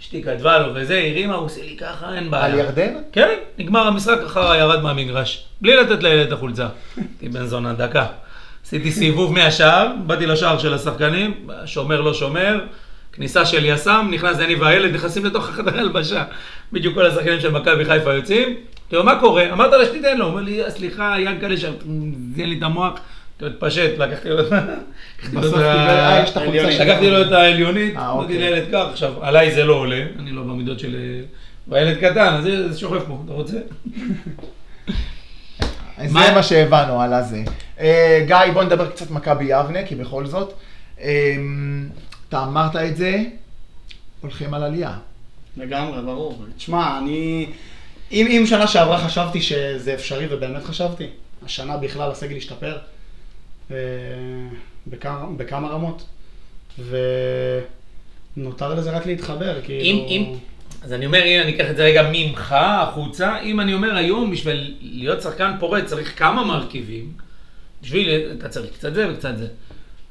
Speaker 1: אשתי כתבה לו וזה, הרימה, הוא עושה לי ככה, אין בעיה.
Speaker 4: על ירדן?
Speaker 1: כן, נגמר המשחק, אחרה ירד מהמגרש. בלי לתת לילד את החולצה. הייתי בן זונה, דקה. עשיתי סיבוב מהשער, באתי לשער של השחקנים, שומר לא שומר, כניסה של יס"מ, נכנס אני והילד, נכנסים לתוך החדר הלבשה. בדיוק כל השחקנים של מכבי חיפה יוצאים. תראו, מה קורה? אמרת לה שתיתן לו, הוא אומר לי, "אה, סליחה, ינקלה שם, זיין לי את המוח. תתפשט, לקחתי לו את ה- לקחתי לו את
Speaker 4: בסוף קיבל,
Speaker 1: ה...
Speaker 4: אה, יש את החולצה
Speaker 5: העליונית.
Speaker 4: שלך.
Speaker 1: לקחתי לו את העליונית,
Speaker 4: אה,
Speaker 1: אמרתי
Speaker 4: אוקיי.
Speaker 1: לילד כך, עכשיו, עליי זה לא עולה, אני לא במידות של... והילד קטן, אז זה שוכב פה, אתה רוצה?
Speaker 4: זה
Speaker 1: מה-
Speaker 4: מה שהבנו על הזה. אה, גיא, בוא נדבר קצת מכבי יבנה, כי בכל זאת, אה, אתה אמרת את זה, הולכים על עלייה.
Speaker 5: לגמרי, ברור. תשמע, אני... אם, אם שנה שעברה חשבתי שזה אפשרי, ובאמת חשבתי, השנה בכלל הסגל השתפר אה, בכמה, בכמה רמות, ונותר לזה רק להתחבר,
Speaker 1: אם,
Speaker 5: כאילו...
Speaker 1: אם, אז אני אומר, אם אני אקח את זה רגע ממך, החוצה, אם אני אומר היום, בשביל להיות שחקן פורץ צריך כמה מרכיבים, בשביל, אתה צריך קצת זה וקצת זה.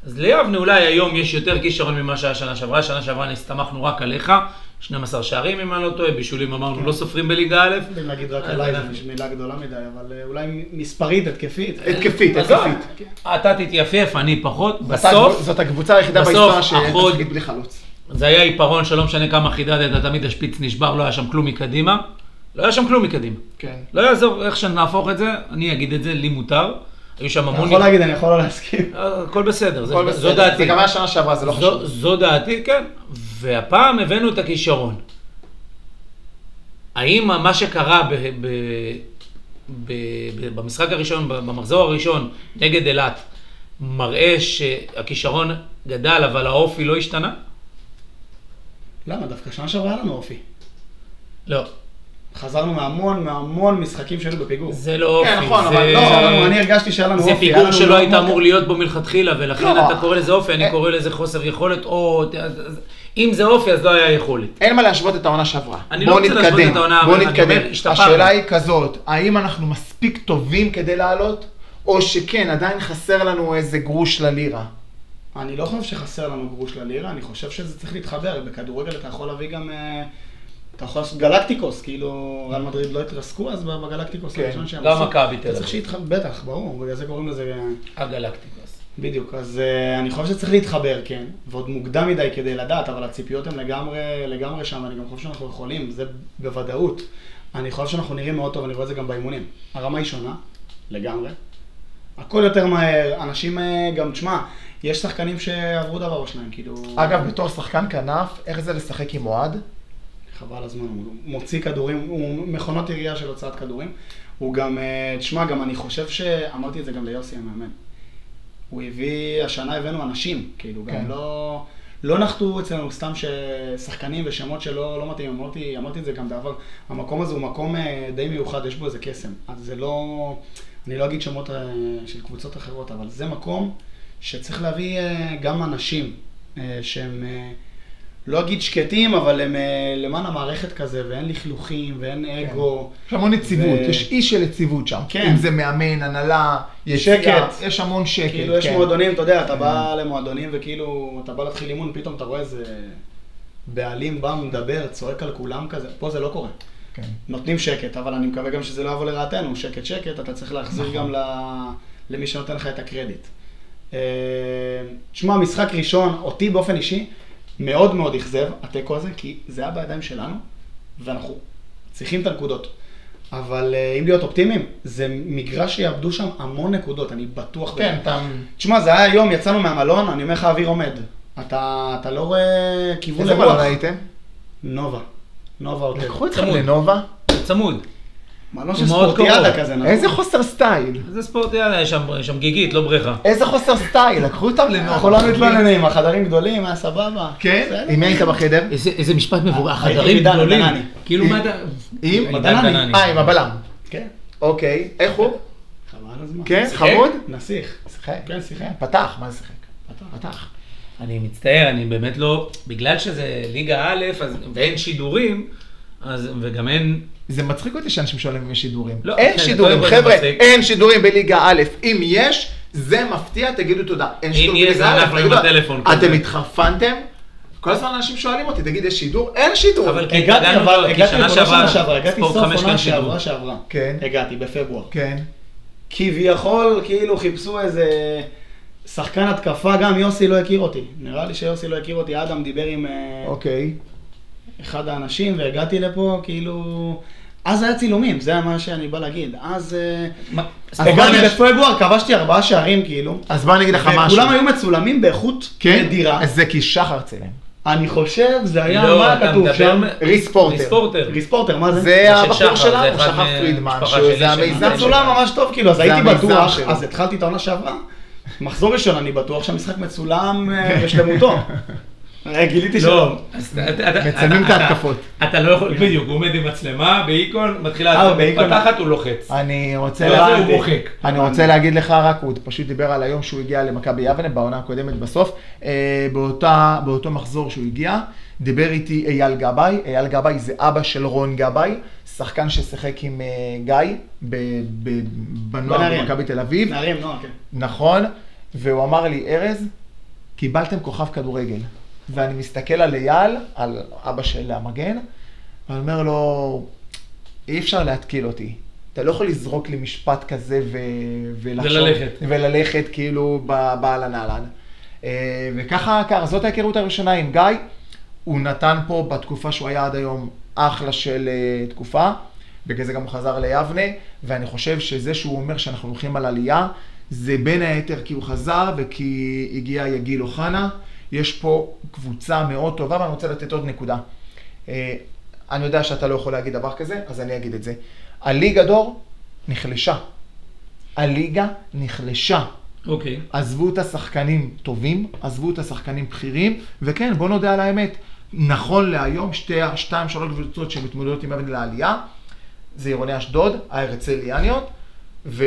Speaker 1: אז ליבנה אולי היום יש יותר כישרון ממה שהיה שנה שעברה, שנה שעברה הסתמכנו רק עליך, 12 שערים אם אני לא טועה, בישולים
Speaker 4: כן.
Speaker 1: אמרנו לא סופרים בליגה א',
Speaker 5: אם להגיד רק
Speaker 1: אז
Speaker 5: עליי,
Speaker 1: אנחנו-
Speaker 5: זו מילה גדולה מדי, אבל אה, אולי מספרית, התקפית.
Speaker 1: אה,
Speaker 4: התקפית,
Speaker 1: עזוב,
Speaker 4: התקפית.
Speaker 1: אתה תתייפף, אני פחות,
Speaker 4: אתה-
Speaker 1: בסוף
Speaker 4: זאת הקבוצה היחידה
Speaker 1: בסוף,
Speaker 4: בהיסטוריה
Speaker 1: החוד-
Speaker 4: שתפקיד בלי חלוץ.
Speaker 1: זה היה עיפרון שלא משנה כמה חידדת, תמיד השפיץ נשבר, לא היה שם כלום מקדימה, לא היה שם כלום מקדימה.
Speaker 4: כן.
Speaker 1: לא יעזור איך שנהפוך את זה, אני אגיד את זה, לי מותר. היו שם
Speaker 5: אתה
Speaker 1: המון...
Speaker 5: יכול להגיד, אני יכול לא להסכים.
Speaker 1: אה, הכל בסדר, זה-
Speaker 4: הכל
Speaker 1: זו
Speaker 4: בסדר.
Speaker 1: דעתי.
Speaker 4: זה גם היה שנה שעברה, זה לא
Speaker 1: זו-
Speaker 4: חשוב.
Speaker 1: זו דעתי, כן. והפעם הבאנו את הכישרון. האם מה שקרה ב, ב, ב, ב, במשחק הראשון, ב- במחזור הראשון, נגד אילת, מראה שהכישרון גדל, אבל האופי לא השתנה?
Speaker 5: למה? דווקא שנה שעברה היה לנו אופי.
Speaker 1: לא.
Speaker 5: חזרנו מהמון מהמון משחקים שהיו בפיגור.
Speaker 1: זה לא אופי.
Speaker 4: נכון,
Speaker 1: זה...
Speaker 4: אבל
Speaker 5: לא, אבל אני הרגשתי שהיה לנו אופי.
Speaker 1: זה
Speaker 5: היה
Speaker 1: פיגור
Speaker 5: לנו לא
Speaker 1: שלא
Speaker 5: מאוד
Speaker 1: היית
Speaker 5: מאוד-
Speaker 1: אמור להיות בו מלכתחילה, ולכן
Speaker 4: לא.
Speaker 1: אתה קורא לזה אופי, אני קורא לזה חוסר יכולת, או... אם זה אופי, אז לא היה יכולת.
Speaker 4: אין מה להשוות את העונה שעברה.
Speaker 1: אני
Speaker 4: בואו
Speaker 1: לא רוצה להשוות
Speaker 4: נתקדם,
Speaker 1: את העונה,
Speaker 4: בואו
Speaker 1: אבל אני
Speaker 4: נתקדם.
Speaker 1: אומר, השתפרנו.
Speaker 4: השאלה היא כזאת, האם אנחנו מספיק טובים כדי לעלות, או שכן, עדיין חסר לנו איזה גרוש ללירה.
Speaker 5: אני לא חושב שחסר לנו גרוש ללירה, אני חושב שזה צריך להתחבר. בכדורגל אתה יכול להביא גם... אה, אתה יכול לעשות גלקטיקוס, כאילו, ריאל מדריד לא התרסקו אז בגלקטיקוס
Speaker 4: כן,
Speaker 5: הראשון שהם
Speaker 1: גם מכבי תל
Speaker 5: אתה צריך
Speaker 1: אביב.
Speaker 5: שיתחבר, בטח, ברור, בגלל זה קוראים לזה... אה,
Speaker 1: הגלקטיקוס.
Speaker 5: בדיוק, אז אה, אני חושב שצריך להתחבר, כן, ועוד מוקדם מדי כדי לדעת, אבל הציפיות הן לגמרי, לגמרי שם, אני גם חושב שאנחנו יכולים, זה בוודאות. אני חושב שאנחנו נראים מאוד טוב, אני רואה את זה גם באימונים. הרמה היא שונה, לגמרי. הכל יותר מהר, אנשים אה, גם, תשמע, יש שחקנים שעברו דבר או שניים, כאילו...
Speaker 4: אגב, בתור שחקן כנף, איך זה לשחק עם אוהד?
Speaker 5: חבל הזמן, הוא מוציא כדורים, הוא מכונת עירייה של הוצאת כדורים. הוא גם, אה, תשמע, גם אני חושב ש... אמרתי את זה גם ליוסי המאמן. הוא הביא, השנה הבאנו אנשים, כאילו, גם
Speaker 4: כן.
Speaker 5: לא... לא נחתו אצלנו סתם ששחקנים ושמות שלא לא מתאים, אמרתי, אמרתי את זה גם בעבר, המקום הזה הוא מקום אה, די מיוחד, יש בו איזה קסם. אז זה לא, אני לא אגיד שמות אה, של קבוצות אחרות, אבל זה מקום שצריך להביא אה, גם אנשים אה, שהם אה, לא אגיד שקטים, אבל הם אה, למען המערכת כזה, ואין לכלוכים, ואין
Speaker 4: כן.
Speaker 5: אגו.
Speaker 4: יש המון יציבות,
Speaker 5: ו-
Speaker 4: יש אי של יציבות שם.
Speaker 5: כן.
Speaker 4: אם זה מאמן, הנהלה, יציאה,
Speaker 5: שקט.
Speaker 4: יש המון שקט.
Speaker 5: כאילו, יש
Speaker 4: כן.
Speaker 5: מועדונים, אתה יודע, אתה בא למועדונים וכאילו, אתה בא להתחיל אימון, פתאום אתה רואה איזה בעלים בא, מדבר, צועק על כולם כזה, פה זה לא קורה.
Speaker 4: כן.
Speaker 5: נותנים שקט, אבל אני מקווה גם שזה לא יבוא לרעתנו, שקט שקט, אתה צריך
Speaker 4: נכון.
Speaker 5: להחזיר גם ל- למי שנותן לך את הקרדיט. אה, תשמע, משחק ראשון, אותי באופן אישי, מאוד מאוד אכזב, התיקו הזה, כי זה היה בידיים שלנו, ואנחנו צריכים את הנקודות. אבל אה, אם להיות אופטימיים, זה מגרש שיאבדו שם המון נקודות, אני בטוח.
Speaker 4: כן,
Speaker 5: בזה.
Speaker 4: אתה...
Speaker 5: תשמע, זה היה היום, יצאנו מהמלון, אני אומר לך, האוויר עומד. אתה, אתה לא רואה כיוון
Speaker 4: איזה נכון.
Speaker 5: לרוח.
Speaker 4: מלון הייתם?
Speaker 5: נובה. נובה
Speaker 1: כן,
Speaker 5: אותך.
Speaker 4: לקחו אתכם
Speaker 1: צמוד.
Speaker 4: לנובה?
Speaker 1: זה צמוד.
Speaker 5: מלון
Speaker 1: הוא
Speaker 5: של
Speaker 1: מאוד
Speaker 5: ספורטיאדה
Speaker 1: קרוב.
Speaker 5: כזה, נכון?
Speaker 4: איזה חוסר סטייל.
Speaker 1: זה ספורט, יאללה, יש שם, יש שם גיגית, לא בריכה.
Speaker 4: איזה חוסר סטייל, לקחו אותם לנובה.
Speaker 5: אנחנו לא מתלוננים, החדרים גדולים, היה סבבה.
Speaker 4: נכון. כן?
Speaker 5: בסדר.
Speaker 4: עם מי היית בחדר?
Speaker 1: איזה, איזה משפט מבורך,
Speaker 4: אה,
Speaker 5: הייתי
Speaker 1: חדרים
Speaker 5: עם עידן
Speaker 1: גדולים.
Speaker 5: עדנני.
Speaker 1: כאילו מה אתה...
Speaker 4: לא עם
Speaker 1: עידן
Speaker 5: עדנני.
Speaker 1: עדנני.
Speaker 4: אה, עם הבלם.
Speaker 5: כן.
Speaker 4: אוקיי. איך הוא?
Speaker 5: חבל הזמן.
Speaker 4: כן,
Speaker 1: שיחק?
Speaker 4: חמוד?
Speaker 5: נסיך.
Speaker 4: שיחק.
Speaker 5: כן, שיחק.
Speaker 4: פתח, מה זה שיחק?
Speaker 5: פתח.
Speaker 4: פתח.
Speaker 1: אני מצטער, אני באמת לא... בגלל שזה ליגה א' אז, ואין שידורים, אז, וגם אין...
Speaker 4: זה מצחיק אותי שאנשים שואלים אם יש שידורים.
Speaker 1: לא,
Speaker 4: אין
Speaker 1: בסדר,
Speaker 4: שידורים,
Speaker 1: קודם כל זה
Speaker 4: חבר'ה,
Speaker 1: מצחיק.
Speaker 4: אין שידורים בליגה אא. אם יש, זה מפתיע, תגידו תודה. אין שידורים
Speaker 1: יש,
Speaker 4: בליגה א',
Speaker 1: אנחנו עם
Speaker 4: תגידו,
Speaker 1: הטלפון כזה.
Speaker 4: אתם התחרפנתם? כל הזמן אנשים שואלים אותי, תגיד, יש שידור? אין שידור.
Speaker 1: אבל כי
Speaker 5: הגעתי
Speaker 1: התרגלנו,
Speaker 5: אבל,
Speaker 1: כי
Speaker 5: הגעתי
Speaker 1: שנה
Speaker 5: לפה לא שנה
Speaker 1: שעברה,
Speaker 5: שעברה, הגעתי
Speaker 1: ספורט
Speaker 5: סוף
Speaker 1: חמש
Speaker 5: עונה
Speaker 1: כאן שידרו.
Speaker 5: שעברה שעברה.
Speaker 4: כן.
Speaker 5: הגעתי בפברואר.
Speaker 4: כן.
Speaker 5: כביכול, כאילו חיפשו איזה שחקן התקפה, גם יוסי לא הכיר אותי. נראה לי שיוסי לא הכיר אותי, אדם דיבר עם אה,
Speaker 4: אוקיי.
Speaker 5: אחד האנשים והגעתי לפה, כאילו... אז היה צילומים, זה מה שאני בא להגיד. אז... אה, אז הגעתי בפברואר, כבשתי ארבעה שערים, כאילו.
Speaker 4: אז בוא אני אגיד לך משהו.
Speaker 5: וכולם היו מצולמים באיכות
Speaker 4: כן?
Speaker 5: נדירה.
Speaker 4: אז זה כי שחר צילם.
Speaker 5: אני חושב, זה היה,
Speaker 1: לא,
Speaker 5: מה
Speaker 1: אתה
Speaker 5: כתוב
Speaker 1: מדבר
Speaker 5: שם?
Speaker 1: מ-
Speaker 4: ריספורטר.
Speaker 1: ריספורטר.
Speaker 5: ריספורטר, מה זה?
Speaker 4: זה
Speaker 1: של
Speaker 4: הבחור
Speaker 1: שחר, זה
Speaker 4: שלנו,
Speaker 1: אחד
Speaker 4: שחר
Speaker 1: מ-
Speaker 4: פרידמן,
Speaker 1: משפחה
Speaker 4: שהוא-
Speaker 1: שלי,
Speaker 4: זה
Speaker 1: של-
Speaker 4: המיזם
Speaker 5: זה צולם
Speaker 4: שלנו.
Speaker 5: ממש טוב, כאילו, אז
Speaker 4: זה
Speaker 5: הייתי
Speaker 4: המיזם
Speaker 5: בטוח,
Speaker 4: שלו.
Speaker 5: אז התחלתי את העונה שעברה. מחזור ראשון, אני בטוח שהמשחק מצולם אה, בשלמותו. אה, גיליתי שלא.
Speaker 1: לא, אז אתה- אתה- אתה-
Speaker 4: מצלמים את
Speaker 1: אתה-
Speaker 4: ההתקפות.
Speaker 1: אתה לא יכול, בדיוק, הוא עומד עם מצלמה, באיקון, מתחילה,
Speaker 5: אה,
Speaker 1: ההתקפה,
Speaker 5: באיקון.
Speaker 1: פתחת, הוא לוחץ.
Speaker 4: אני רוצה...
Speaker 1: לא,
Speaker 4: לה-
Speaker 1: הוא מוחק.
Speaker 4: אני רוצה להגיד לך רק, הוא פשוט דיבר על היום שהוא הגיע למכבי יבנה, בעונה הקודמת בסוף, אה, באותה, באותו מחזור שהוא הגיע, דיבר איתי אייל גבאי, אייל גבאי זה אבא של רון גבאי, שחקן ששיחק עם אה, גיא ב- ב- בנוער
Speaker 5: בנערים.
Speaker 4: במכבי תל אביב,
Speaker 5: נערים, נוער, כן.
Speaker 4: נכון, והוא אמר לי, ארז, קיבלתם כוכב כדורגל. ואני מסתכל על אייל, על אבא של המגן, ואני אומר לו, אי אפשר להתקיל אותי. אתה לא יכול לזרוק לי משפט כזה ו... ולחשוב...
Speaker 1: וללכת.
Speaker 4: וללכת כאילו ב- באהלן אהלן. אה, וככה, ככה, זאת ההיכרות הראשונה עם גיא. הוא נתן פה בתקופה שהוא היה עד היום אחלה של אה, תקופה. בגלל זה גם הוא חזר ליבנה, ואני חושב שזה שהוא אומר שאנחנו הולכים על עלייה, זה בין היתר כי הוא חזר וכי הגיע יגיל אוחנה. יש פה קבוצה מאוד טובה, ואני רוצה לתת עוד נקודה. אה, אני יודע שאתה לא יכול להגיד דבר כזה, אז אני אגיד את זה. הליגה דור נחלשה. הליגה נחלשה.
Speaker 1: אוקיי.
Speaker 4: עזבו את השחקנים טובים, עזבו את השחקנים בכירים, וכן, בואו נודה על האמת, נכון להיום, שתי, שתיים, שלוש קבוצות שמתמודדות עם אבן לעלייה, זה עירוני אשדוד, ההרצליאניות, ו...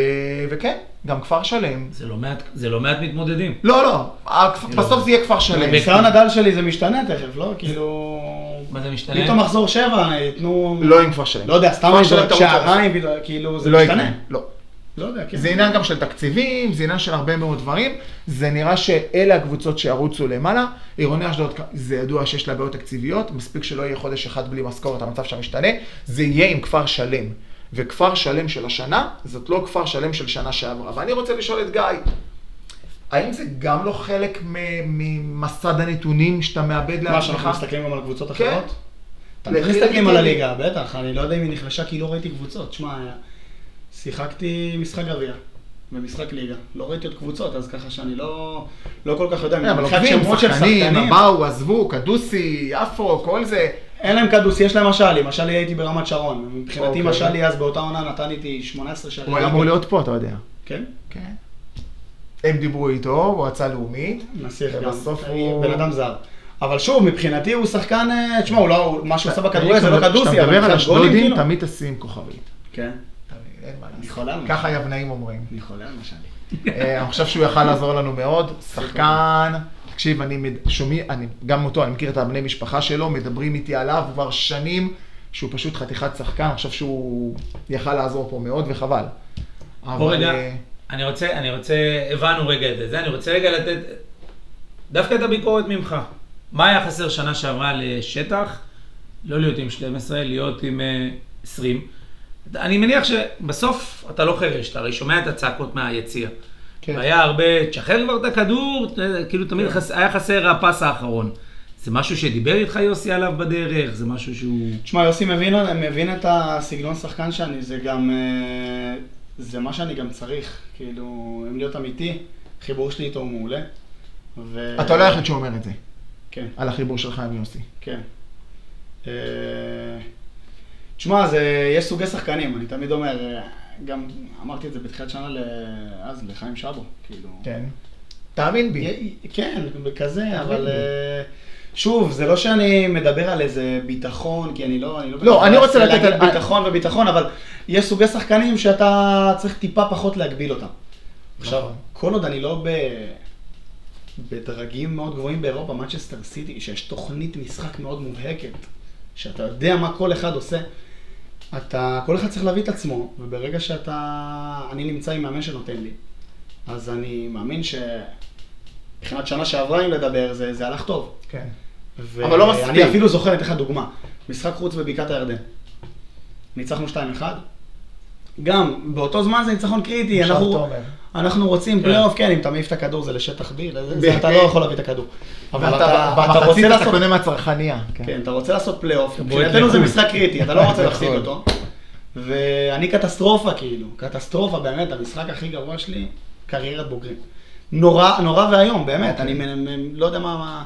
Speaker 4: וכן, גם כפר שלם.
Speaker 1: זה לא מעט- זה לא מעט מתמודדים.
Speaker 4: לא, לא, הכפ- בסוף זה יהיה כפר שלם.
Speaker 5: ניסיון הדל שלי זה משתנה תכף, לא? כאילו...
Speaker 1: מה זה משתנה?
Speaker 5: פתאום מחזור שבע, ייתנו...
Speaker 4: לא עם כפר שלם.
Speaker 5: לא יודע, סתם
Speaker 4: כפר
Speaker 5: אני
Speaker 4: שלם
Speaker 5: זורק
Speaker 4: תרוץ
Speaker 5: שעריים, פתאום, כאילו,
Speaker 4: זה
Speaker 5: זה
Speaker 4: לא יקרה.
Speaker 5: משתנה.
Speaker 4: לא.
Speaker 5: לא יודע, כן.
Speaker 4: זה עניין גם של תקציבים, זה עניין של הרבה מאוד דברים. זה נראה שאלה הקבוצות שירוצו למעלה. עירוני אשדוד, זה ידוע שיש לה בעיות תקציביות, מספיק שלא יהיה חודש אחד בלי משכורת, המצב שם משתנה. זה יהיה עם כפר שלם. וכפר שלם של השנה, זאת לא כפר שלם של שנה שעברה. ואני רוצה לשאול את גיא, האם זה גם לא חלק מ- ממסד הנתונים שאתה מאבד
Speaker 5: מה, שאנחנו
Speaker 4: לעצמך?
Speaker 5: מסתכלים גם על קבוצות
Speaker 4: כן.
Speaker 5: אחרות?
Speaker 4: לחי-
Speaker 5: תמיד מסתכלים על
Speaker 4: לחי-
Speaker 5: הליגה, בטח, אני לא יודע אם היא נחלשה כי לא ראיתי קבוצות. שמע, שיחקתי משחק גביע ומשחק ליגה, לא ראיתי עוד קבוצות, אז ככה שאני לא, לא כל כך יודע.
Speaker 4: כן, אבל
Speaker 5: מבחינת
Speaker 4: עוקבים,
Speaker 5: שמות של
Speaker 4: שחקנים, הם
Speaker 5: שחקנים,
Speaker 4: באו, עזבו, קדוסי, יפו, כל זה.
Speaker 5: אין להם קדוס, יש להם משלי, משלי הייתי ברמת שרון. מבחינתי
Speaker 4: אוקיי.
Speaker 5: משלי אז באותה עונה נתן איתי 18 שערים.
Speaker 4: הוא היה אמור להיות פה, אתה יודע.
Speaker 5: כן,
Speaker 4: כן. הם דיברו איתו, מועצה לאומית.
Speaker 5: נסיך גם.
Speaker 4: ובסוף
Speaker 5: הוא...
Speaker 4: כן, הוא-
Speaker 5: בן אדם זר. אבל שוב, מבחינתי הוא שחקן, אה, תשמע, הוא לא, הוא- מה שהוא עושה בכדורגל זה לא
Speaker 4: כשאתה
Speaker 5: קדוסי, אבל
Speaker 4: מדבר על
Speaker 5: מבחינת גולים,
Speaker 4: אשדודים,
Speaker 5: כאילו.
Speaker 4: תמיד תשים כוכבית.
Speaker 5: כן,
Speaker 4: תמיד, אין מה לעשות.
Speaker 5: אני חולה על
Speaker 4: ככה יבנאים אומרים.
Speaker 5: אני חולה על משלי.
Speaker 4: אה, אני חושב שהוא יכל לעזור לנו מאוד. שחקן, תקשיב, אני מד- שומע, אני, גם אותו, אני מכיר את הבני משפחה שלו, מדברים איתי עליו כבר שנים, שהוא פשוט חתיכת שחקן, אני חושב שהוא יכל לעזור פה מאוד, וחבל.
Speaker 1: בוא
Speaker 4: אבל
Speaker 1: רגע,
Speaker 4: אה,
Speaker 1: אני רוצה, אני רוצה, הבנו רגע את זה, אני רוצה רגע לתת דווקא את הביקורת ממך. מה היה חסר שנה שעברה לשטח? לא להיות עם 12, להיות עם אה, 20. אני מניח שבסוף אתה לא חירש, אתה הרי שומע את הצעקות מהיציע.
Speaker 4: כן.
Speaker 1: והיה הרבה, תשחרר כבר את הכדור, ת- כאילו
Speaker 5: כן.
Speaker 1: תמיד חס, היה חסר הפס האחרון. זה משהו שדיבר איתך יוסי עליו בדרך, זה משהו שהוא...
Speaker 5: תשמע, יוסי מבין, מבין את הסגנון שחקן שאני, זה גם... אה, זה מה שאני גם צריך, כאילו, אם להיות אמיתי, החיבור שלי איתו הוא מעולה. ו...
Speaker 4: אתה לא היחיד שאומר את זה,
Speaker 5: כן,
Speaker 4: על החיבור שלך עם יוסי.
Speaker 5: כן. אה, תשמע, זה... יש סוגי שחקנים, אני תמיד אומר, אה, גם אמרתי את זה בתחילת שנה ל... אז, לחיים שבו, כאילו.
Speaker 4: כן. תאמין בי.
Speaker 5: י- כן, בכזה, אבל... אה, שוב, זה לא שאני מדבר על איזה ביטחון, כי אני לא...
Speaker 4: לא, אני רוצה לתת
Speaker 5: להגיד
Speaker 4: על-
Speaker 5: ביטחון וביטחון, אבל יש סוגי שחקנים שאתה צריך טיפה פחות להגביל אותם. עכשיו,
Speaker 4: נכון.
Speaker 5: כל עוד אני לא ב... בדרגים מאוד גבוהים באירופה, מנצ'סטר סיטי, שיש תוכנית משחק מאוד מובהקת, שאתה יודע מה כל אחד עושה. אתה, כל אחד צריך להביא את עצמו, וברגע שאתה, אני נמצא עם מאמן שנותן לי, אז אני מאמין שמבחינת שנה שעברה, אם לדבר, זה, זה הלך טוב.
Speaker 4: כן.
Speaker 5: אבל לא מספיק. אני אפילו זוכר, אני אתן לך דוגמה. משחק חוץ בבקעת הירדן. ניצחנו 2-1. גם, באותו זמן זה ניצחון קריטי.
Speaker 4: עכשיו
Speaker 5: אנחנו-
Speaker 4: אתה אומר.
Speaker 5: אנחנו רוצים פלייאוף, כן, אם אתה מעיף את הכדור זה לשטח B, לזה- זה אתה לא יכול להביא את הכדור.
Speaker 4: אבל
Speaker 5: ואתה-
Speaker 4: אתה
Speaker 5: ואתה רוצה
Speaker 4: במחצית אתה
Speaker 5: לעשות-
Speaker 4: קונה מהצרכניה.
Speaker 5: כן, אתה רוצה לעשות פלייאוף,
Speaker 1: בועט
Speaker 5: מבחינתנו זה
Speaker 1: לחו"ל.
Speaker 5: משחק קריטי, אתה לא רוצה להפסיד
Speaker 4: נכון.
Speaker 5: אותו. ואני קטסטרופה כאילו, קטסטרופה באמת, המשחק הכי גרוע שלי, קריירת בוגרים. נורא, נורא ואיום, באמת, אני מ- מ- לא יודע מה... מה...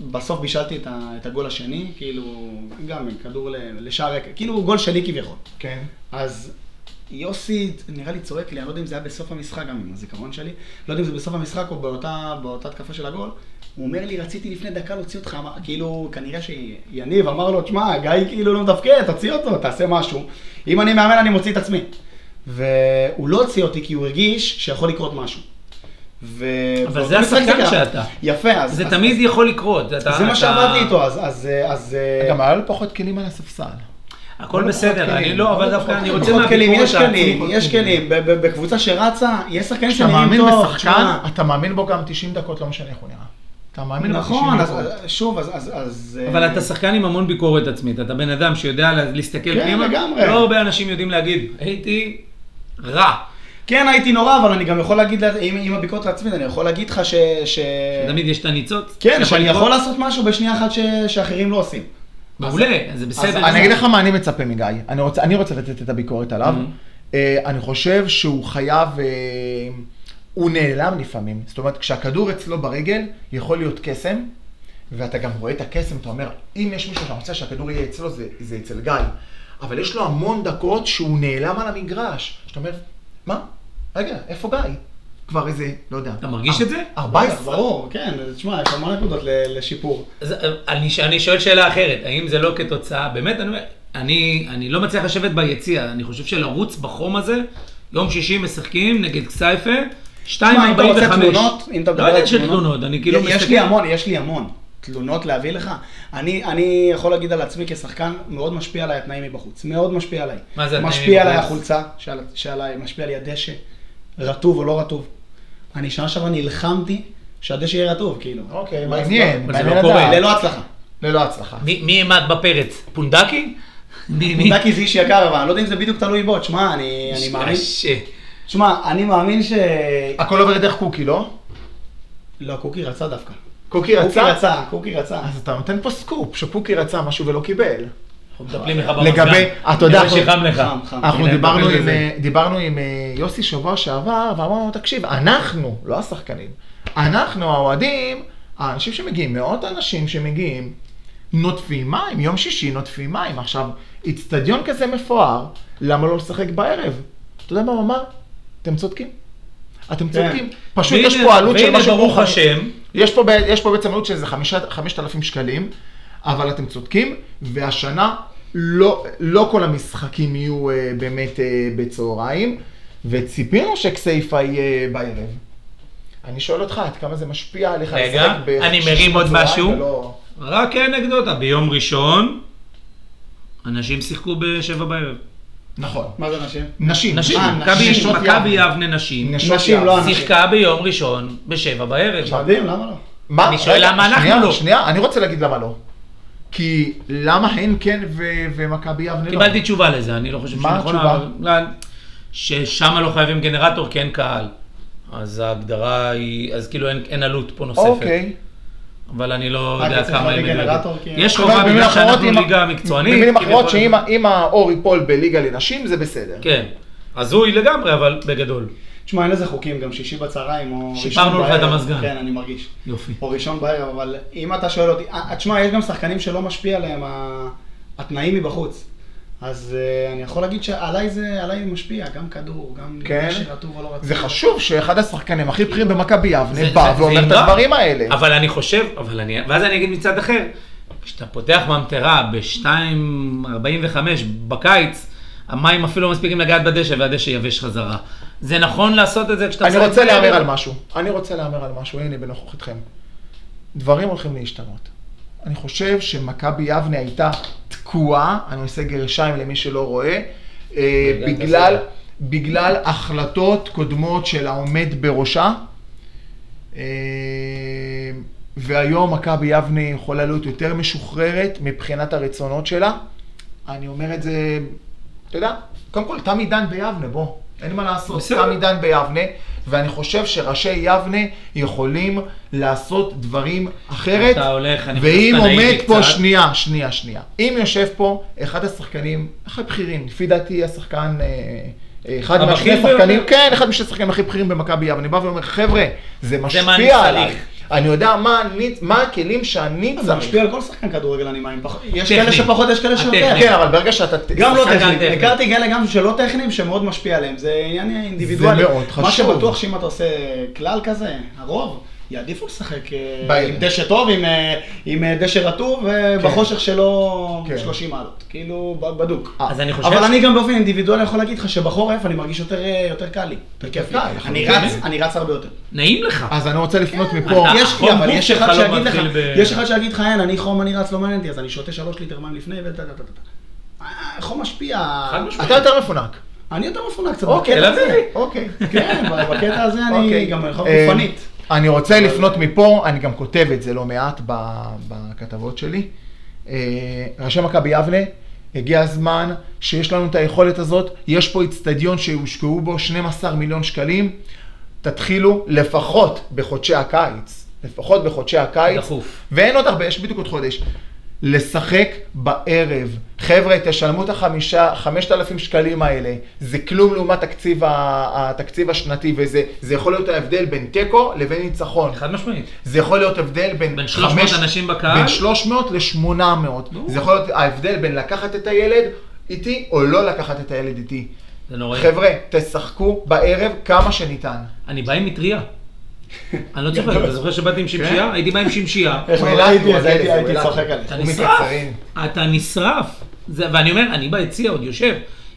Speaker 5: ובסוף בישלתי את, ה, את הגול השני, כאילו, גם כדור ל- לשער, ריק, כאילו גול שלי כביכול.
Speaker 4: כן.
Speaker 5: אז יוסי, נראה לי צועק לי, אני לא יודע אם זה היה בסוף המשחק, גם עם הזיכרון שלי, לא יודע אם זה בסוף המשחק או באותה, באותה תקפה של הגול, הוא אומר לי, רציתי לפני דקה להוציא אותך, אמר- כאילו, כנראה שיניב אמר לו, תשמע, גיא כאילו לא מתפקד, תוציא אותו, תעשה משהו. אם אני מאמן, אני מוציא את עצמי. והוא לא הוציא אותי כי הוא הרגיש שיכול לקרות משהו. ו...
Speaker 1: אבל
Speaker 5: באותו
Speaker 1: זה
Speaker 5: משחק
Speaker 1: השחקן
Speaker 5: קרה.
Speaker 1: שאתה.
Speaker 5: יפה, אז...
Speaker 1: זה
Speaker 5: אז-
Speaker 1: תמיד יכול לקרות. אתה-
Speaker 5: זה מה
Speaker 1: אתה-
Speaker 5: שעבדתי איתו, אז... אז, אז
Speaker 4: אה, גם היה לו פחות כלים על הספסל.
Speaker 1: הכל
Speaker 4: לא פחות
Speaker 1: בסדר, אני
Speaker 4: כלים.
Speaker 1: לא, אבל
Speaker 4: לא
Speaker 1: דווקא
Speaker 4: פחות
Speaker 1: אני
Speaker 4: כלים.
Speaker 1: רוצה
Speaker 5: פחות כלים, יש כלים,
Speaker 1: העצמית.
Speaker 5: יש כלים. ב- ב- בקבוצה שרצה, יש שחקנים
Speaker 4: כשאתה
Speaker 5: שנראים
Speaker 4: מאמין
Speaker 5: טוב.
Speaker 4: בשחקן,
Speaker 5: תשמע.
Speaker 4: אתה מאמין בו גם 90 דקות, לא משנה איך הוא נראה. אתה מאמין בו 90
Speaker 5: נכון, אז
Speaker 4: דקות.
Speaker 5: אז- שוב, אז- אז... אז,
Speaker 1: אבל
Speaker 5: אה,
Speaker 1: אתה שחקן עם המון ביקורת עצמית, אתה בן אדם שיודע לה- להסתכל
Speaker 5: כן,
Speaker 1: פנימה,
Speaker 5: לגמרי.
Speaker 1: לא הרבה אנשים יודעים להגיד, הייתי רע.
Speaker 5: כן, הייתי נורא, אבל אני גם יכול להגיד, לה- עם עם הביקורת העצמית, אני יכול להגיד לך ש... ש-
Speaker 1: תמיד יש את הניצוץ.
Speaker 5: כן, שאני
Speaker 1: לקרות.
Speaker 5: יכול לעשות משהו בשנייה אחת ש- שאחרים לא עושים.
Speaker 1: מעולה, זה
Speaker 4: אז
Speaker 1: בסדר.
Speaker 4: אני אגיד לך מה אני מצפה מגיא. אני רוצה- אני רוצה לתת את הביקורת עליו.
Speaker 1: Mm-hmm.
Speaker 4: אה, אני חושב שהוא חייב... אה, הוא נעלם לפעמים. זאת אומרת, כשהכדור אצלו ברגל, יכול להיות קסם, ואתה גם רואה את הקסם, אתה אומר, אם יש מישהו שרוצה שהכדור יהיה אצלו, זה, זה אצל גיא. אבל יש לו המון דקות שהוא נעלם על המגרש. שאתה אומר, מה? רגע, איפה גיא? כבר איזה, לא יודע.
Speaker 1: אתה מרגיש את זה?
Speaker 4: 14?
Speaker 5: ברור, כן, תשמע, יש המון נקודות ל- לשיפור.
Speaker 1: אז אה, אני, ש- אני שואל שאלה אחרת, האם זה לא כתוצאה, באמת, אני אומר, אני, אני לא מצליח לשבת ביציע, אני חושב שלרוץ בחום הזה, יום שישי משחקים נגד כסייפה, 2.45.
Speaker 5: תשמע, אם אתה רוצה תלונות, אם אתה
Speaker 1: לא
Speaker 5: מדבר
Speaker 1: יודע
Speaker 5: על
Speaker 1: של תלונות, אני כאילו
Speaker 5: יש לי המון, יש לי המון תלונות להביא לך. אני, אני יכול להגיד על עצמי כשחקן, מאוד משפיע עליי התנאים מבחוץ, מאוד משפיע עליי.
Speaker 1: מה זה התנאים
Speaker 5: משפיע עליי
Speaker 1: מבחוץ?
Speaker 5: החולצה שעל, שעליי, משפיע עליי הדשא, רטוב או לא רטוב. אני שנה שעברה נלחמתי שהדשא יהיה רטוב, כאילו.
Speaker 4: אוקיי,
Speaker 5: אז
Speaker 4: מעניין.
Speaker 1: אבל זה
Speaker 4: מעניין
Speaker 1: לא קורה.
Speaker 4: לדעת.
Speaker 5: ללא הצלחה.
Speaker 4: ללא הצלחה.
Speaker 1: מי מי עמד בפרץ? פונדקי? מי- מי?
Speaker 5: דקי זה איש יקר, אבל אני לא יודע אם זה בדיוק תלוי בו, תשמע, אני, אני מאמין,
Speaker 1: ש-
Speaker 5: תשמע, אני מאמין ש...
Speaker 4: הכל עובר דרך קוקי, לא?
Speaker 5: לא, קוקי רצה דווקא.
Speaker 4: קוקי
Speaker 5: קוקי
Speaker 4: רצה?
Speaker 5: רצה, קוקי רצה.
Speaker 4: אז אתה נותן פה סקופ, שקוקי רצה משהו ולא קיבל.
Speaker 1: אנחנו מטפלים לך במזגן.
Speaker 4: לגבי- אתה יודע,
Speaker 1: נראה שחם לך.
Speaker 5: חם, חם.
Speaker 4: אנחנו
Speaker 1: הנה,
Speaker 4: דיברנו
Speaker 1: נטפל
Speaker 4: עם,
Speaker 1: בזה.
Speaker 4: אה, דיברנו עם אה, יוסי שבוע שעבר, ואמרנו, תקשיב, אנחנו, לא השחקנים, אנחנו האוהדים, האנשים שמגיעים, מאות אנשים שמגיעים, נוטפים מים, יום שישי נוטפים מים. עכשיו, איצטדיון כזה מפואר, למה לא לשחק בערב? אתה יודע מה הוא אמר? אתם צודקים. אתם
Speaker 5: כן.
Speaker 4: צודקים. פשוט יש
Speaker 1: והנה-
Speaker 4: פה עלות של
Speaker 1: והנה,
Speaker 4: משהו
Speaker 1: ברוך
Speaker 4: כמו חמש-
Speaker 1: השם.
Speaker 4: יש פה, ב- יש פה בעצם עלות של איזה חמישה- 5,000 שקלים, אבל אתם צודקים, והשנה לא, לא כל המשחקים יהיו אה, באמת אה, בצהריים, וציפינו שכסייפה יהיה בערב. אני שואל אותך, עד כמה זה משפיע עליך
Speaker 1: רגע, אני
Speaker 4: בשישי
Speaker 1: מרים עוד
Speaker 4: בצהריים
Speaker 1: משהו?
Speaker 4: ולא-
Speaker 1: רק אנקדוטה, ביום ראשון, אנשים שיחקו בשבע בערב.
Speaker 4: נכון.
Speaker 5: מה זה נשים?
Speaker 4: נשים.
Speaker 1: נשים,
Speaker 4: אה,
Speaker 1: מכבי
Speaker 4: נשות
Speaker 1: מכבי
Speaker 4: יבנה.
Speaker 1: יבנה נשים,
Speaker 4: נשות
Speaker 5: נשים,
Speaker 4: יבנה.
Speaker 5: לא אנשים.
Speaker 1: שיחקה ביום ראשון בשבע בערב.
Speaker 5: מדהים, למה לא?
Speaker 4: מה?
Speaker 1: אני שואל
Speaker 4: רגע,
Speaker 1: למה אנחנו
Speaker 4: שנייה,
Speaker 1: לא.
Speaker 4: שנייה, אני רוצה להגיד למה לא. כי למה הן כן ו- ומכבי יבנה לא?
Speaker 1: קיבלתי תשובה לזה, אני לא חושב
Speaker 4: מה
Speaker 1: שנכון,
Speaker 4: התשובה?
Speaker 1: אבל- ששם לא חייבים גנרטור כי אין קהל. אז ההגדרה היא, אז כאילו אין, אין עלות פה נוספת.
Speaker 4: אוקיי. אה,
Speaker 1: אבל אני לא
Speaker 5: רק
Speaker 1: יודע
Speaker 5: צריך
Speaker 1: כמה
Speaker 5: להביא
Speaker 1: הם
Speaker 5: גנרטור, כי-
Speaker 1: יש
Speaker 4: אבל
Speaker 1: חובה
Speaker 4: במילים
Speaker 1: בגלל
Speaker 4: אחרות,
Speaker 1: שאנחנו
Speaker 4: אם-
Speaker 1: ליגה מקצוענית.
Speaker 4: במילים אחרות,
Speaker 1: כביכול.
Speaker 4: שאם ה- אם האור ייפול בליגה לנשים, זה בסדר.
Speaker 1: כן. הזוי לגמרי, אבל בגדול.
Speaker 5: תשמע, אין לזה חוקים, גם שישי בצהריים או ראשון בערב.
Speaker 1: שיפרנו לך את המזגן.
Speaker 5: כן, אני מרגיש.
Speaker 1: יופי.
Speaker 5: או ראשון בערב, אבל אם אתה שואל אותי, אה, תשמע, יש גם שחקנים שלא משפיע עליהם ה- התנאים מבחוץ. אז אה, אני יכול להגיד שעליי זה, עליי משפיע, גם כדור, גם
Speaker 4: כן.
Speaker 5: שרטוב או לא רטוב.
Speaker 4: זה חשוב שאחד השחקנים הכי בכירים במכבי יבנה
Speaker 1: זה-
Speaker 4: בא
Speaker 1: זה- זה
Speaker 4: ואומר את
Speaker 1: ימנע.
Speaker 4: הדברים האלה.
Speaker 1: אבל אני חושב, אבל אני, ואז אני אגיד מצד אחר, כשאתה פותח ממטרה ב-2.45 בקיץ, המים אפילו לא מספיקים לגעת בדשא, והדשא יבש חזרה. זה נכון לעשות את זה כשאתה...
Speaker 4: אני
Speaker 1: משחק
Speaker 4: רוצה
Speaker 1: בערב?
Speaker 4: להמר על משהו. אני רוצה להמר על משהו, הנה בנוכחותכם. דברים הולכים להשתנות. אני חושב שמכבי יבנה הייתה תקועה, אני עושה גרשיים למי שלא רואה, אה,
Speaker 6: בגלל
Speaker 4: בגלל,
Speaker 6: בסדר.
Speaker 4: בגלל החלטות קודמות של העומד בראשה. אה, והיום מכבי יבנה יכולה להיות יותר משוחררת מבחינת הרצונות שלה. אני אומר את זה, אתה יודע, קודם כל תם עידן ביבנה, בוא, אין מה לעשות,
Speaker 1: בסדר.
Speaker 4: תם עידן ביבנה, ואני חושב שראשי יבנה יכולים לעשות דברים אחרת,
Speaker 1: אתה הולך, אני
Speaker 4: ואם
Speaker 1: מנסה להעיד
Speaker 4: עומד
Speaker 1: לי
Speaker 4: פה,
Speaker 1: קצת.
Speaker 4: שנייה, שנייה, שנייה, אם יושב פה אחד השחקנים הכי בכירים, לפי דעתי השחקן, אה, אה, אחד
Speaker 1: הבכיר
Speaker 4: מהשני
Speaker 1: ביותר.
Speaker 4: השחקנים, כן, אחד משני השחקנים הכי בכירים במכבי יבנה, בא ואומר, חבר'ה, זה
Speaker 1: אני
Speaker 4: משפיע עליי.
Speaker 1: צריך."
Speaker 4: אני יודע מה, אני, מה הכלים שאני
Speaker 5: זה
Speaker 4: צריך.
Speaker 5: משפיע על כל שחקן כדורגל הנימיים. יש
Speaker 1: טכני.
Speaker 5: כאלה שפחות, יש כאלה שיותר.
Speaker 1: הטכני.
Speaker 4: כן, אבל ברגע שאתה...
Speaker 5: גם לא
Speaker 1: שחקן
Speaker 5: טכניים,
Speaker 1: טכני.
Speaker 5: הכרתי כאלה גם שלא טכניים שמאוד משפיע עליהם, זה עניין אינדיבידואלי.
Speaker 4: זה מאוד
Speaker 5: מה
Speaker 4: חשוב.
Speaker 5: שבטוח שאם אתה עושה כלל כזה, הרוב יעדיפו לשחק אה,
Speaker 4: בערב.
Speaker 5: עם דשא טוב, עם, אה, עם אה, דשא רטוב, אה,
Speaker 4: כן.
Speaker 5: בחושך שלו
Speaker 4: כן.
Speaker 5: 30 מעלות, כאילו ב- בדוק.
Speaker 4: אה,
Speaker 1: אז אני חושב...
Speaker 5: אבל אני גם באופן אינדיבידואלי יכול להגיד לך שבחורף אני מרגיש יותר, אה, יותר קל לי, יותר כיף לי.
Speaker 4: קל,
Speaker 5: אני
Speaker 4: לחלוטין.
Speaker 5: רץ, אני רץ הרבה יותר.
Speaker 1: נעים לך.
Speaker 4: אז אני רוצה לפנות מפה.
Speaker 1: כן. אתה-
Speaker 5: יש,
Speaker 1: החום
Speaker 5: אבל
Speaker 1: גוף
Speaker 5: יש
Speaker 1: שלך
Speaker 5: אחד
Speaker 1: לא
Speaker 5: שיגיד לך,
Speaker 1: מתחיל ב-
Speaker 5: יש אחד שיגיד לך, אין, אני חום, אני רץ, לא מעניין אותי, אז אני שותה שלוש ליטר מים לפני ו... אה, חום משפיע.
Speaker 1: חד משמעית.
Speaker 4: אתה יותר מפונק.
Speaker 5: אני יותר מפונק קצת
Speaker 4: אוקיי,
Speaker 5: בקטע הזה.
Speaker 4: אוקיי.
Speaker 5: כן, בקטע הזה אני
Speaker 4: אוקיי.
Speaker 5: גם יכול
Speaker 4: אה,
Speaker 5: גופנית.
Speaker 4: אני רוצה לפנות מפה, אני גם כותב את זה לא מעט ב- בכתבות שלי. אה, ראשי מכבי יבנה, הגיע הזמן שיש לנו את היכולת הזאת, יש פה איצטדיון שהושקעו בו 12 מיליון שקלים, תתחילו לפחות בחודשי הקיץ, לפחות בחודשי הקיץ,
Speaker 1: דחוף.
Speaker 4: ואין עוד הרבה, יש בדיוק עוד חודש, לשחק בערב. חבר'ה, תשלמו את החמישה, חמשת אלפים שקלים האלה, זה כלום לעומת תקציב, ה- התקציב השנתי, וזה זה יכול להיות ההבדל בין תיקו לבין ניצחון.
Speaker 1: חד משמעית.
Speaker 4: זה יכול להיות הבדל בין...
Speaker 1: בין 300
Speaker 4: חמש-
Speaker 1: אנשים בקהל?
Speaker 4: בין 300 ל-800. זה יכול להיות ההבדל בין לקחת את הילד איתי, או לא לקחת את הילד איתי.
Speaker 1: זה נוראי.
Speaker 4: חבר'ה, תשחקו בערב כמה שניתן.
Speaker 1: אני בא עם מטריה. אני לא צריך לדעת, אתה זוכר שבאתי עם
Speaker 4: כן.
Speaker 1: שמשייה? הייתי בא עם שמשייה.
Speaker 5: איך
Speaker 4: הוא
Speaker 5: לא
Speaker 4: העלה לי,
Speaker 5: ראיתי,
Speaker 4: הוא
Speaker 5: אז
Speaker 4: עלה לי,
Speaker 5: הייתי
Speaker 4: הוא
Speaker 5: הייתי
Speaker 4: העלה לי.
Speaker 5: צוחק עליך.
Speaker 1: אתה
Speaker 4: הוא
Speaker 1: נשרף.
Speaker 4: מקצרין.
Speaker 1: אתה נשרף. זה- ואני אומר, אני ביציע עוד יושב.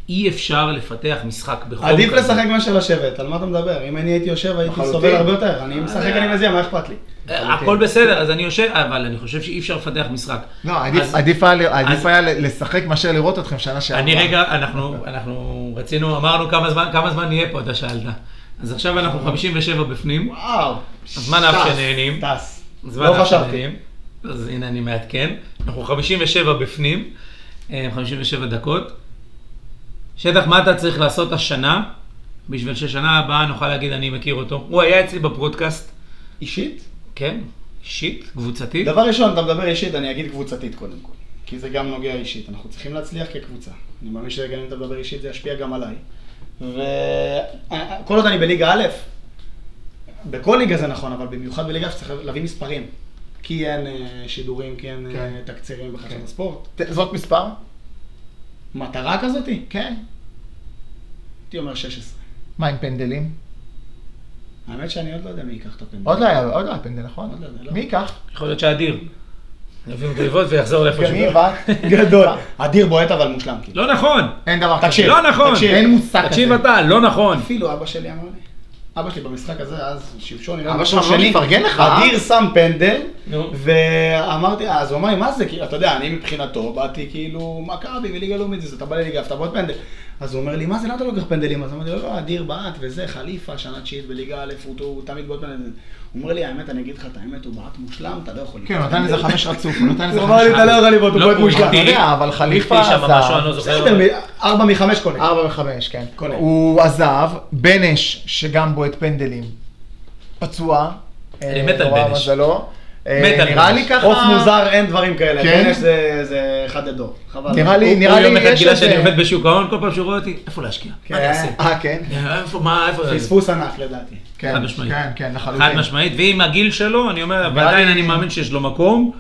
Speaker 1: אי אפשר לפתח משחק בחום כזה.
Speaker 5: עדיף לשחק מאשר לשבת, על מה אתה מדבר? אם אני הייתי יושב הייתי
Speaker 4: לחלוטין.
Speaker 5: סובל הרבה יותר, אני משחק אני מזיע, מה אכפת לי?
Speaker 1: אה, הכל בסדר, אז אני יושב, אבל אני חושב שאי אפשר לפתח משחק.
Speaker 4: לא, עדיף-
Speaker 1: אז-
Speaker 4: עדיף היה ל- עדיף
Speaker 1: אז-
Speaker 4: היה ל- לשחק מאשר לראות אתכם שנה שעברה.
Speaker 1: אני רגע, אנחנו, אנחנו רצינו, אמרנו כמה זמן, כמה זמן נהיה פה, אתה שאלת. אז עכשיו אנחנו 57 בפנים,
Speaker 5: וואו.
Speaker 1: אז מה נאפ
Speaker 5: טס,
Speaker 1: שנהנים?
Speaker 5: טס.
Speaker 1: אז
Speaker 5: לא
Speaker 1: מה אנחנו
Speaker 5: חשבתי.
Speaker 1: יודעים? אז הנה אני מעדכן, אנחנו 57 בפנים, אה, 57 דקות. שטח, מה אתה צריך לעשות השנה, בשביל ששנה הבאה נוכל להגיד אני מכיר אותו? הוא היה אצלי בפרודקאסט,
Speaker 5: אישית?
Speaker 1: כן, אישית, קבוצתית.
Speaker 5: דבר ראשון, אתה מדבר אישית, אני אגיד קבוצתית קודם כל. כי זה גם נוגע אישית, אנחנו צריכים להצליח כקבוצה. אני מאמין שגם אם אתה מדבר אישית זה ישפיע גם עליי. וכל עוד אני בליגה א', בכל ליגה זה נכון, אבל במיוחד בליגה שצריך להביא מספרים. כי אין אה, שידורים, כי אין אה,
Speaker 4: כן.
Speaker 5: תקצירים בחשבון
Speaker 4: כן.
Speaker 5: הספורט.
Speaker 4: ת- זאת מספר?
Speaker 5: מטרה כזאתי?
Speaker 4: כן.
Speaker 5: הייתי אומר 16.
Speaker 4: מה עם פנדלים?
Speaker 5: האמת שאני עוד לא יודע מי ייקח את הפנדל.
Speaker 4: עוד לא היה עוד לא היה פנדל,
Speaker 5: עוד
Speaker 4: נכון?
Speaker 5: לא, זה לא.
Speaker 4: מי ייקח?
Speaker 1: יכול להיות שאדיר. יביאו גריבות ויחזור לאיפה שהוא.
Speaker 4: גניב, אה?
Speaker 5: גדול. אדיר בועט אבל מושלם. כאילו.
Speaker 1: לא נכון,
Speaker 4: אין דבר כזה.
Speaker 5: תקשיב,
Speaker 1: לא נכון.
Speaker 5: תקשיב.
Speaker 4: אין מושג כזה.
Speaker 1: תקשיב אתה, לא נכון.
Speaker 5: אפילו אבא שלי אמר לי. אבא שלי במשחק הזה, אז שמשון, נראה לי
Speaker 4: אבא
Speaker 5: משחק
Speaker 4: שלך לא
Speaker 5: שני,
Speaker 4: מפרגן לך, אה?
Speaker 5: אדיר שם פנדל,
Speaker 1: נו.
Speaker 5: ואמרתי, אז הוא אמר לי, מה זה, כאילו, אתה יודע, אני מבחינתו, באתי כאילו, מכבי וליגה לאומית, זה, אתה בא לליגה, אתה בעוד פנדל. אז הוא אומר לי, מה זה, למה אתה לא לוקח פנדלים? אז אמרתי לו, לא, אדיר בעט וזה, חליפה, שנה תשיעית בליגה א', הוא הוא תמיד בעוד פנדל. הוא אומר לי, האמת, אני אגיד לך את האמת, הוא בעט מושלם, אתה לא יכול.
Speaker 4: כן, הוא
Speaker 5: לקחת
Speaker 4: נתן איזה
Speaker 5: פנדל."
Speaker 4: חמש רצוף, הוא נתן איזה
Speaker 5: הוא אמר
Speaker 4: חמש
Speaker 5: לי, אתה לא
Speaker 4: רצוף.
Speaker 5: יכול לבעוט, הוא
Speaker 1: לא,
Speaker 5: בעט
Speaker 1: הוא
Speaker 5: מושלם.
Speaker 1: החטיא.
Speaker 4: יודע, אבל חליפה
Speaker 1: החטיא שם
Speaker 4: עזב.
Speaker 1: משהו, אני לא זוכר.
Speaker 5: בסדר, מ- ארבע מחמש קונה.
Speaker 4: ארבע וחמש, כן.
Speaker 5: קונה.
Speaker 4: הוא עזב, בנש, שגם בועט פנדלים, פצוע.
Speaker 1: אני
Speaker 4: אה,
Speaker 1: מת על
Speaker 4: נורא
Speaker 1: בנש.
Speaker 4: מזלו. אה,
Speaker 1: מת על
Speaker 4: נראה
Speaker 1: בנש.
Speaker 4: לי ככה...
Speaker 5: עוף מוזר, אין דברים כאלה.
Speaker 4: כן?
Speaker 5: בנש זה- זה אחד הדור. חבל.
Speaker 4: נראה לי,
Speaker 1: הוא
Speaker 4: נראה לי
Speaker 1: יום אחד
Speaker 4: יש
Speaker 1: גילה שאני
Speaker 4: איזה...
Speaker 1: עובד בשוק ההון, כל פעם שהוא רואה אותי, איפה להשקיע? מה אני
Speaker 5: כן.
Speaker 1: אעשה?
Speaker 4: אה, כן?
Speaker 1: איפה, מה, איפה?
Speaker 5: פספוס ענק לדעתי.
Speaker 4: כן,
Speaker 1: חד משמעית.
Speaker 4: כן, כן, לחלוטין.
Speaker 1: חד משמעית, ועם הגיל שלו, אני אומר, אבל עדיין אני מאמין שיש לו מקום.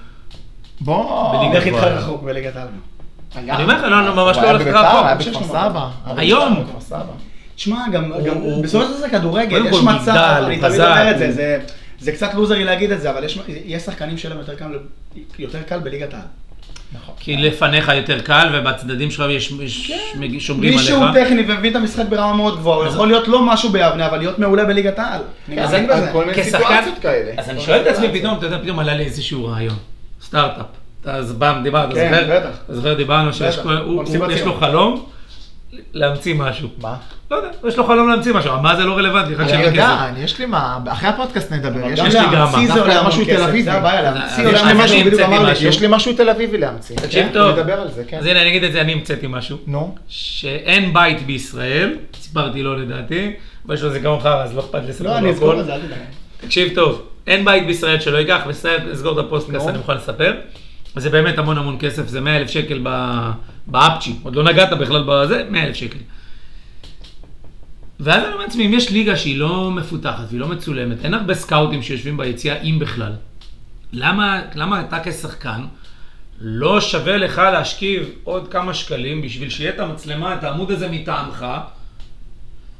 Speaker 4: בוא.
Speaker 5: איך איתך רחוק בליגת העל?
Speaker 4: היה.
Speaker 1: אני אומר לך, לא, לא, ממש לא
Speaker 4: אה, הוא היה
Speaker 1: הולך
Speaker 4: בביתר,
Speaker 1: רחוק.
Speaker 4: היה
Speaker 5: אני
Speaker 4: בכפר
Speaker 5: חושב
Speaker 4: סבא.
Speaker 1: היום.
Speaker 4: היה בכפר סבא.
Speaker 5: תשמע, גם
Speaker 1: הוא-
Speaker 5: גם-
Speaker 1: הוא-
Speaker 5: בסופו של דבר זה כדורגל,
Speaker 1: קודם
Speaker 5: יש
Speaker 1: כל
Speaker 5: מצב,
Speaker 1: מגדל,
Speaker 5: אני
Speaker 1: הוא
Speaker 5: תמיד אומר
Speaker 1: חזק,
Speaker 5: את זה,
Speaker 1: הוא-
Speaker 5: זה, זה קצת לוזרי להגיד את זה, אבל יש- יש שחקנים שלהם יותר קל- יותר קל בליגת העל.
Speaker 4: נכון.
Speaker 1: כי לפניך יותר קל, ובצדדים שלך יש, יש
Speaker 4: כן.
Speaker 1: מג- שומרים עליך.
Speaker 5: מישהו טכני ומבין את המשחק ברמה מאוד גבוהה, הוא יכול להיות לא משהו ביבנה, אבל להיות מעולה בליגת העל. אני
Speaker 4: אז
Speaker 5: מאמין
Speaker 4: אני-
Speaker 5: בזה.
Speaker 4: כל מיני סיטואציות כאלה.
Speaker 1: אז אני
Speaker 4: כל
Speaker 1: שואל את
Speaker 4: מיני
Speaker 1: עצמי
Speaker 4: סיטואציות.
Speaker 1: פתאום, אתה יודע, פתאום עלה לי איזשהו רעיון. סטארט-אפ. אתה אז פעם דיברת, אתה
Speaker 5: כן,
Speaker 1: זוכר?
Speaker 5: בטח.
Speaker 1: אתה זוכר, דיברנו שיש
Speaker 5: בטח.
Speaker 1: כל- הוא-
Speaker 5: במסיבת
Speaker 1: הוא- יש
Speaker 5: סיום.
Speaker 1: לו חלום להמציא משהו.
Speaker 4: מה?
Speaker 1: לא יודע, יש לו חלום להמציא משהו, מה זה לא רלוונטי, רק
Speaker 4: אני
Speaker 1: שאין כסף.
Speaker 4: יודע, אני- יש לי מה, אחרי הפודקאסט נדבר.
Speaker 1: יש
Speaker 4: יש לי
Speaker 1: לי
Speaker 4: מה.
Speaker 1: גם.
Speaker 5: להמציא אוקיי, זה
Speaker 4: דווקא אה,
Speaker 5: עולה משהו
Speaker 4: המון
Speaker 5: תל
Speaker 4: כסף,
Speaker 5: אביבי.
Speaker 4: זה הבעיה,
Speaker 1: אז
Speaker 5: להמציא
Speaker 1: יש
Speaker 5: עולה
Speaker 1: לי
Speaker 5: משהו, בדיוק
Speaker 1: המצאתי
Speaker 5: אמר לי
Speaker 1: משהו.
Speaker 4: יש לי משהו תל אביבי להמציא.
Speaker 1: תקשיב
Speaker 4: כן,
Speaker 1: טוב.
Speaker 4: נדבר על זה, כן.
Speaker 1: אז הנה, אני אגיד את זה, אני המצאתי משהו.
Speaker 4: נו,
Speaker 1: שאין בית בישראל, סיפרתי לו לדעתי, אבל יש לו זיכרון חרא, אז לא אכפת לי לספר
Speaker 5: לא,
Speaker 1: לו
Speaker 5: אני אזכור
Speaker 1: הכל.
Speaker 5: את זה, אל תדאג.
Speaker 1: תקשיב טוב, אין בית בישראל שלא ייקח, בסדר, נסגור את הפוסטקאסט,
Speaker 4: נו.
Speaker 1: אני מוכן לספר. זה באמת המון המון כסף, זה 100 אלף שקל ב- באפצ'י, עוד לא נגעת בכלל בזה, 100 אלף שקל. ואז אני אומר לעצמי, אם יש ליגה שהיא לא מפותחת והיא לא מצולמת, אין הרבה סקאוטים שיושבים ביציאה, אם בכלל. למה, למה אתה כשחקן לא שווה לך להשכיב עוד כמה שקלים בשביל שיהיה את המצלמה, את העמוד הזה מטעמך,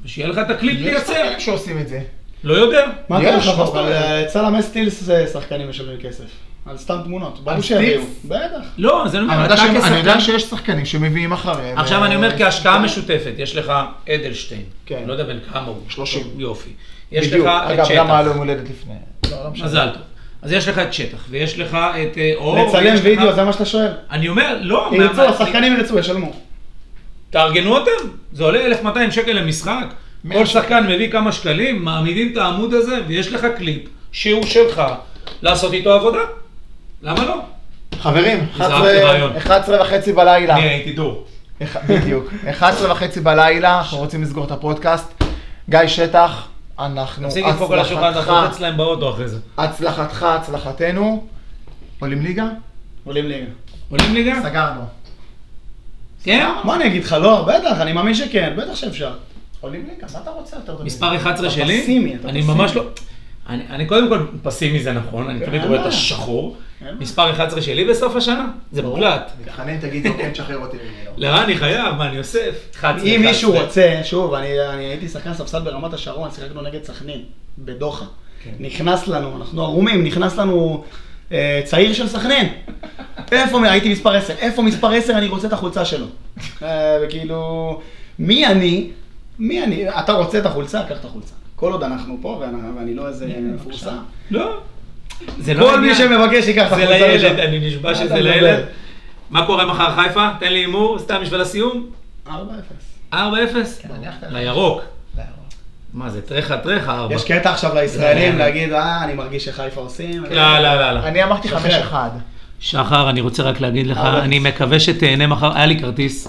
Speaker 1: ושיהיה לך את הקליפ
Speaker 4: יש
Speaker 1: לייצר?
Speaker 4: שחקנים שעושים את זה.
Speaker 1: לא יודע.
Speaker 5: מה
Speaker 4: יש,
Speaker 5: אתה חושב?
Speaker 4: מה זאת אומרת?
Speaker 5: אבל אצל המסטילס זה אה, שחקנים משלמים כסף. על סתם תמונות. בא לי שיביאו.
Speaker 4: סטילס?
Speaker 5: בטח.
Speaker 1: לא, זה לא
Speaker 4: אני
Speaker 1: אומר,
Speaker 4: יודע
Speaker 1: אתה
Speaker 4: שהם- אני יודע
Speaker 1: כשחקן...
Speaker 4: שיש שחקנים שמביאים אחריהם.
Speaker 1: עכשיו
Speaker 4: אה,
Speaker 1: אני אומר כהשקעה משותפת, יש לך אדלשטיין,
Speaker 4: כן.
Speaker 1: אני לא יודע בין כמה הוא,
Speaker 4: 30.
Speaker 1: טוב, יופי. יש
Speaker 4: בדיוק.
Speaker 1: לך
Speaker 4: אגב,
Speaker 1: את
Speaker 4: גם היה
Speaker 1: שטח,
Speaker 4: לו יום הולדת לפני. לא, לא משנה.
Speaker 1: מזל טוב. אז יש לך את שטח, ויש לך את אה, אור,
Speaker 5: לצלם
Speaker 1: ויש לך-
Speaker 5: וידאו, זה מה שאתה שואל.
Speaker 1: אני אומר, לא, מה-
Speaker 5: ירצו,
Speaker 1: מה-
Speaker 5: השחקנים ירצו, ישלמו.
Speaker 1: תארגנו אותם, זה עולה 1,200 שקל למשחק, כל שחקן מביא כמה שקלים, מעמידים את העמוד הזה, ויש לך קליפ שהוא שלך, לעשות איתו עבודה. למה לא?
Speaker 4: חברים,
Speaker 1: זרקתי
Speaker 4: 11
Speaker 1: רעיון.
Speaker 4: 11 וחצי בלילה.
Speaker 1: אני הייתי דור.
Speaker 4: אח- בדיוק. 11 וחצי בלילה, אנחנו רוצים לסגור את הפודקאסט. גיא שטח, אנחנו...
Speaker 1: תפסיק לדפוק על השולחן, אתה
Speaker 4: הצלחתך-
Speaker 1: חוצץ להם באוטו אחרי זה.
Speaker 4: הצלחתך, הצלחתנו. עולים ליגה?
Speaker 5: עולים ליגה.
Speaker 1: עולים ליגה?
Speaker 4: סגרנו.
Speaker 1: כן?
Speaker 5: מה אני אגיד לך? לא, בטח, אני מאמין שכן, בטח שאפשר.
Speaker 4: עולים ליגה, מה אתה רוצה יותר טוב?
Speaker 1: מספר 11
Speaker 5: אתה
Speaker 1: שלי,
Speaker 5: פסימי, אתה
Speaker 1: אני
Speaker 5: פסימי.
Speaker 1: ממש לא, אני, אני קודם כל פסימי זה נכון, אני תמיד
Speaker 5: אין
Speaker 1: רואה את
Speaker 5: בעיה.
Speaker 1: השחור,
Speaker 5: אין בעיה.
Speaker 1: מספר 11 שלי בסוף השנה, זה מוקלט.
Speaker 4: מתחנן, תגיד לו, כן, תשחרר אותי ממנו.
Speaker 1: לרע אני חייב, מה אני אוסף? 11,
Speaker 5: אם מישהו
Speaker 1: 11.
Speaker 5: רוצה, שוב, אני, אני הייתי שחקן ספסל ברמת השרון, שיחקנו נגד סכנין, בדוחה.
Speaker 1: כן.
Speaker 5: נכנס לנו, אנחנו ערומים, נכנס לנו אה, צעיר של סכנין. איפה, מ- הייתי מספר 10, איפה מספר 10 אני רוצה את החולצה שלו. אה, וכאילו, מי אני? מי אני? אתה רוצה את החולצה? קח את החולצה. כל עוד אנחנו פה, ואני, ואני לא איזה מפורסם.
Speaker 1: לא, זה לא
Speaker 5: כל מי
Speaker 1: העניין.
Speaker 5: שמבקש ייקח את
Speaker 1: זה
Speaker 5: החולצה
Speaker 1: לילד,
Speaker 5: לשם.
Speaker 1: אני נשבע
Speaker 5: מה אתה
Speaker 1: שזה
Speaker 5: מדבר?
Speaker 1: לילד. מה קורה מחר חיפה? תן לי הימור, סתם בשביל הסיום,
Speaker 5: 4-0.
Speaker 1: 4-0?
Speaker 5: כן,
Speaker 4: מניח ככה.
Speaker 1: לירוק. מה זה, טרחה טרחה 4.
Speaker 5: יש קטע עכשיו לישראלים
Speaker 1: זה-
Speaker 5: להגיד, אה, אני מרגיש שחיפה עושים.
Speaker 1: לא, לא, לא, לא.
Speaker 4: אני אמרתי 5-1.
Speaker 5: שחרר.
Speaker 1: שחר, אני רוצה רק להגיד לך,
Speaker 5: אבל-
Speaker 1: אני מקווה שתהנה מחר, היה לי כרטיס,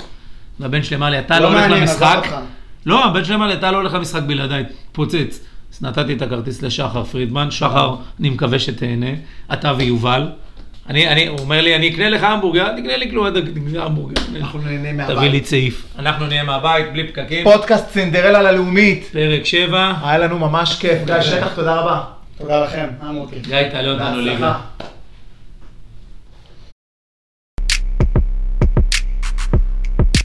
Speaker 1: והבן שלי אמר לי, אתה
Speaker 5: לא
Speaker 1: לא הולך
Speaker 5: מעניין,
Speaker 1: למשחק.
Speaker 5: עזוב אותך.
Speaker 1: לא, הבן שלי אמר לי, אתה לא הולך למשחק בלעדיי, פוצץ. אז נתתי את הכרטיס לשחר פרידמן, שחר, אני מקווה שתהנה, אתה ויובל. אני, אני, הוא אומר לי, אני אקנה לך המבורגר, אל תקנה לי כלום, אל תקנה המבורגר.
Speaker 4: אנחנו נהנה
Speaker 1: תביא לי
Speaker 4: מהבית.
Speaker 1: צעיף. אנחנו נהיה מהבית, בלי פקקים.
Speaker 4: פודקאסט סינדרלה ללאומית.
Speaker 1: פרק 7,
Speaker 5: אה.
Speaker 4: היה לנו ממש כיף. גיא שטח, תודה רבה.
Speaker 5: תודה לכם, היה מאוד כיף.
Speaker 1: גיא, תעלה אותנו ליגה.
Speaker 4: בהצלחה.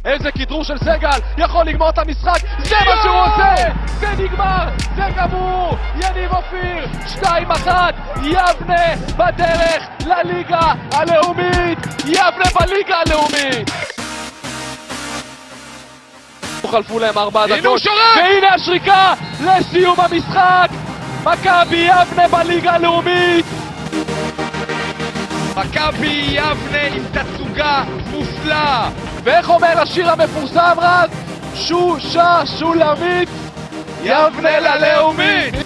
Speaker 2: איזה כדרור של סגל, יכול לגמור את המשחק, זה מה שהוא עושה! זה נגמר, זה גמור! יניב אופיר, 2-1, יבנה בדרך לליגה הלאומית! יבנה בליגה הלאומית! חלפו להם ארבע
Speaker 3: הנה הוא
Speaker 2: דקות,
Speaker 3: שורק!
Speaker 2: והנה השריקה לסיום המשחק! מכבי יבנה בליגה הלאומית!
Speaker 3: מכבי יבנה עם תצוגה מופלאה.
Speaker 2: ואיך אומר השיר המפורסם רז? שושה שולמית יבנה ללאומית!